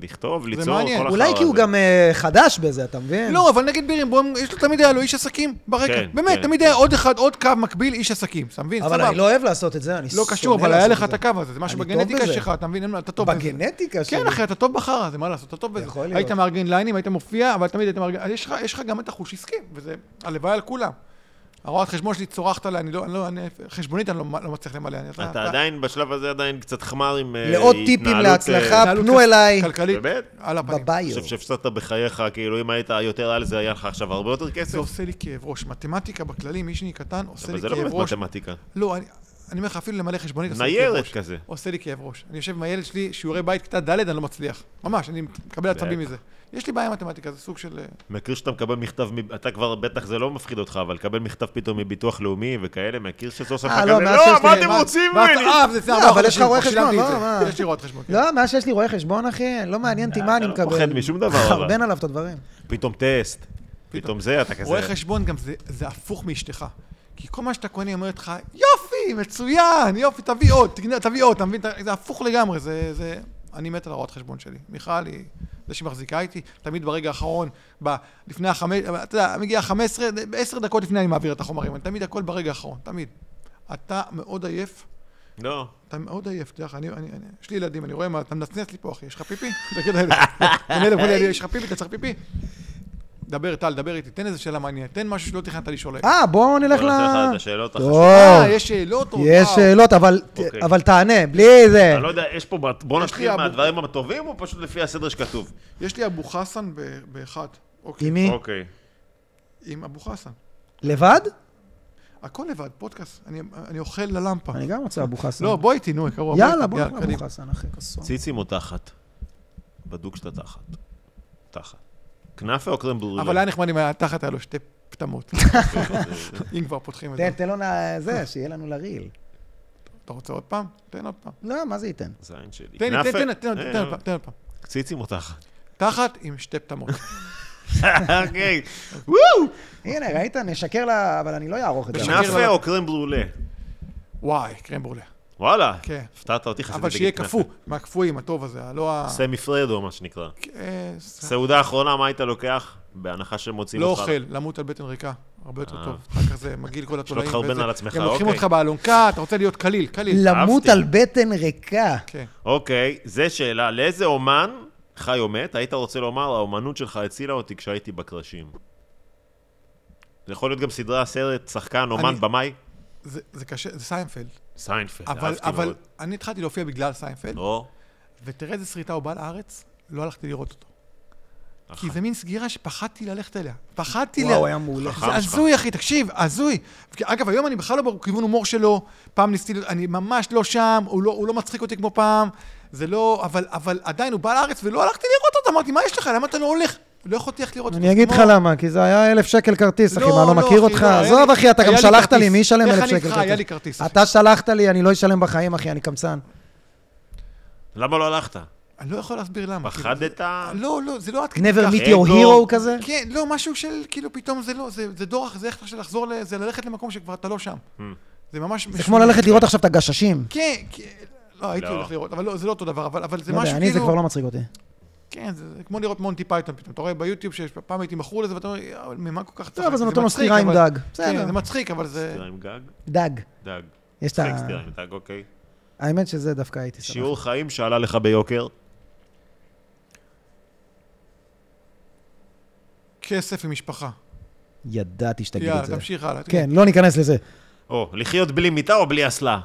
[SPEAKER 3] לכתוב, ליצור,
[SPEAKER 2] מעניין.
[SPEAKER 3] כל
[SPEAKER 1] אולי
[SPEAKER 3] החרא
[SPEAKER 1] כי הוא
[SPEAKER 3] הזה.
[SPEAKER 1] גם אה, חדש בזה, אתה מבין?
[SPEAKER 2] לא, אבל נגיד בירנבוים, יש לו תמיד היה לו איש עסקים ברקע.
[SPEAKER 3] כן,
[SPEAKER 2] באמת,
[SPEAKER 3] כן.
[SPEAKER 2] תמיד היה עוד אחד, עוד קו מקביל, איש עסקים. אתה מבין?
[SPEAKER 1] אבל
[SPEAKER 2] סבבה.
[SPEAKER 1] אני לא אוהב לעשות את זה, אני
[SPEAKER 2] לא
[SPEAKER 1] שונא
[SPEAKER 2] קשור, אבל
[SPEAKER 1] לעשות
[SPEAKER 2] היה לך
[SPEAKER 1] זה.
[SPEAKER 2] את הקו הזה, זה משהו
[SPEAKER 1] אני טוב
[SPEAKER 2] בגנטיקה
[SPEAKER 1] בזה.
[SPEAKER 2] שלך, אתה מבין? אין מה- אתה טוב בזה.
[SPEAKER 1] בגנטיקה שלי.
[SPEAKER 2] כן, אחי, אתה טוב בחרא, זה מה לעשות, אתה טוב בזה.
[SPEAKER 1] יכול להיות.
[SPEAKER 2] היית מארגן ליינים, היית מופיע, אבל תמיד היית מארגן... אז יש לך- יש לך גם את החוש עסקי, וזה הלוואי על כולם. הרואת חשבון שלי צורחת עליי, אני לא, אני לא, אני, חשבונית אני לא, לא מצליח למלא. אני,
[SPEAKER 3] אתה עדיין, בשלב הזה עדיין קצת חמר עם אה,
[SPEAKER 1] לעוד טיפים
[SPEAKER 3] התנהלות,
[SPEAKER 1] להצלחה,
[SPEAKER 3] אה,
[SPEAKER 2] התנהלות
[SPEAKER 1] פנו אליי
[SPEAKER 2] כלכלית,
[SPEAKER 3] באמת?
[SPEAKER 2] על הפנים.
[SPEAKER 3] אני
[SPEAKER 1] בביו.
[SPEAKER 3] חושב שהפסדת בחייך, כאילו אם היית יותר על זה, היה לך עכשיו הרבה יותר כסף.
[SPEAKER 2] זה עושה לי כאב ראש. מתמטיקה בכללי, מי שאני קטן, עושה
[SPEAKER 3] אבל
[SPEAKER 2] לי
[SPEAKER 3] זה לא
[SPEAKER 2] כאב
[SPEAKER 3] באמת
[SPEAKER 2] ראש.
[SPEAKER 3] מתמטיקה.
[SPEAKER 2] לא, אני, אני אומר לך, אפילו למלא חשבונית עושה לי כאב
[SPEAKER 3] ניירת
[SPEAKER 2] ראש.
[SPEAKER 3] כזה.
[SPEAKER 2] עושה לי כאב ראש. אני יושב עם הילד שלי, שיעורי בית כיתה ד', אני לא מצליח. ממש, אני מקבל עצבים
[SPEAKER 3] בטח.
[SPEAKER 2] מזה. יש לי בעיה עם מתמטיקה, זה סוג של... אה,
[SPEAKER 3] מכיר שאתה מקבל מכתב, מ- אתה כבר, בטח זה לא מפחיד אותך, אבל לקבל מכתב פתאום מביטוח לאומי וכאלה, מכיר שסוף סוף
[SPEAKER 1] אה,
[SPEAKER 3] אתה
[SPEAKER 1] לא,
[SPEAKER 3] כזה,
[SPEAKER 1] מאז שיש
[SPEAKER 3] לא, מה
[SPEAKER 1] לי-
[SPEAKER 3] אתם
[SPEAKER 1] מה-
[SPEAKER 3] רוצים
[SPEAKER 2] ואז-
[SPEAKER 3] ממני?
[SPEAKER 2] אה, זה לפני
[SPEAKER 1] לא,
[SPEAKER 2] ארבעה
[SPEAKER 1] אבל יש לך
[SPEAKER 2] חודשים,
[SPEAKER 1] רואה
[SPEAKER 2] כבר
[SPEAKER 1] חשבון,
[SPEAKER 2] שילמתי את
[SPEAKER 1] לא,
[SPEAKER 2] זה.
[SPEAKER 1] מה?
[SPEAKER 2] יש לי רואה חשבון. כן.
[SPEAKER 1] לא, מאז שיש לי רואה חשבון, אחי, לא מעניין אותי מה אני
[SPEAKER 3] לא
[SPEAKER 1] מקבל.
[SPEAKER 3] פוחד משום דבר, אבל.
[SPEAKER 1] חרבן עליו את הדברים.
[SPEAKER 3] פתאום טסט, פתאום זה, אתה כזה.
[SPEAKER 2] אה! רואה חשבון גם זה- זה הפוך מאשתך. כי כל מה שאתה קונה, היא אומרת לך, יופי, מצוין, יופי, תביא עוד, תקנה- תביא עוד, אתה מבין? זה הפוך לגמרי, זה... זה- אני מת על הרואת חשבון שלי. מיכל היא זה שמחזיקה איתי, תמיד ברגע האחרון, ב, לפני החמש, אתה יודע, מגיע החמש עשרה, עשר דקות לפני אני מעביר את החומרים, אני תמיד הכל ברגע האחרון, תמיד. אתה מאוד עייף,
[SPEAKER 3] לא.
[SPEAKER 2] אתה מאוד עייף, תדע לך, אני, אני, אני, יש לי ילדים, אני רואה מה, אתה מנצנץ לי פה, אחי, יש לך פיפי? תגיד להם, אני אומר לי, יש לך פיפי, אתה צריך פיפי? דבר, טל, דבר איתי, תן איזה שאלה מעניינת, תן משהו שלא תכננת לשאול היום.
[SPEAKER 1] אה, בואו נלך ל...
[SPEAKER 3] בוא נעשה לך את השאלות החשובות.
[SPEAKER 1] טוב,
[SPEAKER 2] אה, יש שאלות? או-
[SPEAKER 1] יש
[SPEAKER 2] וואו.
[SPEAKER 1] שאלות, אבל-
[SPEAKER 3] אוקיי.
[SPEAKER 1] אבל תענה, בלי זה.
[SPEAKER 3] אני לא יודע, יש פה, בת- בוא
[SPEAKER 2] יש לי
[SPEAKER 3] נתחיל
[SPEAKER 2] אבו-
[SPEAKER 3] מהדברים הטובים, או פשוט לפי הסדר שכתוב?
[SPEAKER 2] יש לי אבו חסן ב- באחת. אוקיי.
[SPEAKER 1] עם מי?
[SPEAKER 3] אוקיי.
[SPEAKER 2] עם אבו חסן.
[SPEAKER 1] לבד?
[SPEAKER 2] הכל לבד, פודקאסט. אני- אני אוכל ללמפה.
[SPEAKER 1] אני גם רוצה אבו חסן.
[SPEAKER 2] לא, בוא איתי, נו, קרוב.
[SPEAKER 1] יאללה, בוא נקרא
[SPEAKER 2] קדימה.
[SPEAKER 1] אבו חסן, אחי, כסוף.
[SPEAKER 3] ציצים או תחת? בדוק שאתה תחת. תחת. כנאפה או קרם ברורי?
[SPEAKER 2] אבל היה נחמד אם היה תחת, היה לו שתי פטמות. אם כבר פותחים את
[SPEAKER 1] תן,
[SPEAKER 2] זה.
[SPEAKER 1] תן לו נא- זה, שיהיה לנו לריל.
[SPEAKER 2] אתה רוצה עוד פעם? תן עוד פעם.
[SPEAKER 1] לא, מה זה ייתן?
[SPEAKER 3] זין שלי.
[SPEAKER 2] תן לי,
[SPEAKER 3] כנאפה-
[SPEAKER 2] תן, תן, תן,
[SPEAKER 3] אה,
[SPEAKER 2] תן עוד פעם, תן עוד פעם.
[SPEAKER 3] ציצים או תחת?
[SPEAKER 2] תחת עם שתי פטמות.
[SPEAKER 3] אוקיי. וואו!
[SPEAKER 1] הנה, ראית? נשקר לה, אבל אני לא אערוך את זה.
[SPEAKER 2] נשקר.
[SPEAKER 3] כנאפה או קרם ברולה?
[SPEAKER 2] וואי, קרם ברולה.
[SPEAKER 3] וואלה.
[SPEAKER 2] כן.
[SPEAKER 3] הפתעת אותי, חשבתי
[SPEAKER 2] אבל שיהיה קפוא, מהקפואים, הטוב הזה, לא ה...
[SPEAKER 3] סמי פרדו, מה שנקרא.
[SPEAKER 2] אה, ס-
[SPEAKER 3] סעודה אחרונה, מה היית לוקח? בהנחה שמוצאים
[SPEAKER 2] לא
[SPEAKER 3] אותך.
[SPEAKER 2] אוכל, למות על בטן ריקה, הרבה יותר
[SPEAKER 3] אה.
[SPEAKER 2] טוב. אחר כך זה מגעיל כל התולעים.
[SPEAKER 3] לחרבן
[SPEAKER 2] וזה.
[SPEAKER 3] על עצמך,
[SPEAKER 2] גם לוקחים
[SPEAKER 3] אוקיי.
[SPEAKER 2] אותך באלונקה, אתה רוצה להיות קליל, קליל.
[SPEAKER 1] למות
[SPEAKER 3] אהבתי.
[SPEAKER 1] על בטן ריקה.
[SPEAKER 2] כן.
[SPEAKER 3] אוקיי, זה שאלה. לאיזה אומן, חי או מת, היית רוצה לומר, האומנות שלך הצילה אותי כשהייתי בקרשים? זה יכול להיות גם סדרה, סרט, שחקן, אומן,
[SPEAKER 2] אני-
[SPEAKER 3] במאי?
[SPEAKER 2] זה זה קשה, זה סיינפלד.
[SPEAKER 3] סיינפלד,
[SPEAKER 2] אבל,
[SPEAKER 3] אהבתי
[SPEAKER 2] אבל
[SPEAKER 3] מאוד. לא? אוקיי.
[SPEAKER 2] אני התחלתי להופיע בגלל סיינפלד,
[SPEAKER 3] או,
[SPEAKER 2] ותראה איזה סריטה הוא בא לארץ, לא הלכתי לראות אותו. כי
[SPEAKER 3] אחת.
[SPEAKER 2] זה מין סגירה שפחדתי ללכת אליה. פחדתי ל...
[SPEAKER 1] וואו, היה מעולה.
[SPEAKER 3] חכם
[SPEAKER 2] זה
[SPEAKER 3] שלך.
[SPEAKER 2] הזוי, אחי, תקשיב, הזוי. כי, אגב, היום אני בכלל לא בכיוון הומור שלו. פעם ניסיתי, אני ממש לא שם, הוא לא, הוא לא מצחיק אותי כמו פעם. זה לא, אבל, אבל עדיין הוא בא לארץ ולא הלכתי לראות אותו. אמרתי, מה יש לך? למה אתה לא הולך? לא יכולתי ללכת לראות אותו.
[SPEAKER 1] אני אגיד לך
[SPEAKER 2] כמו-
[SPEAKER 1] למה, כי זה היה אלף שקל כרטיס, אחי, מה, לא מכיר אותך?
[SPEAKER 2] לא, היה
[SPEAKER 1] עזוב,
[SPEAKER 2] לי-
[SPEAKER 1] אחי, אתה גם
[SPEAKER 2] היה לי
[SPEAKER 1] שלחת
[SPEAKER 2] כרטיס.
[SPEAKER 1] לי, מי ישלם
[SPEAKER 2] איך
[SPEAKER 1] אלף
[SPEAKER 2] אני
[SPEAKER 1] שקל
[SPEAKER 2] איתך?
[SPEAKER 1] כרטיס?
[SPEAKER 2] היה לי כרטיס, אחי.
[SPEAKER 1] אתה שלחת לי, אני לא אשלם בחיים, אחי, אני קמצן.
[SPEAKER 3] למה לא הלכת?
[SPEAKER 2] אני לא יכול להסביר למה. כאילו, זה-
[SPEAKER 3] פחדת?
[SPEAKER 2] לא, לא, זה לא עד כדי
[SPEAKER 1] never
[SPEAKER 2] כך.
[SPEAKER 1] meet
[SPEAKER 3] אגו.
[SPEAKER 1] your hero כזה?
[SPEAKER 2] כן, לא, משהו של, כאילו, פתאום זה לא, זה, זה דורח, זה איך עכשיו לחזור, ל- זה ללכת למקום שכבר אתה לא שם.
[SPEAKER 3] Hmm.
[SPEAKER 2] זה ממש...
[SPEAKER 1] זה כמו ללכת לראות עכשיו את הגששים.
[SPEAKER 2] כן, כן, לא, הייתי
[SPEAKER 3] לא.
[SPEAKER 2] הולך לראות, אבל לא, זה לא אותו דבר, אבל, אבל זה
[SPEAKER 1] לא
[SPEAKER 2] משהו
[SPEAKER 1] יודע,
[SPEAKER 2] כאילו...
[SPEAKER 1] אני זה כבר לא מצחיק אותי.
[SPEAKER 2] כן, זה, זה כמו לראות מונטי פייתון פתאום. אתה רואה ביוטיוב שפעם הייתי מכור לזה, ואתה אומר, "יא, אבל ממה כל כך
[SPEAKER 1] אבל זה נותן לו
[SPEAKER 2] מצחיק,
[SPEAKER 1] סטירה עם
[SPEAKER 2] אבל-
[SPEAKER 1] דג.
[SPEAKER 2] כן,
[SPEAKER 1] בסדר.
[SPEAKER 2] זה מצחיק, אבל זה...
[SPEAKER 3] סטירה עם גג?
[SPEAKER 1] דג.
[SPEAKER 3] דג.
[SPEAKER 1] יש את
[SPEAKER 3] סטירה
[SPEAKER 1] ה...
[SPEAKER 3] סטירה עם דג, אוקיי.
[SPEAKER 1] האמת שזה דווקא הייתי שמח.
[SPEAKER 3] שיעור חיים שעלה לך ביוקר?
[SPEAKER 2] כסף עם משפחה.
[SPEAKER 1] ידעתי שתגיד את
[SPEAKER 2] יאללה,
[SPEAKER 1] זה.
[SPEAKER 2] תמשיך הלאה.
[SPEAKER 1] כן, לא ניכנס לזה.
[SPEAKER 3] או, לחיות בלי מיטה או בלי אסלה?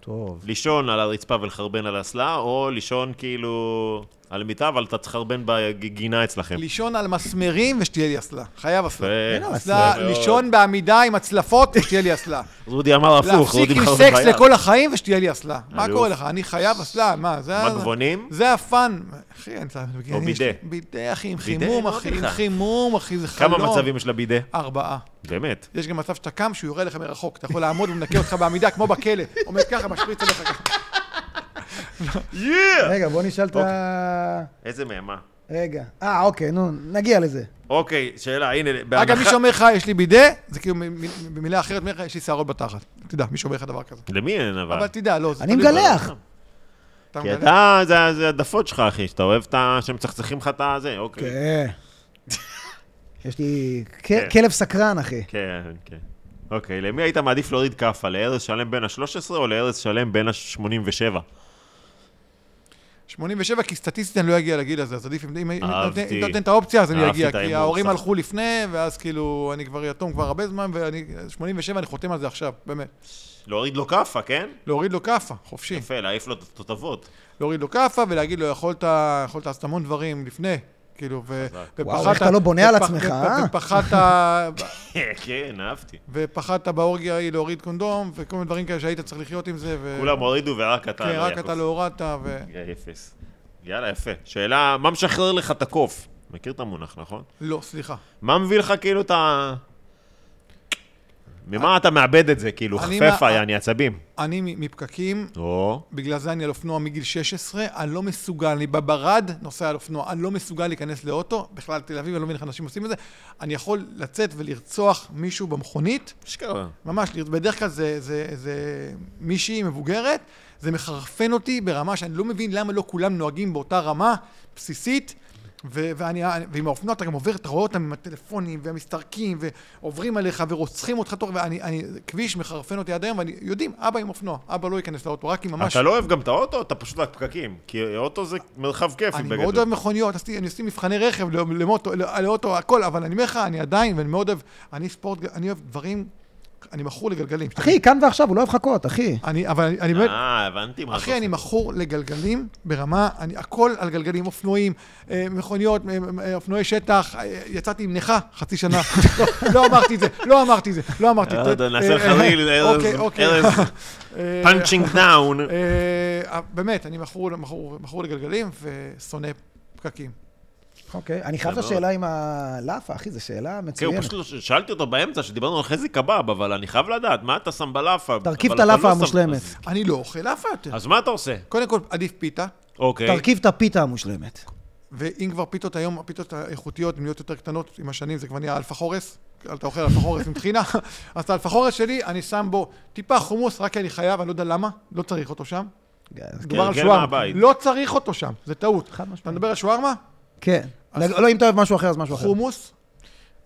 [SPEAKER 1] טוב.
[SPEAKER 3] לישון על הרצפה ולחרבן על אסלה, או לישון כאילו על מיטה, אבל אתה צריך לחרבן בגינה אצלכם.
[SPEAKER 2] לישון על מסמרים ושתהיה לי אסלה. חייב אסלה.
[SPEAKER 1] אין על
[SPEAKER 2] אסלה,
[SPEAKER 3] מאוד.
[SPEAKER 2] לישון בעמידה עם הצלפות ושתהיה לי אסלה.
[SPEAKER 3] רודי אמר הפוך,
[SPEAKER 2] להפסיק
[SPEAKER 3] רודי
[SPEAKER 2] עם
[SPEAKER 3] מחרבן
[SPEAKER 2] סקס
[SPEAKER 3] ביד.
[SPEAKER 2] לכל החיים ושתהיה לי אסלה. מה
[SPEAKER 3] אלוף.
[SPEAKER 2] קורה לך? אני חייב אסלה, מה? זה ה-
[SPEAKER 3] מגבונים?
[SPEAKER 2] זה הפאן. אחי, אני צריך...
[SPEAKER 3] או בידה.
[SPEAKER 2] בידה, אחי, עם
[SPEAKER 3] בידה,
[SPEAKER 2] חימום,
[SPEAKER 3] אמרתי
[SPEAKER 2] אחי, עם
[SPEAKER 3] לך.
[SPEAKER 2] חימום, אחי, זה חלום.
[SPEAKER 3] כמה מצבים יש לבידה?
[SPEAKER 2] ארבעה.
[SPEAKER 3] באמת.
[SPEAKER 2] יש גם מצב שאתה קם שהוא יורה לך מרחוק, אתה יכול לעמוד ומנקה אותך בעמידה כמו בכלא, עומד ככה, משפריץ עליך ככה.
[SPEAKER 1] רגע, בוא נשאל את ה...
[SPEAKER 3] איזה מהמה.
[SPEAKER 1] רגע. אה, אוקיי, נו, נגיע לזה.
[SPEAKER 3] אוקיי, שאלה, הנה,
[SPEAKER 2] אגב, מי
[SPEAKER 3] בהנחה...
[SPEAKER 2] שאומר לך, יש לי בידה, זה כאילו מ- מ- במילה אחרת, אומר לך, יש לי שערות בתחת. תדע, מי שאומר לך דבר כזה.
[SPEAKER 3] למי אין אבל?
[SPEAKER 2] אבל תדע, לא, זה
[SPEAKER 1] אני
[SPEAKER 2] תלוי
[SPEAKER 1] מגלח.
[SPEAKER 2] ב- אתה
[SPEAKER 3] כי
[SPEAKER 2] מגלח.
[SPEAKER 3] אתה, זה- זה העדפות שלך, אחי, שאתה אוהב את ה... שמצחצחים לך את הזה, אוקיי.
[SPEAKER 1] כן. יש לי כ-
[SPEAKER 3] כן.
[SPEAKER 1] כלב סקרן, אחי.
[SPEAKER 3] כן, כן. אוקיי, למי היית מעדיף להוריד כאפה? לארז שלם בין ה-13 או לארז שלם בין ה-87?
[SPEAKER 2] 87, כי סטטיסטית אני לא אגיע לגיל הזה, אז עדיף, אם- אם אם אתה נותן-
[SPEAKER 3] אהבתי.
[SPEAKER 2] אם אתה נותן את האופציה, אז אני
[SPEAKER 3] אהבתי
[SPEAKER 2] אגיע,
[SPEAKER 3] את
[SPEAKER 2] כי
[SPEAKER 3] ההימור
[SPEAKER 2] ההורים
[SPEAKER 3] שלך.
[SPEAKER 2] הלכו לפני, ואז כאילו, אני כבר יתום כבר הרבה זמן, ואני, 87, אני חותם על זה עכשיו, באמת.
[SPEAKER 3] להוריד לו כאפה, כן?
[SPEAKER 2] להוריד לו כאפה, חופשי.
[SPEAKER 3] יפה, להעיף לו את התותבות.
[SPEAKER 2] להוריד לו כאפה ולהגיד לו, יכולת, יכולת לעשות המון דברים לפני, כאילו, ו...
[SPEAKER 1] וואו, איך אתה לא בונה על עצמך, אה?
[SPEAKER 2] ופחדת,
[SPEAKER 3] כן, אהבתי.
[SPEAKER 2] ופחדת באורגיה ההיא להוריד קונדום, וכל מיני דברים כאלה שהיית צריך לחיות עם זה, ו...
[SPEAKER 3] כולם הורידו ורק אתה...
[SPEAKER 2] כן,
[SPEAKER 3] לא
[SPEAKER 2] רק
[SPEAKER 3] יעקב.
[SPEAKER 2] אתה לא הורדת, ו...
[SPEAKER 3] יא, אפס. יאללה, יפה. שאלה, מה משחרר לך את הקוף? מכיר את המונח, נכון?
[SPEAKER 2] לא, סליחה.
[SPEAKER 3] מה מביא לך כאילו את ה... ממה אתה מאבד את זה? כאילו,
[SPEAKER 2] אני
[SPEAKER 3] חפפה,
[SPEAKER 2] מה-
[SPEAKER 3] יעני עצבים.
[SPEAKER 2] אני מ- מפקקים,
[SPEAKER 3] או,
[SPEAKER 2] בגלל זה אני על אופנוע מגיל 16, אני לא מסוגל, אני בברד נוסע על אופנוע, אני לא מסוגל להיכנס לאוטו, בכלל תל אביב, אני לא מבין איך אנשים עושים את זה, אני יכול לצאת ולרצוח מישהו במכונית,
[SPEAKER 3] אשכרה.
[SPEAKER 2] ממש, בדרך כלל זה, זה, זה מישהי מבוגרת, זה מחרפן אותי ברמה שאני לא מבין למה לא כולם נוהגים באותה רמה בסיסית, ו- ואני, ועם האופנוע אתה גם עובר, אתה רואה אותם עם הטלפונים, והם מסתרקים, ועוברים עליך, ורוצחים אותך תוך, ואני, אני, כביש מחרפן אותי עד היום, ואני, יודעים, אבא עם אופנוע, אבא לא ייכנס לאוטו, רק אם ממש...
[SPEAKER 3] אתה לא אוהב גם את האוטו, אתה פשוט רק פקקים. כי אוטו זה מרחב כיפי
[SPEAKER 2] אני
[SPEAKER 3] בגדול.
[SPEAKER 2] מאוד אוהב מכוניות, עשיתי- אני עושה מבחני רכב ל- למוטו, ל- לאוטו, הכל, אבל אני אומר לך, אני עדיין, ואני מאוד אוהב, אני ספורט, אני אוהב דברים, אני מכור לגלגלים.
[SPEAKER 1] אחי, כאן ועכשיו, הוא לא אוהב חכות, אחי.
[SPEAKER 2] אני, אבל אני, אני באמת,
[SPEAKER 3] אה, הבנתי מה
[SPEAKER 2] אחי, אני מכור לגלגלים ברמה, אני, הכל על גלגלים, אופנועים, אה, מכוניות, אה, אה, אופנועי שטח, אה, יצאתי עם נכה חצי שנה, לא, לא אמרתי את זה, לא אמרתי את זה, לא אמרתי את זה.
[SPEAKER 3] יאללה, נעשה לך
[SPEAKER 2] אה, אה,
[SPEAKER 3] ריל, ארז,
[SPEAKER 2] אוקיי, אוקיי.
[SPEAKER 3] ארז,
[SPEAKER 2] אה,
[SPEAKER 3] פאנצ'ינג דאון.
[SPEAKER 2] אה, באמת, אני מכור, מכור, מכור לגלגלים ושונא פקקים.
[SPEAKER 1] אוקיי. אני חייב את
[SPEAKER 3] מאוד.
[SPEAKER 1] השאלה עם הלאפה, אחי, זו שאלה
[SPEAKER 3] לא- כן, הוא
[SPEAKER 1] מצוינת.
[SPEAKER 3] פשוט לא- ש- שאלתי אותו באמצע, שדיברנו על חזי קבב, אבל אני חייב לדעת, מה אתה שם בלאפה?
[SPEAKER 1] תרכיב
[SPEAKER 3] אבל
[SPEAKER 1] את
[SPEAKER 3] אתה
[SPEAKER 1] הלאפה
[SPEAKER 3] לא שם-
[SPEAKER 1] המושלמת.
[SPEAKER 3] אז-
[SPEAKER 2] אני לא אוכל לאפה יותר.
[SPEAKER 3] אז מה אתה עושה?
[SPEAKER 2] קודם כל, עדיף פיתה,
[SPEAKER 3] אוקיי.
[SPEAKER 1] תרכיב את הפיתה המושלמת.
[SPEAKER 2] ואם כבר פיתות היום, הפיתות האיכותיות נהיות יותר קטנות עם השנים, זה כבר נהיה אלפה חורס. אתה אוכל אלפה חורס עם טחינה, אז את האלפה חורס שלי, אני שם בו טיפה חומוס, רק כי אני חייב, אני לא יודע למה, לא צריך אותו שם.
[SPEAKER 1] כן,
[SPEAKER 2] מדובר על
[SPEAKER 3] הרגל
[SPEAKER 2] שווארמה,
[SPEAKER 3] מהבית.
[SPEAKER 2] לא צריך אותו שם, זה טעות.
[SPEAKER 1] חד משמעית.
[SPEAKER 2] אתה מדבר על שווארמה?
[SPEAKER 1] כן.
[SPEAKER 2] אז-
[SPEAKER 1] לא, אם אתה אוהב משהו אחר, אז משהו אחר.
[SPEAKER 2] חומוס.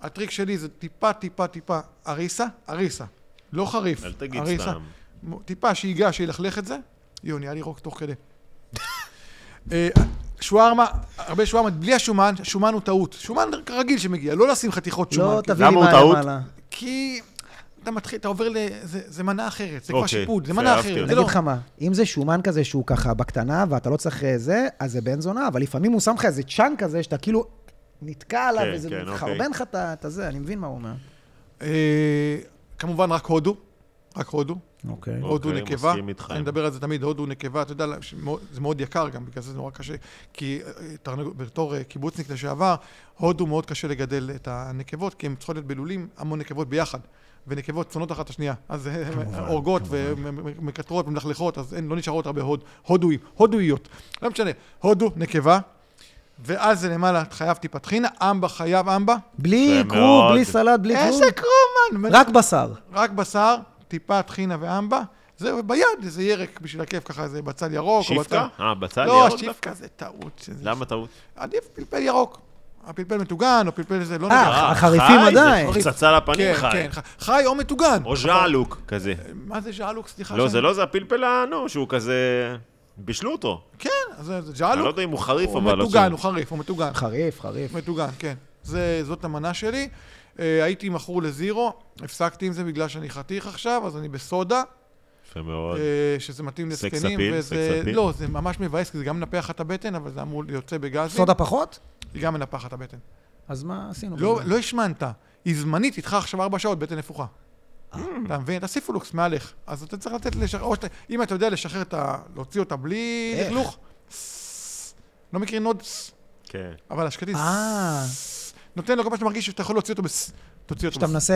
[SPEAKER 2] הטריק שלי זה טיפה, טיפה, טיפה אריסה, אריסה. לא חריף,
[SPEAKER 3] אל תגיד
[SPEAKER 2] אריסה.
[SPEAKER 3] סתם.
[SPEAKER 2] טיפה שייגע, שילכלך את זה. יו, נהיה לי רוק תוך כדי. אה, שווארמה, הרבה שווארמה, בלי השומן, השומן הוא טעות. שומן רגיל שמגיע, לא לשים חתיכות שומן.
[SPEAKER 1] לא
[SPEAKER 2] כאילו.
[SPEAKER 1] תביא לי
[SPEAKER 3] למה הוא
[SPEAKER 1] מה
[SPEAKER 3] טעות?
[SPEAKER 1] למעלה.
[SPEAKER 2] כי אתה מתחיל, אתה עובר ל... זה, זה מנה אחרת, זה כבר
[SPEAKER 3] אוקיי,
[SPEAKER 2] שיפוד, זה
[SPEAKER 3] יפה,
[SPEAKER 2] מנה
[SPEAKER 3] אהבתי
[SPEAKER 2] אחרת.
[SPEAKER 3] את
[SPEAKER 1] אני
[SPEAKER 2] זה
[SPEAKER 1] אגיד
[SPEAKER 2] לא...
[SPEAKER 1] לך מה, אם זה שומן כזה שהוא ככה בקטנה ואתה לא צריך אה, זה, אז זה בן זונה, אבל לפעמים הוא שם לך איזה צ'אן כזה שאתה כאילו נתקע עליו,
[SPEAKER 3] כן,
[SPEAKER 1] וזה
[SPEAKER 3] כן, אוקיי.
[SPEAKER 1] מחרבן לך את ה- את הזה, אני מבין מה הוא אומר.
[SPEAKER 2] אה, כמובן, רק הודו. רק הודו.
[SPEAKER 1] אוקיי.
[SPEAKER 2] הודו
[SPEAKER 3] אוקיי,
[SPEAKER 2] נקבה,
[SPEAKER 3] מסכים איתך.
[SPEAKER 2] אני מדבר על זה תמיד, הודו נקבה, אתה יודע, שמאוד- זה מאוד יקר גם, בגלל זה זה נורא קשה, כי אה, תרנגול- בתור אה, קיבוצניק לשעבר, הודו מאוד קשה לגדל את הנקבות, כי הן צריכות להיות בלולים המון נקבות ביחד, ונקבות צונות אחת את השנייה, אז אה, הן הורגות ומקטרות ומלכלכות, אז אין, לא נשארות הרבה הוד, הודואים, הודואיות, לא משנה, הודו נקבה, ואז זה למעלה, חייב טיפת חינה, אמבה חייב אמבה,
[SPEAKER 1] בלי
[SPEAKER 3] יפה
[SPEAKER 1] כרוב, בלי
[SPEAKER 3] מאוד.
[SPEAKER 1] סלט, בלי כרוב,
[SPEAKER 2] איזה קרומן,
[SPEAKER 1] רק בשר.
[SPEAKER 2] רק בשר, טיפה טחינה ואמבה, זהו, וביד איזה ירק בשביל הכיף ככה, איזה בצל ירוק. או
[SPEAKER 3] שיפקה?
[SPEAKER 2] בצל-
[SPEAKER 3] אה, בצל
[SPEAKER 2] לא,
[SPEAKER 3] ירוק דווקא?
[SPEAKER 2] השיפקה זה טעות. שזה-
[SPEAKER 3] למה טעות?
[SPEAKER 2] עדיף פלפל ירוק. הפלפל מטוגן, או פלפל איזה, לא
[SPEAKER 1] אה,
[SPEAKER 2] נראה.
[SPEAKER 1] ח- החריפים
[SPEAKER 3] חי, זה
[SPEAKER 1] עדיין.
[SPEAKER 3] פצצה לפנים
[SPEAKER 2] כן,
[SPEAKER 3] חי.
[SPEAKER 2] כן, ח- חי או מטוגן.
[SPEAKER 3] או ז'עלוק כזה.
[SPEAKER 2] מה זה אה, ז'אלוק? סליחה.
[SPEAKER 3] לא,
[SPEAKER 2] שאני-
[SPEAKER 3] זה לא, זה הפלפל נו, שהוא כזה... בישלו אותו.
[SPEAKER 2] כן, אז זה
[SPEAKER 3] אני לא
[SPEAKER 2] ז'אלוק.
[SPEAKER 3] יודע אם הוא חריף,
[SPEAKER 2] הוא
[SPEAKER 3] אבל... לא
[SPEAKER 2] מטוגן,
[SPEAKER 3] שם.
[SPEAKER 2] הוא חריף, הוא מטוגן.
[SPEAKER 1] חריף, חריף.
[SPEAKER 2] מטוגן, כן. זה, זאת המנה שלי. אה, הייתי מכור לזירו, הפסקתי עם זה בגלל שאני חתיך עכשיו, אז אני בסודה,
[SPEAKER 3] יפה מאוד.
[SPEAKER 2] אה, שזה מתאים
[SPEAKER 3] סקס
[SPEAKER 2] לזקנים.
[SPEAKER 3] אפיל,
[SPEAKER 2] וזה-
[SPEAKER 3] סקס אפיל.
[SPEAKER 2] לא, זה ממש מבאס, כי זה גם מנפח לך את הבטן, אבל זה אמור יוצא בגזים.
[SPEAKER 1] סודה אה. פחות?
[SPEAKER 2] היא גם מנפחת את הבטן.
[SPEAKER 1] אז מה עשינו?
[SPEAKER 2] לא,
[SPEAKER 1] בזה?
[SPEAKER 2] לא השמנת, היא זמנית איתך עכשיו ארבע שעות, בטן נפוחה.
[SPEAKER 1] אה.
[SPEAKER 2] אתה מבין? אתה סיפולוקס מעליך. אז אתה צריך לתת לשחרר, או שאתה, אם אתה יודע לשחרר את ה... להוציא אותה בלי
[SPEAKER 1] איך?
[SPEAKER 2] לכלוך, סס. לא מכירים עוד סס,
[SPEAKER 3] כן.
[SPEAKER 2] אבל השקטי
[SPEAKER 1] אה.
[SPEAKER 2] סס. נותן לו כל פעם שאתה מרגיש שאתה יכול להוציא אותו בס... תוציא אותו
[SPEAKER 1] כשאתה
[SPEAKER 2] בס...
[SPEAKER 1] מנסה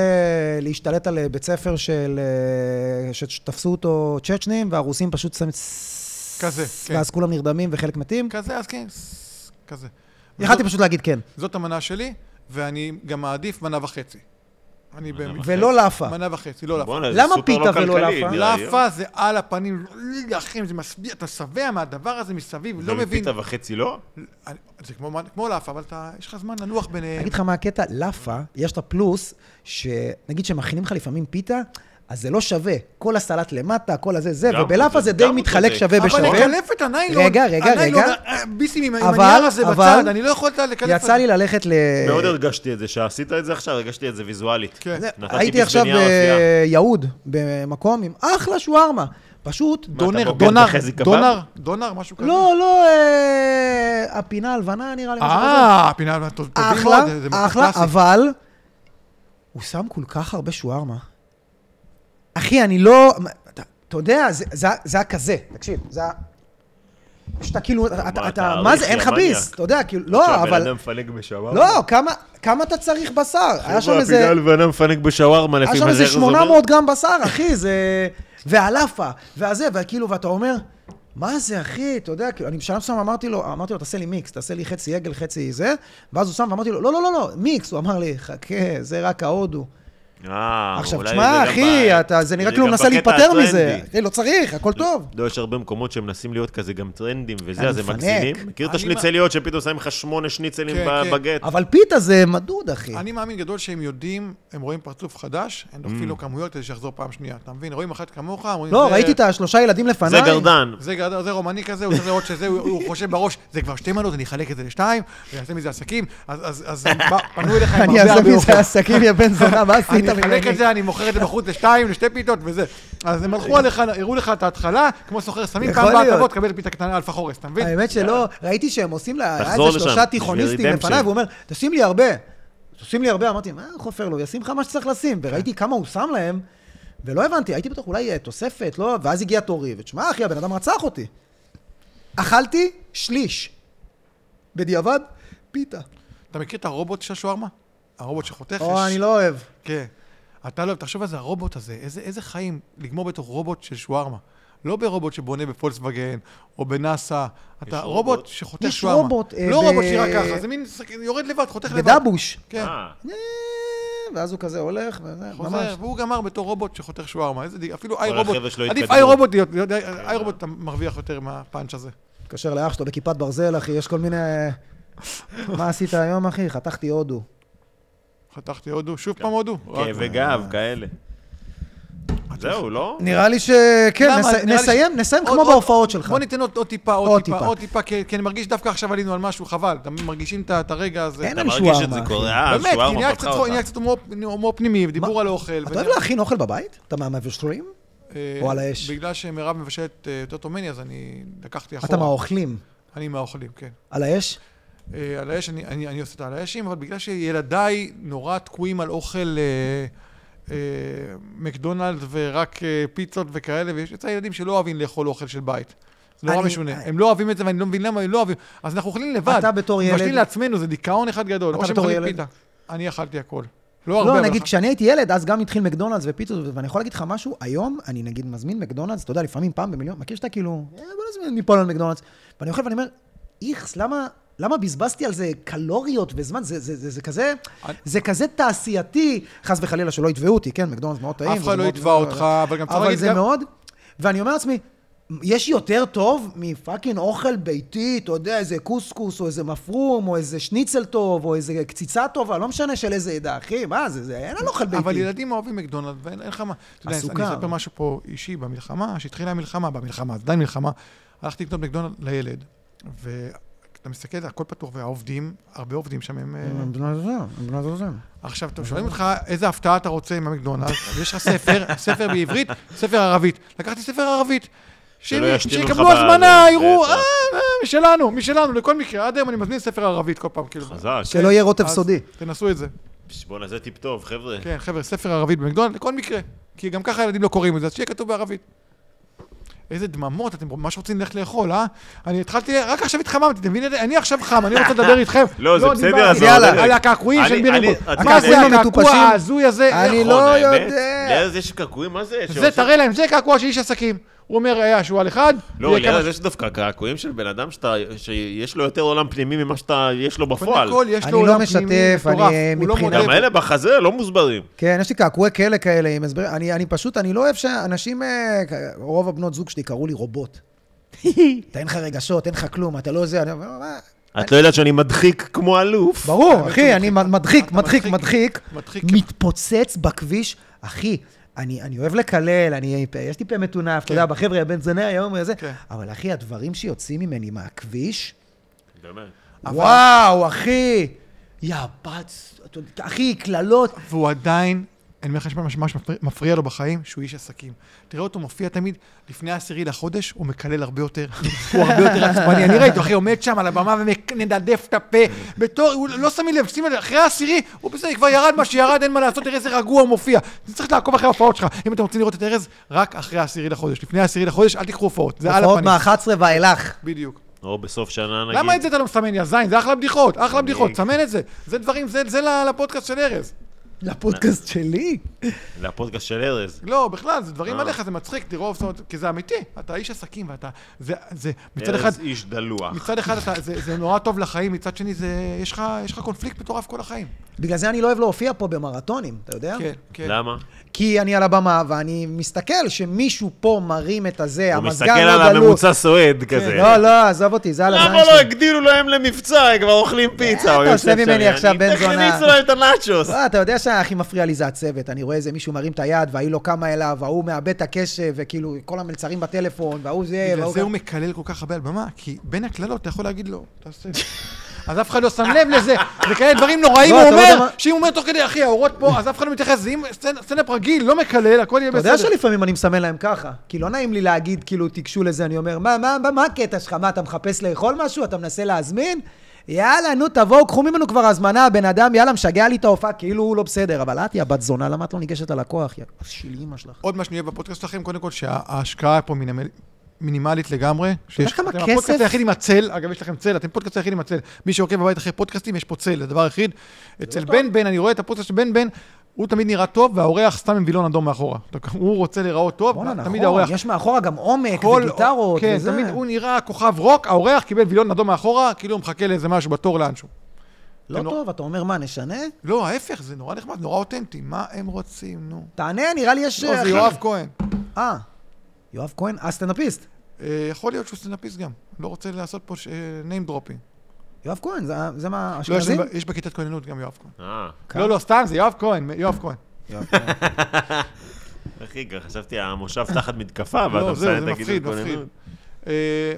[SPEAKER 1] להשתלט על אה, בית ספר של... אה, שתפסו אותו צ'צ'נים, והרוסים פשוט שמים...
[SPEAKER 2] כזה, כן.
[SPEAKER 1] ואז כולם נרדמים וחלק מתים.
[SPEAKER 2] כזה, אז כן, סס, כזה.
[SPEAKER 1] יכלתי
[SPEAKER 2] וזאת-
[SPEAKER 1] פשוט להגיד כן.
[SPEAKER 2] זאת המנה שלי, ואני גם מעדיף מנה וחצי. אני באמת...
[SPEAKER 1] ולא לאפה.
[SPEAKER 2] אוקיי. מנה וחצי, לא לאפה.
[SPEAKER 3] בואנה, זה
[SPEAKER 1] למה
[SPEAKER 3] סופר
[SPEAKER 1] פיתה
[SPEAKER 3] לא
[SPEAKER 1] ולא
[SPEAKER 3] כלכלי,
[SPEAKER 1] לאפה?
[SPEAKER 3] נראה לי.
[SPEAKER 2] לאפה זה על הפנים, אחים, זה משביע, אתה שבע מהדבר הזה מסביב, לא
[SPEAKER 3] אבל
[SPEAKER 2] מבין.
[SPEAKER 3] פיתה וחצי לא?
[SPEAKER 2] אני- זה כמו, כמו לאפה, אבל אתה, יש לך זמן לנוח ביניהם.
[SPEAKER 1] אני אגיד לך מה הקטע, לאפה, יש את הפלוס, שנגיד שמכינים לך לפעמים פיתה, אז זה לא שווה. כל הסלט למטה, כל הזה זה,
[SPEAKER 3] גם
[SPEAKER 1] ובלאפה
[SPEAKER 3] צודק,
[SPEAKER 1] זה די
[SPEAKER 3] גם
[SPEAKER 1] מתחלק
[SPEAKER 3] צודק.
[SPEAKER 1] שווה
[SPEAKER 2] אבל
[SPEAKER 1] בשווה.
[SPEAKER 2] לקלף את הניילון,
[SPEAKER 1] רגע, רגע,
[SPEAKER 2] הניילון,
[SPEAKER 1] רגע.
[SPEAKER 2] אה, ביסים עם עם
[SPEAKER 1] אבל-
[SPEAKER 2] הנייר הזה
[SPEAKER 1] אבל-
[SPEAKER 2] בצד, אני לא יכולת לקלף את זה.
[SPEAKER 1] יצא לי ללכת ל...
[SPEAKER 3] מאוד הרגשתי את זה, שעשית את זה עכשיו, הרגשתי את זה ויזואלית.
[SPEAKER 2] כן.
[SPEAKER 1] זה-
[SPEAKER 3] נתתי
[SPEAKER 1] אה, הייתי
[SPEAKER 3] ביס
[SPEAKER 1] עכשיו אה,
[SPEAKER 3] בנייר אפייה.
[SPEAKER 1] ביהוד, במקום עם אחלה שווארמה. פשוט
[SPEAKER 3] אתה
[SPEAKER 2] דונר,
[SPEAKER 3] בוגד
[SPEAKER 2] דונר,
[SPEAKER 3] בחזי קבב?
[SPEAKER 2] דונר, דונר, משהו כזה.
[SPEAKER 1] לא, לא, אה, הפינה הלבנה נראה לי. משהו כזה.
[SPEAKER 2] אה, הפינה, טוב- טובים
[SPEAKER 1] אחלה,
[SPEAKER 2] מאוד, זה- זה מקום
[SPEAKER 1] אחלה,
[SPEAKER 2] קלאסי.
[SPEAKER 1] אבל הוא שם כל כך הרבה שווארמה. אחי, אני לא... אתה, אתה יודע, זה- זה- זה היה כזה, תקשיב, זה היה... שאתה כאילו, אתה, אתה,
[SPEAKER 3] אתה
[SPEAKER 1] מה זה,
[SPEAKER 3] אריסי
[SPEAKER 1] אין לך
[SPEAKER 3] המניאק.
[SPEAKER 1] ביס, אתה יודע, כאילו, לא,
[SPEAKER 3] שהבן
[SPEAKER 1] אבל,
[SPEAKER 3] אדם מפנק בשווארמה. כאילו,
[SPEAKER 1] לא, כמה, כמה אתה צריך בשר? היה שם
[SPEAKER 3] חבר'ה,
[SPEAKER 1] איזה,
[SPEAKER 3] הפינה לבנה מפנק בשווארמה, לפי
[SPEAKER 1] היה
[SPEAKER 3] מה
[SPEAKER 1] שם איזה
[SPEAKER 3] שארז אומר.
[SPEAKER 1] 800 גרם בשר, אחי, זה... והלאפה, והזה, וכאילו, ואתה אומר, מה זה, אחי, אתה יודע, כאילו, אני בשלב מסוים אמרתי לו, אמרתי לו, תעשה לי מיקס, תעשה לי חצי עגל, חצי זה, ואז הוא שם, ואמרתי לו, לא, לא, לא, לא, מיקס, הוא אמר לי, חכה, זה רק ההודו.
[SPEAKER 3] אה,
[SPEAKER 1] עכשיו,
[SPEAKER 3] אולי
[SPEAKER 1] תשמע,
[SPEAKER 3] זה גם
[SPEAKER 1] אחי,
[SPEAKER 3] ב-
[SPEAKER 1] אתה- זה נראה
[SPEAKER 3] זה
[SPEAKER 1] כאילו
[SPEAKER 3] גם
[SPEAKER 1] הוא מנסה
[SPEAKER 3] בקטע
[SPEAKER 1] להיפטר מזה.
[SPEAKER 3] הטרנדי.
[SPEAKER 1] אחי, לא צריך, הכל טוב.
[SPEAKER 3] לא, יש הרבה מקומות שמנסים להיות כזה גם טרנדים וזה,
[SPEAKER 1] אני
[SPEAKER 3] אז הם
[SPEAKER 1] מפנק.
[SPEAKER 3] מגזימים. מכיר את
[SPEAKER 2] אני
[SPEAKER 3] השניצליות שפתאום שמים לך שמונה שניצלים
[SPEAKER 2] כן,
[SPEAKER 3] ב-
[SPEAKER 2] כן.
[SPEAKER 3] בגט?
[SPEAKER 1] אבל פיתה זה מדוד, אחי.
[SPEAKER 2] אני מאמין גדול שהם יודעים, הם רואים פרצוף חדש, הם
[SPEAKER 3] Mm.
[SPEAKER 2] דוחפים לו כמויות כדי שיחזור פעם שנייה. אתה מבין? רואים אחת כמוך, אומרים...
[SPEAKER 1] לא,
[SPEAKER 2] "זה-
[SPEAKER 1] ראיתי את השלושה ילדים לפניי.
[SPEAKER 3] זה גרדן.
[SPEAKER 2] זה, גד- זה רומני כזה, הוא צריך לראות שזה, הוא, הוא חושב בראש, זה כבר שתי מנות, אני אחלק את זה לשתיים, ויעשה מזה עסקים, אז, אז, אז הם בא- פנו אליך עם
[SPEAKER 1] אני
[SPEAKER 2] הרבה
[SPEAKER 1] אעשה
[SPEAKER 2] הרבה
[SPEAKER 1] מזה
[SPEAKER 2] אוכל.
[SPEAKER 1] עסקים, יא בן זונה, מה עשית
[SPEAKER 2] אני אחלק את
[SPEAKER 1] ממני?
[SPEAKER 2] זה, אני מוכר את זה בחוץ לשתיים, לשתי פיתות וזה. אז הם הלכו עליך, הראו לך את ההתחלה, כמו סוחר סמים,
[SPEAKER 1] יכול
[SPEAKER 2] פעם הבאה
[SPEAKER 1] להיות. אה.
[SPEAKER 2] תבוא, תקבל פיתה קטנה אלפה חורס, אתה מבין?
[SPEAKER 1] האמת שלא, ראיתי שהם עושים לה, היה
[SPEAKER 3] תחזור
[SPEAKER 1] איזה שלושה
[SPEAKER 3] לשם,
[SPEAKER 1] תיכוניסטים
[SPEAKER 3] בשביל
[SPEAKER 1] לפניי,
[SPEAKER 3] redemption.
[SPEAKER 1] והוא אומר, תשים לי הרבה. תשים לי הרבה, אמרתי, מה חופר לו, ישים לך מה שצריך לשים.
[SPEAKER 3] כן.
[SPEAKER 1] וראיתי כמה הוא שם להם, ולא הבנתי, הייתי בטוח אולי אה, תוספת, לא? ואז הגיע תורי, ותשמע, אחי, הבן אדם רצח אותי. אכלתי שליש. בדיעבד, פיתה.
[SPEAKER 2] אתה מכיר את הרובוט של השווארמה? הרובוט שחותך?
[SPEAKER 1] או,
[SPEAKER 2] יש-
[SPEAKER 1] אני לא אוהב.
[SPEAKER 2] כן. אתה לא, תחשוב על זה, הרובוט הזה, איזה, איזה חיים לגמור בתוך רובוט של שווארמה. לא ברובוט שבונה בפולקסווגן, או בנאסא. אתה רובוט,
[SPEAKER 3] רובוט.
[SPEAKER 2] שחותך
[SPEAKER 1] יש
[SPEAKER 2] שווארמה.
[SPEAKER 1] רובוט, אה,
[SPEAKER 2] לא
[SPEAKER 1] ב-
[SPEAKER 2] רובוט שירה ככה, זה מין, שק- יורד לבד, חותך לבד.
[SPEAKER 1] בדבוש.
[SPEAKER 2] כן.
[SPEAKER 3] אה,
[SPEAKER 1] אה, ואז הוא כזה הולך, וזה, ממש.
[SPEAKER 2] חוזר, והוא גמר בתור רובוט שחותך שווארמה. איזה די- אפילו איי
[SPEAKER 3] כל
[SPEAKER 2] רובוט.
[SPEAKER 3] החבר'ה שלו כן.
[SPEAKER 2] עדיף
[SPEAKER 3] התקדמו.
[SPEAKER 2] איי רובוט להיות, להיות- איי רובוט אתה מרוויח יותר מהפאנץ' הזה.
[SPEAKER 1] מתקשר לאח שלו בכיפת ברזל, אחי, יש כל מיני... מה עשית היום, אחי? חתכתי הודו.
[SPEAKER 2] חתכתי הודו, שוב
[SPEAKER 3] כן.
[SPEAKER 2] פעם הודו. אוקיי. רק-
[SPEAKER 3] כאבי גב, כאלה. אוקיי. זהו, לא?
[SPEAKER 1] נראה לי שכן,
[SPEAKER 2] למה?
[SPEAKER 1] נס-
[SPEAKER 2] נראה לי ש-
[SPEAKER 1] נסיים, נסיים
[SPEAKER 2] עוד-
[SPEAKER 1] כמו
[SPEAKER 2] עוד-
[SPEAKER 1] בהופעות שלך.
[SPEAKER 2] בוא ניתן עוד עוד טיפה,
[SPEAKER 1] עוד
[SPEAKER 2] עוד טיפה,
[SPEAKER 1] טיפה.
[SPEAKER 2] עוד טיפה, כי כי אני מרגיש דווקא עכשיו עלינו על משהו, חבל. אתם מרגישים את ה- את הרגע הזה.
[SPEAKER 1] אין
[SPEAKER 3] אתה
[SPEAKER 1] על
[SPEAKER 3] מרגיש את
[SPEAKER 1] שווארמה,
[SPEAKER 3] זה
[SPEAKER 1] אחי.
[SPEAKER 3] קורה, אה,
[SPEAKER 2] באמת, כי
[SPEAKER 3] שווארמה
[SPEAKER 2] נהיה קצת
[SPEAKER 3] פתחה
[SPEAKER 2] צחוק,
[SPEAKER 3] אותה.
[SPEAKER 2] נהיה קצת הומור- הומור פנימי, דיבור על אוכל.
[SPEAKER 1] אתה
[SPEAKER 2] וזה-
[SPEAKER 1] אוהב להכין אוכל בבית? אתה מהמבשלים?
[SPEAKER 2] אה,
[SPEAKER 1] או על האש?
[SPEAKER 2] בגלל שמירב מבשלת אה, יותר טוב ממני, אז אני לקחתי אחורה.
[SPEAKER 1] אתה מהאוכלים.
[SPEAKER 2] אני מהאוכלים, כן.
[SPEAKER 1] על האש?
[SPEAKER 2] אה, על האש, אני- אני אני עושה את על האשים, אבל בגלל שילדיי נורא תקועים על אוכל אה, אה, מקדונלד ורק אה, פיצות וכאלה, ויש יצא ילדים שלא אוהבים לאכול אוכל של בית. זה נורא
[SPEAKER 1] אני- אה.
[SPEAKER 2] משונה. הם לא אוהבים את זה, ואני לא מבין למה הם לא אוהבים. אז אנחנו אוכלים לבד.
[SPEAKER 1] אתה בתור ילד-
[SPEAKER 2] מבשלים לעצמנו, זה דיכאון אחד גדול.
[SPEAKER 1] אתה
[SPEAKER 2] או שהם
[SPEAKER 1] בתור
[SPEAKER 2] אוכלים
[SPEAKER 1] ילד-
[SPEAKER 2] פיתה. אני אכלתי הכל. לא הרבה,
[SPEAKER 1] לא,
[SPEAKER 2] אבל
[SPEAKER 1] נגיד,
[SPEAKER 2] אכלתי.
[SPEAKER 1] כשאני הייתי ילד, אז גם התחיל מקדונלדס ופיצות, ואני יכול להגיד לך משהו, היום אני נגיד מזמין מקדונלדס, אתה יודע, לפעמים פעם במיליון, מכיר שאתה כאילו, "אה, בוא נזמין מפה על מקדונלדס, ואני אוכל ואני אומר, איכס, למה... למה בזבזתי על זה קלוריות וזמן? זה, זה, זה, זה כזה
[SPEAKER 2] אני-
[SPEAKER 1] זה כזה תעשייתי, חס וחלילה שלא יתבעו אותי, כן, מקדונלדס מאוד טעים.
[SPEAKER 2] אף
[SPEAKER 1] וזה
[SPEAKER 2] אחד לא
[SPEAKER 1] מאוד-
[SPEAKER 2] יתבע אותך, אבל גם צריך
[SPEAKER 1] אבל
[SPEAKER 2] להגיד
[SPEAKER 1] זה
[SPEAKER 2] גם-
[SPEAKER 1] מאוד, ואני אומר לעצמי, יש יותר טוב מפאקינג אוכל ביתי, אתה יודע, איזה קוסקוס, או איזה מפרום, או איזה שניצל טוב, או איזה קציצה טובה, לא משנה של איזה עדה, אחי, מה זה, זה, אין על אוכל ביתי.
[SPEAKER 2] אבל ילדים אוהבים מקדונלד, ואין אין לך מה. אתה יודע, אני-
[SPEAKER 1] הסוכר.
[SPEAKER 2] אני אספר משהו פה אישי במלחמה, שהתחילה המלחמה, במלחמה, אז עדיין מלחמה, הלכתי לקנות מקדונלד לילד, ואתה מסתכל, הכל פתוח, והעובדים, הרבה עובדים שם הם... אה,
[SPEAKER 1] הם בני זוגם, הם בני זוגם.
[SPEAKER 3] Mm.
[SPEAKER 2] עכשיו, אתם שואלים אותך איזה הפתעה אתה רוצה עם המקדונלד, ויש לך ספר, ספר בעברית, ספר ערבית. לקחתי ספר ערבית.
[SPEAKER 3] שלא
[SPEAKER 2] שלי-
[SPEAKER 3] ישתינו לך
[SPEAKER 2] שיקבלו
[SPEAKER 3] ב-
[SPEAKER 2] הזמנה,
[SPEAKER 3] זה-
[SPEAKER 2] יראו,
[SPEAKER 3] זה-
[SPEAKER 2] אה, אה, משלנו, משלנו, לכל מקרה. עד היום אני מזמין ספר ערבית כל פעם, כאילו.
[SPEAKER 3] חזק.
[SPEAKER 1] שלא לא יהיה רוטב
[SPEAKER 2] אז
[SPEAKER 1] סודי.
[SPEAKER 2] תנסו את זה.
[SPEAKER 3] פש, בואנה, זה טיפ טוב, חבר'ה.
[SPEAKER 2] כן, חבר'ה, ספר ערבית במקדונלד, לכל מקרה. כי גם ככה הילדים לא קוראים את זה, אז שיהיה כתוב בערבית. איזה דממות, אתם ממש רוצים ללכת לאכול, אה? אני התחלתי, רק עכשיו התחממתי, אתם מבינים? אני עכשיו חם, אני רוצה לדבר איתכם.
[SPEAKER 3] לא, זה בסדר,
[SPEAKER 2] דיברתי.
[SPEAKER 1] עזוב, יאללה.
[SPEAKER 2] על הקעקועים
[SPEAKER 3] אני-
[SPEAKER 2] של בירים
[SPEAKER 3] אני-
[SPEAKER 2] פה.
[SPEAKER 3] אתה
[SPEAKER 2] מה זה
[SPEAKER 1] יודע-
[SPEAKER 2] הקעקוע
[SPEAKER 1] המטופשים?
[SPEAKER 2] ההזוי הזה?
[SPEAKER 1] לא אני
[SPEAKER 3] נכון,
[SPEAKER 1] לא
[SPEAKER 3] האמת.
[SPEAKER 1] יודע.
[SPEAKER 3] ליד יש קעקועים, מה זה?
[SPEAKER 2] זה, תראה להם, זה קעקוע של איש עסקים. הוא אומר, היה שועל אחד,
[SPEAKER 3] לא,
[SPEAKER 2] ויהיה
[SPEAKER 3] ליד
[SPEAKER 2] כמה-
[SPEAKER 3] יש דווקא קעקועים של בן אדם שאתה- שיש לו יותר עולם פנימי ממה שיש לו בפועל.
[SPEAKER 2] קודם כל, יש
[SPEAKER 1] אני
[SPEAKER 2] לו
[SPEAKER 1] לא
[SPEAKER 2] עולם
[SPEAKER 1] משתף,
[SPEAKER 2] פנימי מטורף.
[SPEAKER 1] אני
[SPEAKER 2] הוא לא
[SPEAKER 1] מבחינה-
[SPEAKER 2] מודה
[SPEAKER 3] גם אלה בחזה לא מוסברים.
[SPEAKER 1] כן, יש לי קעקועי כלא כאלה עם הסברים. אני, אני פשוט, אני לא אוהב שאנשים, אה, כ- רוב הבנות זוג שלי קראו לי רובוט. אתה אין לך רגשות, אין לך כלום, אתה לא זה, אני אומר, "מה?"
[SPEAKER 3] את לא יודעת שאני מדחיק כמו אלוף.
[SPEAKER 1] ברור,
[SPEAKER 2] הוא
[SPEAKER 1] אחי, אני מדחיק,
[SPEAKER 2] אתה
[SPEAKER 1] מדחיק,
[SPEAKER 2] מדחיק,
[SPEAKER 1] מדחיק,
[SPEAKER 2] מדחיק. כן.
[SPEAKER 1] מתפוצץ בכביש, אחי. אני, אני אוהב לקלל, אני, יש לי פה מטונף, אתה יודע, בחבר'ה, הבן זונה היום וזה,
[SPEAKER 2] כן.
[SPEAKER 1] אבל אחי, הדברים שיוצאים ממני מהכביש,
[SPEAKER 3] באמת.
[SPEAKER 1] וואו, אחי, יא בץ, אתה יודע, אחי, קללות.
[SPEAKER 2] והוא עדיין, אני אומר לך, יש ממש ממש מפריע- מפריע לו בחיים, שהוא איש עסקים. תראה אותו מופיע תמיד, לפני העשירי לחודש, הוא מקלל הרבה יותר, הוא הרבה יותר עצבני. אני ראיתי, אחי, עומד שם על הבמה ומנדף את הפה, בתור, הוא לא שמים לב, שימי לב, אחרי העשירי, הוא בסדר, כבר ירד מה שירד, אין מה לעשות, תראה איזה רגוע הוא מופיע. אתה צריך לעקוב אחרי ההופעות שלך. אם אתם רוצים לראות את ארז, רק אחרי העשירי לחודש. לפני העשירי לחודש, אל תיקחו הופעות, זה על
[SPEAKER 1] הופעות
[SPEAKER 2] הפנים.
[SPEAKER 1] מ-11 ואילך.
[SPEAKER 2] בדיוק.
[SPEAKER 3] או בסוף שנה נגיד.
[SPEAKER 2] למה את זה אתה לא מסמן, יא זין? זה אחלה בדיחות, אחלה בדיחות,
[SPEAKER 3] אני-
[SPEAKER 2] סמן את זה. זה דברים, זה- זה לפודקאסט של ארז.
[SPEAKER 1] לפודקאסט שלי?
[SPEAKER 3] לפודקאסט של ארז.
[SPEAKER 2] לא, בכלל, זה דברים
[SPEAKER 3] אה.
[SPEAKER 2] עליך, זה מצחיק, תראו, זאת אומרת, כי זה אמיתי. אתה איש עסקים ואתה... זה, זה, מצד אחד,
[SPEAKER 3] ארז איש דלוח.
[SPEAKER 2] מצד אחד אתה, זה, זה נורא טוב לחיים, מצד שני, זה, יש לך, יש לך קונפליקט מטורף כל החיים.
[SPEAKER 1] בגלל זה אני לא אוהב להופיע פה במרתונים, אתה יודע?
[SPEAKER 2] כן, כן.
[SPEAKER 3] אה, למה?
[SPEAKER 1] כי אני על הבמה ואני מסתכל שמישהו פה מרים את הזה,
[SPEAKER 3] הוא
[SPEAKER 1] המזגן
[SPEAKER 3] מסתכל
[SPEAKER 1] לא גלוי.
[SPEAKER 3] על הממוצע סועד כזה.
[SPEAKER 1] לא, לא, עזוב אותי, זה על הזין
[SPEAKER 3] למה לא
[SPEAKER 1] שלי.
[SPEAKER 3] הגדילו להם למבצע? הם כבר אוכלים פיצה. או
[SPEAKER 1] אתה
[SPEAKER 3] יושב
[SPEAKER 1] עושה ממני
[SPEAKER 3] שם,
[SPEAKER 1] עכשיו
[SPEAKER 3] אני-
[SPEAKER 1] בן
[SPEAKER 3] תכף
[SPEAKER 1] זונה.
[SPEAKER 3] הכניסו להם את הנאצ'וס.
[SPEAKER 1] לא, אתה יודע שהכי מפריע לי זה הצוות. אני רואה איזה מישהו מרים את היד, וההיא לא קמה אליו, וההוא מאבד את הקשב, וכאילו, כל המלצרים בטלפון, וההוא זה,
[SPEAKER 2] בגלל
[SPEAKER 1] וההוא...
[SPEAKER 2] זה הוא מקלל כל כך הרבה על במה, כי בין הקללות אתה יכול להגיד לו, תעשה את זה. אז אף אחד לא שם לב לזה, זה כאלה דברים נוראים,
[SPEAKER 1] לא,
[SPEAKER 2] הוא
[SPEAKER 1] אתה לא יודע
[SPEAKER 2] אומר,
[SPEAKER 1] מה-
[SPEAKER 2] שאם הוא אומר תוך כדי, אחי, האורות פה, אז אף אחד לא מתייחס, זה אם סצנ- סטנדאפ רגיל, לא מקלל, הכל יהיה
[SPEAKER 1] אתה
[SPEAKER 2] בסדר.
[SPEAKER 1] יודע שלפעמים אני מסמן להם ככה, כי לא נעים לי להגיד, כאילו, תיגשו לזה, אני אומר, מה, מה, מה, מה הקטע שלך? מה, אתה מחפש לאכול משהו? אתה מנסה להזמין? יאללה, נו, תבואו, קחו ממנו כבר הזמנה, הבן אדם, יאללה, משגע לי את ההופעה, כאילו הוא לא בסדר. אבל את, יא בת זונה, למה את לא ניגשת ללקוח? יא של אימא שלך.
[SPEAKER 2] עוד מה שנהיה בפודקאסט שלכם, קודם כל שההשקעה פה מינימל- מינימלית לגמרי. שיש-
[SPEAKER 1] כמה
[SPEAKER 2] אתם
[SPEAKER 1] כסף?
[SPEAKER 2] הפודקאסט היחיד עם הצל, אגב, יש לכם צל, אתם פודקאסט היחיד עם הצל. מי שעוקב בבית אחרי פודקאסטים, יש פה צל, זה הדבר היחיד.
[SPEAKER 1] לא
[SPEAKER 2] אצל בן בן, אני רואה את הפודקאסט של בן בן, הוא תמיד נראה טוב, והאורח סתם עם וילון אדום מאחורה. הוא רוצה להיראות טוב,
[SPEAKER 1] בואנה,
[SPEAKER 2] תמיד
[SPEAKER 1] נכון,
[SPEAKER 2] האורח...
[SPEAKER 1] יש מאחורה גם עומק,
[SPEAKER 2] כל-
[SPEAKER 1] וגיטרות,
[SPEAKER 2] כן,
[SPEAKER 1] וזה.
[SPEAKER 2] תמיד הוא נראה כוכב רוק, האורח קיבל וילון אדום מאחורה, כאילו הוא מחכה לאיזה משהו בתור לאנשהו.
[SPEAKER 1] לא
[SPEAKER 2] נו.
[SPEAKER 1] טוב, אתה אומר, מה, נשנה?
[SPEAKER 2] לא, ההפך, זה נורא נחמד, נורא אותנטי, מה הם רוצים, נו?
[SPEAKER 1] תענה, נראה לי יש...
[SPEAKER 2] לא, זה
[SPEAKER 1] אחי.
[SPEAKER 2] יואב כהן.
[SPEAKER 1] אה, יואב כהן, אה, סטנדאפיסט.
[SPEAKER 2] אה, יכול להיות שהוא סטנדאפיסט גם, לא רוצה לעשות פה אה, name dropping.
[SPEAKER 1] יואב כהן, זה, זה מה,
[SPEAKER 2] לא, יש,
[SPEAKER 1] אשכנזים?
[SPEAKER 2] לי- יש בכיתת כוננות גם יואב כהן.
[SPEAKER 3] אה,
[SPEAKER 1] כן.
[SPEAKER 2] לא, לא, סתם, זה יואב כהן, יואב כהן.
[SPEAKER 3] אחי, כבר חשבתי, המושב תחת מתקפה, ואתה
[SPEAKER 2] לא, זהו,
[SPEAKER 3] מסיים
[SPEAKER 2] זה
[SPEAKER 3] את הגידול
[SPEAKER 2] מפחיד, מפחיד.
[SPEAKER 3] כוננות.
[SPEAKER 2] אה,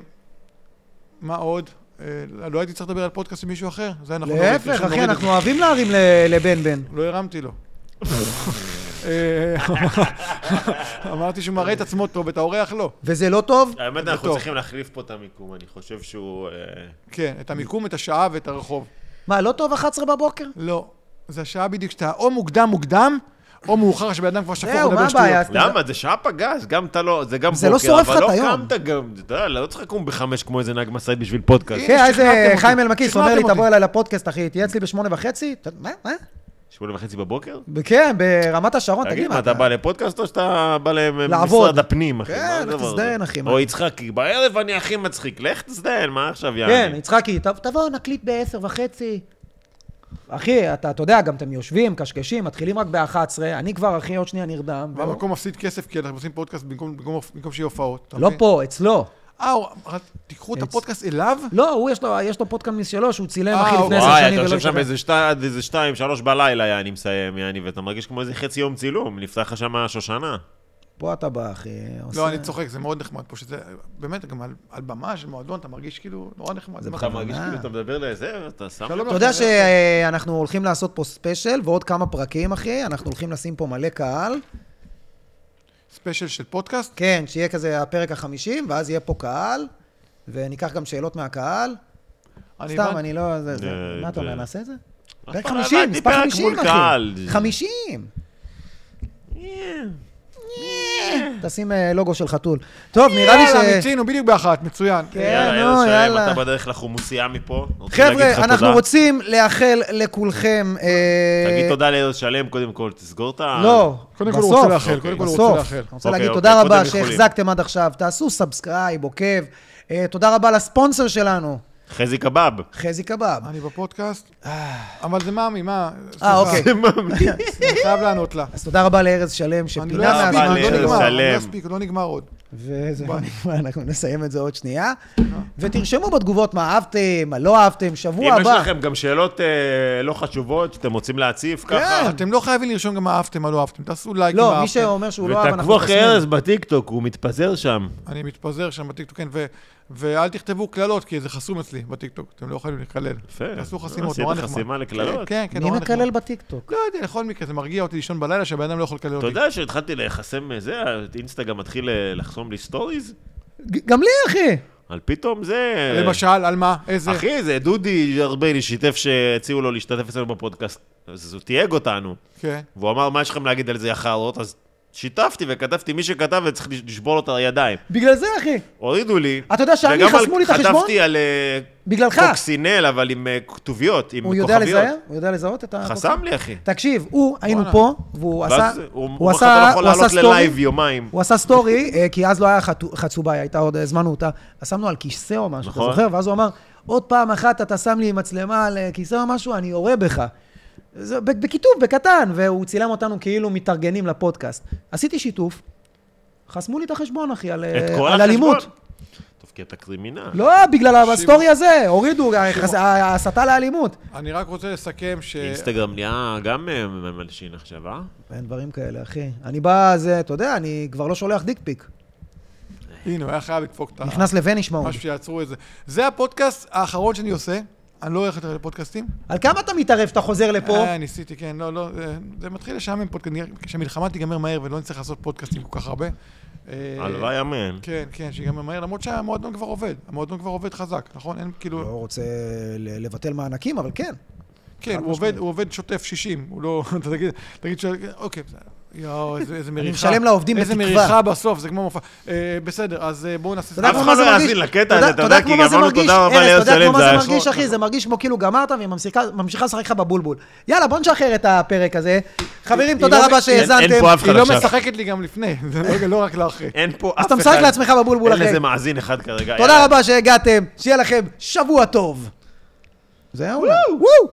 [SPEAKER 2] מה עוד? אה, לא הייתי צריך לדבר על פודקאסט עם מישהו אחר? זה אנחנו נוריד,
[SPEAKER 1] להפך,
[SPEAKER 2] אנחנו
[SPEAKER 1] אחי,
[SPEAKER 2] נוריד את
[SPEAKER 1] אנחנו אוהבים להרים ל- לבן בן.
[SPEAKER 2] לא הרמתי לו. אה, אמרתי שהוא מראה את עצמו טוב, את האורח לא.
[SPEAKER 1] וזה לא טוב?
[SPEAKER 3] האמת,
[SPEAKER 2] זה
[SPEAKER 3] אנחנו
[SPEAKER 2] טוב.
[SPEAKER 3] צריכים להחליף פה את המיקום, אני חושב שהוא... אה,
[SPEAKER 2] כן, את המיקום, את השעה ואת הרחוב.
[SPEAKER 1] מה, לא טוב 11 בבוקר?
[SPEAKER 2] לא, זה השעה בדיוק שאתה או מוקדם מוקדם, או מאוחר שבן אדם כבר שפוך
[SPEAKER 1] זהו,
[SPEAKER 2] לדבר
[SPEAKER 1] מה
[SPEAKER 2] שטויות.
[SPEAKER 1] הבעיה?
[SPEAKER 3] למה? זה שעה פגז, גם אתה לא... זה גם
[SPEAKER 1] זה לא
[SPEAKER 3] בוקר,
[SPEAKER 1] שורף לך
[SPEAKER 3] אבל
[SPEAKER 1] את
[SPEAKER 3] לא
[SPEAKER 1] היום.
[SPEAKER 3] קמת גם... אתה יודע, לא צריך לקום בחמש כמו איזה נהג משאית בשביל פודקאסט.
[SPEAKER 2] הנה,
[SPEAKER 1] כן,
[SPEAKER 2] שכנעתם
[SPEAKER 1] איזה
[SPEAKER 2] אותי.
[SPEAKER 1] חיים אלמקיס אומר לי,
[SPEAKER 2] שכנעתם
[SPEAKER 1] תבוא
[SPEAKER 2] אותי.
[SPEAKER 1] אליי לפודקאסט, אחי, תהיה אצלי בשמונה וחצי? אתה- מה? מה?
[SPEAKER 3] שמונה וחצי בבוקר?
[SPEAKER 1] כן, ברמת השרון,
[SPEAKER 3] תגיד, מה, אתה בא לפודקאסט או שאתה בא
[SPEAKER 1] לעבוד.
[SPEAKER 3] למשרד הפנים, אחי?
[SPEAKER 1] כן,
[SPEAKER 3] מה
[SPEAKER 1] לך
[SPEAKER 3] הדבר הזה?
[SPEAKER 1] תזדיין, אחי, מה?
[SPEAKER 3] או יצחקי, בערב אני הכי מצחיק, לך תזדיין, מה עכשיו יעני?
[SPEAKER 1] כן, יצחקי, "ת- תבוא, נקליט ב-10 וחצי. אחי, אתה אתה יודע, גם אתם יושבים, קשקשים, מתחילים רק ב-11, אני כבר, אחי, עוד שנייה נרדם. והוא-
[SPEAKER 2] והמקום מפסיד כסף, כי אנחנו עושים פודקאסט במקום- במקום במקום שיהיה הופעות. אתה
[SPEAKER 1] לא
[SPEAKER 2] מבין?
[SPEAKER 1] פה, אצלו.
[SPEAKER 2] אה, הוא- תיקחו את הפודקאסט אליו?
[SPEAKER 1] לא, הוא, יש לו- יש לו פודקאסט משלו שהוא צילם,
[SPEAKER 2] אה,
[SPEAKER 1] אחי, לפני
[SPEAKER 2] אוקיי.
[SPEAKER 1] עשר
[SPEAKER 3] וואי,
[SPEAKER 1] שנים
[SPEAKER 3] אתה
[SPEAKER 1] ולא
[SPEAKER 3] יושב שם
[SPEAKER 1] השתנה.
[SPEAKER 3] איזה שתיים, עד איזה שתיים, שלוש בלילה, יעני, מסיים, יעני, ואתה מרגיש כמו איזה חצי יום צילום, נפתח לך שם השושנה.
[SPEAKER 1] פה אתה בא, אחי.
[SPEAKER 2] לא,
[SPEAKER 1] עושה-
[SPEAKER 2] אני צוחק, זה מאוד נחמד פה, שזה באמת, גם על- על במה של מועדון, אתה מרגיש כאילו נורא נחמד.
[SPEAKER 3] אתה מרגיש כאילו אתה מדבר לזה, אתה לא שם...
[SPEAKER 2] שלום
[SPEAKER 1] אתה יודע שאנחנו הולכים לעשות פה ספיישל ועוד כמה פרקים, אחי. אנחנו הולכים לשים פה מלא קהל.
[SPEAKER 2] ספיישל של פודקאסט?
[SPEAKER 1] כן, שיהיה כזה הפרק החמישים, ואז יהיה פה קהל, וניקח גם שאלות מהקהל.
[SPEAKER 2] אני
[SPEAKER 1] סתם,
[SPEAKER 2] הבנתי.
[SPEAKER 1] אני לא... זה- זה-
[SPEAKER 3] אה,
[SPEAKER 1] מה אתה
[SPEAKER 3] זה-
[SPEAKER 1] אומר, נעשה את זה?
[SPEAKER 3] אף
[SPEAKER 1] פרק
[SPEAKER 3] פעם לא
[SPEAKER 1] חמישים,
[SPEAKER 3] הבנתי
[SPEAKER 1] מספר
[SPEAKER 3] פרק
[SPEAKER 1] חמישים,
[SPEAKER 3] מול קהל.
[SPEAKER 1] אחי. חמישים! תשים אה, לוגו של חתול. טוב, נראה לי
[SPEAKER 2] יאללה,
[SPEAKER 1] ש...
[SPEAKER 2] מיצינו בדיוק באחת, מצוין.
[SPEAKER 1] כן.
[SPEAKER 3] יאללה,
[SPEAKER 1] נו,
[SPEAKER 3] אה, לא, יאללה, שלם,
[SPEAKER 1] יאללה.
[SPEAKER 3] אתה בדרך לחומוסייה מפה. רוצים להגיד לך
[SPEAKER 1] חבר'ה, אנחנו
[SPEAKER 3] תודה.
[SPEAKER 1] רוצים לאחל לכולכם... אה,
[SPEAKER 3] תגיד תודה לארז שלם, קודם כל, תסגור את ה...
[SPEAKER 1] לא,
[SPEAKER 2] קודם כל הוא
[SPEAKER 1] בסוף.
[SPEAKER 2] רוצה לאחל, קודם כל הוא רוצה
[SPEAKER 1] בסוף.
[SPEAKER 2] לאחל.
[SPEAKER 1] אני רוצה
[SPEAKER 3] אוקיי,
[SPEAKER 1] להגיד
[SPEAKER 3] אוקיי,
[SPEAKER 1] תודה
[SPEAKER 3] קודם
[SPEAKER 1] רבה
[SPEAKER 3] איחולים.
[SPEAKER 1] שהחזקתם עד עכשיו, תעשו סאבסקרייב, עוקב. אה, תודה רבה לספונסר שלנו,
[SPEAKER 3] חזי קבב.
[SPEAKER 1] חזי קבב.
[SPEAKER 2] אני בפודקאסט, אבל זה מאמי, מה?
[SPEAKER 1] אה,
[SPEAKER 2] סליחה,
[SPEAKER 1] אוקיי.
[SPEAKER 2] אני חייב לענות לה.
[SPEAKER 1] אז תודה רבה לארז שלם
[SPEAKER 2] אני לא אספיק,
[SPEAKER 1] שפינה
[SPEAKER 2] עוד
[SPEAKER 3] אספיק,
[SPEAKER 1] מהזמן
[SPEAKER 2] לא
[SPEAKER 1] שלו.
[SPEAKER 2] נגמר, עוד
[SPEAKER 3] לארז שלם.
[SPEAKER 2] לא אספיק, עוד לא נגמר עוד.
[SPEAKER 1] וזהו,
[SPEAKER 2] בוא.
[SPEAKER 1] נגמר, אנחנו נסיים את זה עוד שנייה. ותרשמו בתגובות מה אהבתם, מה לא אהבתם, שבוע
[SPEAKER 3] אם יש
[SPEAKER 1] הבא.
[SPEAKER 3] לכם גם שאלות אה, לא חשובות שאתם רוצים להציף
[SPEAKER 1] כן,
[SPEAKER 3] ככה,
[SPEAKER 2] אתם לא חייבים לרשום גם מה אהבתם, מה לא אהבתם, תעשו לייק אם
[SPEAKER 1] לא, מי
[SPEAKER 2] אהבתם.
[SPEAKER 1] שאומר שהוא לא אהב, אנחנו
[SPEAKER 3] ותעקבו אחרי
[SPEAKER 1] חוסמים.
[SPEAKER 3] ארז בטיקטוק, הוא מתפזר שם.
[SPEAKER 2] אני מתפזר שם בטיקטוק, כן, ו- ואל תכתבו קללות, כי זה חסום אצלי בטיקטוק, אתם לא יכולים לקלל.
[SPEAKER 3] יפה.
[SPEAKER 2] תעשו
[SPEAKER 3] אה,
[SPEAKER 2] חסימות,
[SPEAKER 3] עשית
[SPEAKER 2] נורא נחמד.
[SPEAKER 3] חסימה לקללות?
[SPEAKER 2] כן, כן,
[SPEAKER 1] מי
[SPEAKER 2] נורא נחמד.
[SPEAKER 1] מקלל בטיקטוק?
[SPEAKER 2] לא יודע, בכל מקרה, זה מרגיע אותי לישון בלילה שהבן אדם לא יכול לקלל
[SPEAKER 3] אתה
[SPEAKER 2] אותי.
[SPEAKER 3] יודע שהתחלתי לחסם אה, זה, האינסטגרם מתחיל אה, לחסום לי סטוריז?
[SPEAKER 1] ג- גם לי, אחי.
[SPEAKER 3] אבל פתאום זה...
[SPEAKER 2] למשל, על מה? איזה?
[SPEAKER 3] אחי, זה דודי ארבלי שיתף שהציעו לו להשתתף אצלנו בפודקאסט. אז הוא תייג אותנו.
[SPEAKER 2] כן.
[SPEAKER 3] והוא אמר, מה יש לכם להגיד על זה, יא חארות? אז שיתפתי וכתבתי מי שכתב וצריך לש- לשבור לו את הידיים.
[SPEAKER 1] בגלל זה, אחי.
[SPEAKER 3] הורידו לי.
[SPEAKER 1] אתה יודע שאני,
[SPEAKER 3] וגם על-
[SPEAKER 1] חסמו לי את החשבון?
[SPEAKER 3] חטפתי על אה,
[SPEAKER 1] בגללך.
[SPEAKER 3] קוקסינל, אבל עם אה, כתוביות, עם
[SPEAKER 1] הוא
[SPEAKER 3] כוכביות.
[SPEAKER 1] יודע לזהה? הוא יודע לזהות את ה...
[SPEAKER 3] חסם לי, אחי.
[SPEAKER 1] תקשיב, הוא, היינו
[SPEAKER 2] וואלה.
[SPEAKER 1] פה, והוא עשה...
[SPEAKER 3] ואז הוא
[SPEAKER 1] הוא
[SPEAKER 3] הוא
[SPEAKER 1] עשה-
[SPEAKER 3] מחר אתה לא יכול
[SPEAKER 1] הוא עשה
[SPEAKER 3] לעלות
[SPEAKER 1] סטורי.
[SPEAKER 3] ללייב יומיים.
[SPEAKER 1] הוא עשה סטורי, אה, כי אז לא היה חתו- חצובה, היא הייתה עוד, אה, הזמנו אותה, אז שמנו על כיסא או משהו, אתה
[SPEAKER 3] נכון.
[SPEAKER 1] זוכר? ואז הוא אמר, עוד פעם אחת אתה שם לי מצלמה על אה, כיסא או משהו, אני יורה בך. זה ב- בכיתוב, בקטן, והוא צילם אותנו כאילו מתארגנים לפודקאסט. עשיתי שיתוף, חסמו לי את החשבון, אחי, על, אה,
[SPEAKER 3] את כל
[SPEAKER 1] על אלימות.
[SPEAKER 3] החשבון. טוב, כי אתה קרימינל.
[SPEAKER 1] לא, בגלל הסטורי הזה, הורידו, אה, החס- ההסתה לאלימות.
[SPEAKER 2] אני רק רוצה לסכם ש...
[SPEAKER 1] אה,
[SPEAKER 3] אינסטגרם נהיה גם אה, מלשין עכשיו, אה?
[SPEAKER 1] אין דברים כאלה, אחי. אני בא, זה, אתה יודע, אני כבר לא שולח דיק פיק.
[SPEAKER 2] הנה, הוא היה חייב לדפוק את ה...
[SPEAKER 1] נכנס לווניש מוד.
[SPEAKER 2] משהו שיעצרו את זה. זה הפודקאסט האחרון שאני עושה. אני לא הולך יותר לפודקאסטים.
[SPEAKER 1] על כמה אתה מתערב שאתה חוזר לפה?
[SPEAKER 2] אה, ניסיתי, כן, לא, לא, זה- זה מתחיל לשעמם פודקאסטים. כשהמלחמה תיגמר מהר ולא נצטרך לעשות פודקאסטים כל כך הרבה. אה,
[SPEAKER 3] הלוואי, אמן.
[SPEAKER 2] כן, כן, שיגמר מהר, למרות שהמועדון כבר עובד. המועדון כבר עובד חזק, נכון? אין כאילו...
[SPEAKER 1] לא רוצה ל- לבטל מענקים, אבל כן.
[SPEAKER 2] כן, הוא עובד, הוא עובד שוטף 60, הוא לא... אתה תגיד, תגיד ש... אוקיי, בסדר. יואו, איזה, איזה מריחה.
[SPEAKER 1] משלם לעובדים בתקווה.
[SPEAKER 2] איזה מריחה בסוף, זה כמו מופע. אה, בסדר, אז אה, בואו נעשה...
[SPEAKER 1] אתה יודע
[SPEAKER 3] אף
[SPEAKER 1] כמו מה
[SPEAKER 3] אחד
[SPEAKER 1] זה
[SPEAKER 3] לא
[SPEAKER 1] מרגיש?
[SPEAKER 3] יאזין לקטע הזה, אתה יודע, כי
[SPEAKER 1] כמו מה זה
[SPEAKER 3] גמרנו,
[SPEAKER 1] מרגיש?
[SPEAKER 3] תודה רבה
[SPEAKER 1] ארז,
[SPEAKER 3] ליאל
[SPEAKER 1] אתה יודע
[SPEAKER 3] שלם,
[SPEAKER 1] כמו מה
[SPEAKER 3] זה
[SPEAKER 1] זה
[SPEAKER 3] היה
[SPEAKER 1] מרגיש,
[SPEAKER 3] שחור.
[SPEAKER 1] אחי? זה מרגיש כמו כאילו גמרת והיא ממשיכה- ממשיכה לשחק לך בבולבול. יאללה, בוא נשחרר את הפרק הזה. חברים,
[SPEAKER 2] היא
[SPEAKER 1] תודה
[SPEAKER 2] לא-
[SPEAKER 1] רבה
[SPEAKER 2] אין- אין
[SPEAKER 1] שהאזנתם.
[SPEAKER 3] אין פה אף אחד
[SPEAKER 2] היא לא
[SPEAKER 3] עכשיו.
[SPEAKER 2] משחקת לי גם לפני, זה לא- לא רק לאחרי.
[SPEAKER 3] אין פה אף אחד.
[SPEAKER 1] אז אתה משחק לעצמך בבולבול
[SPEAKER 3] אין
[SPEAKER 1] אחרי.
[SPEAKER 3] לזה מאזין אחד כרגע. יאללה.
[SPEAKER 1] תודה רבה שהגעתם, שיהיה לכם שבוע טוב. זהו? וואו!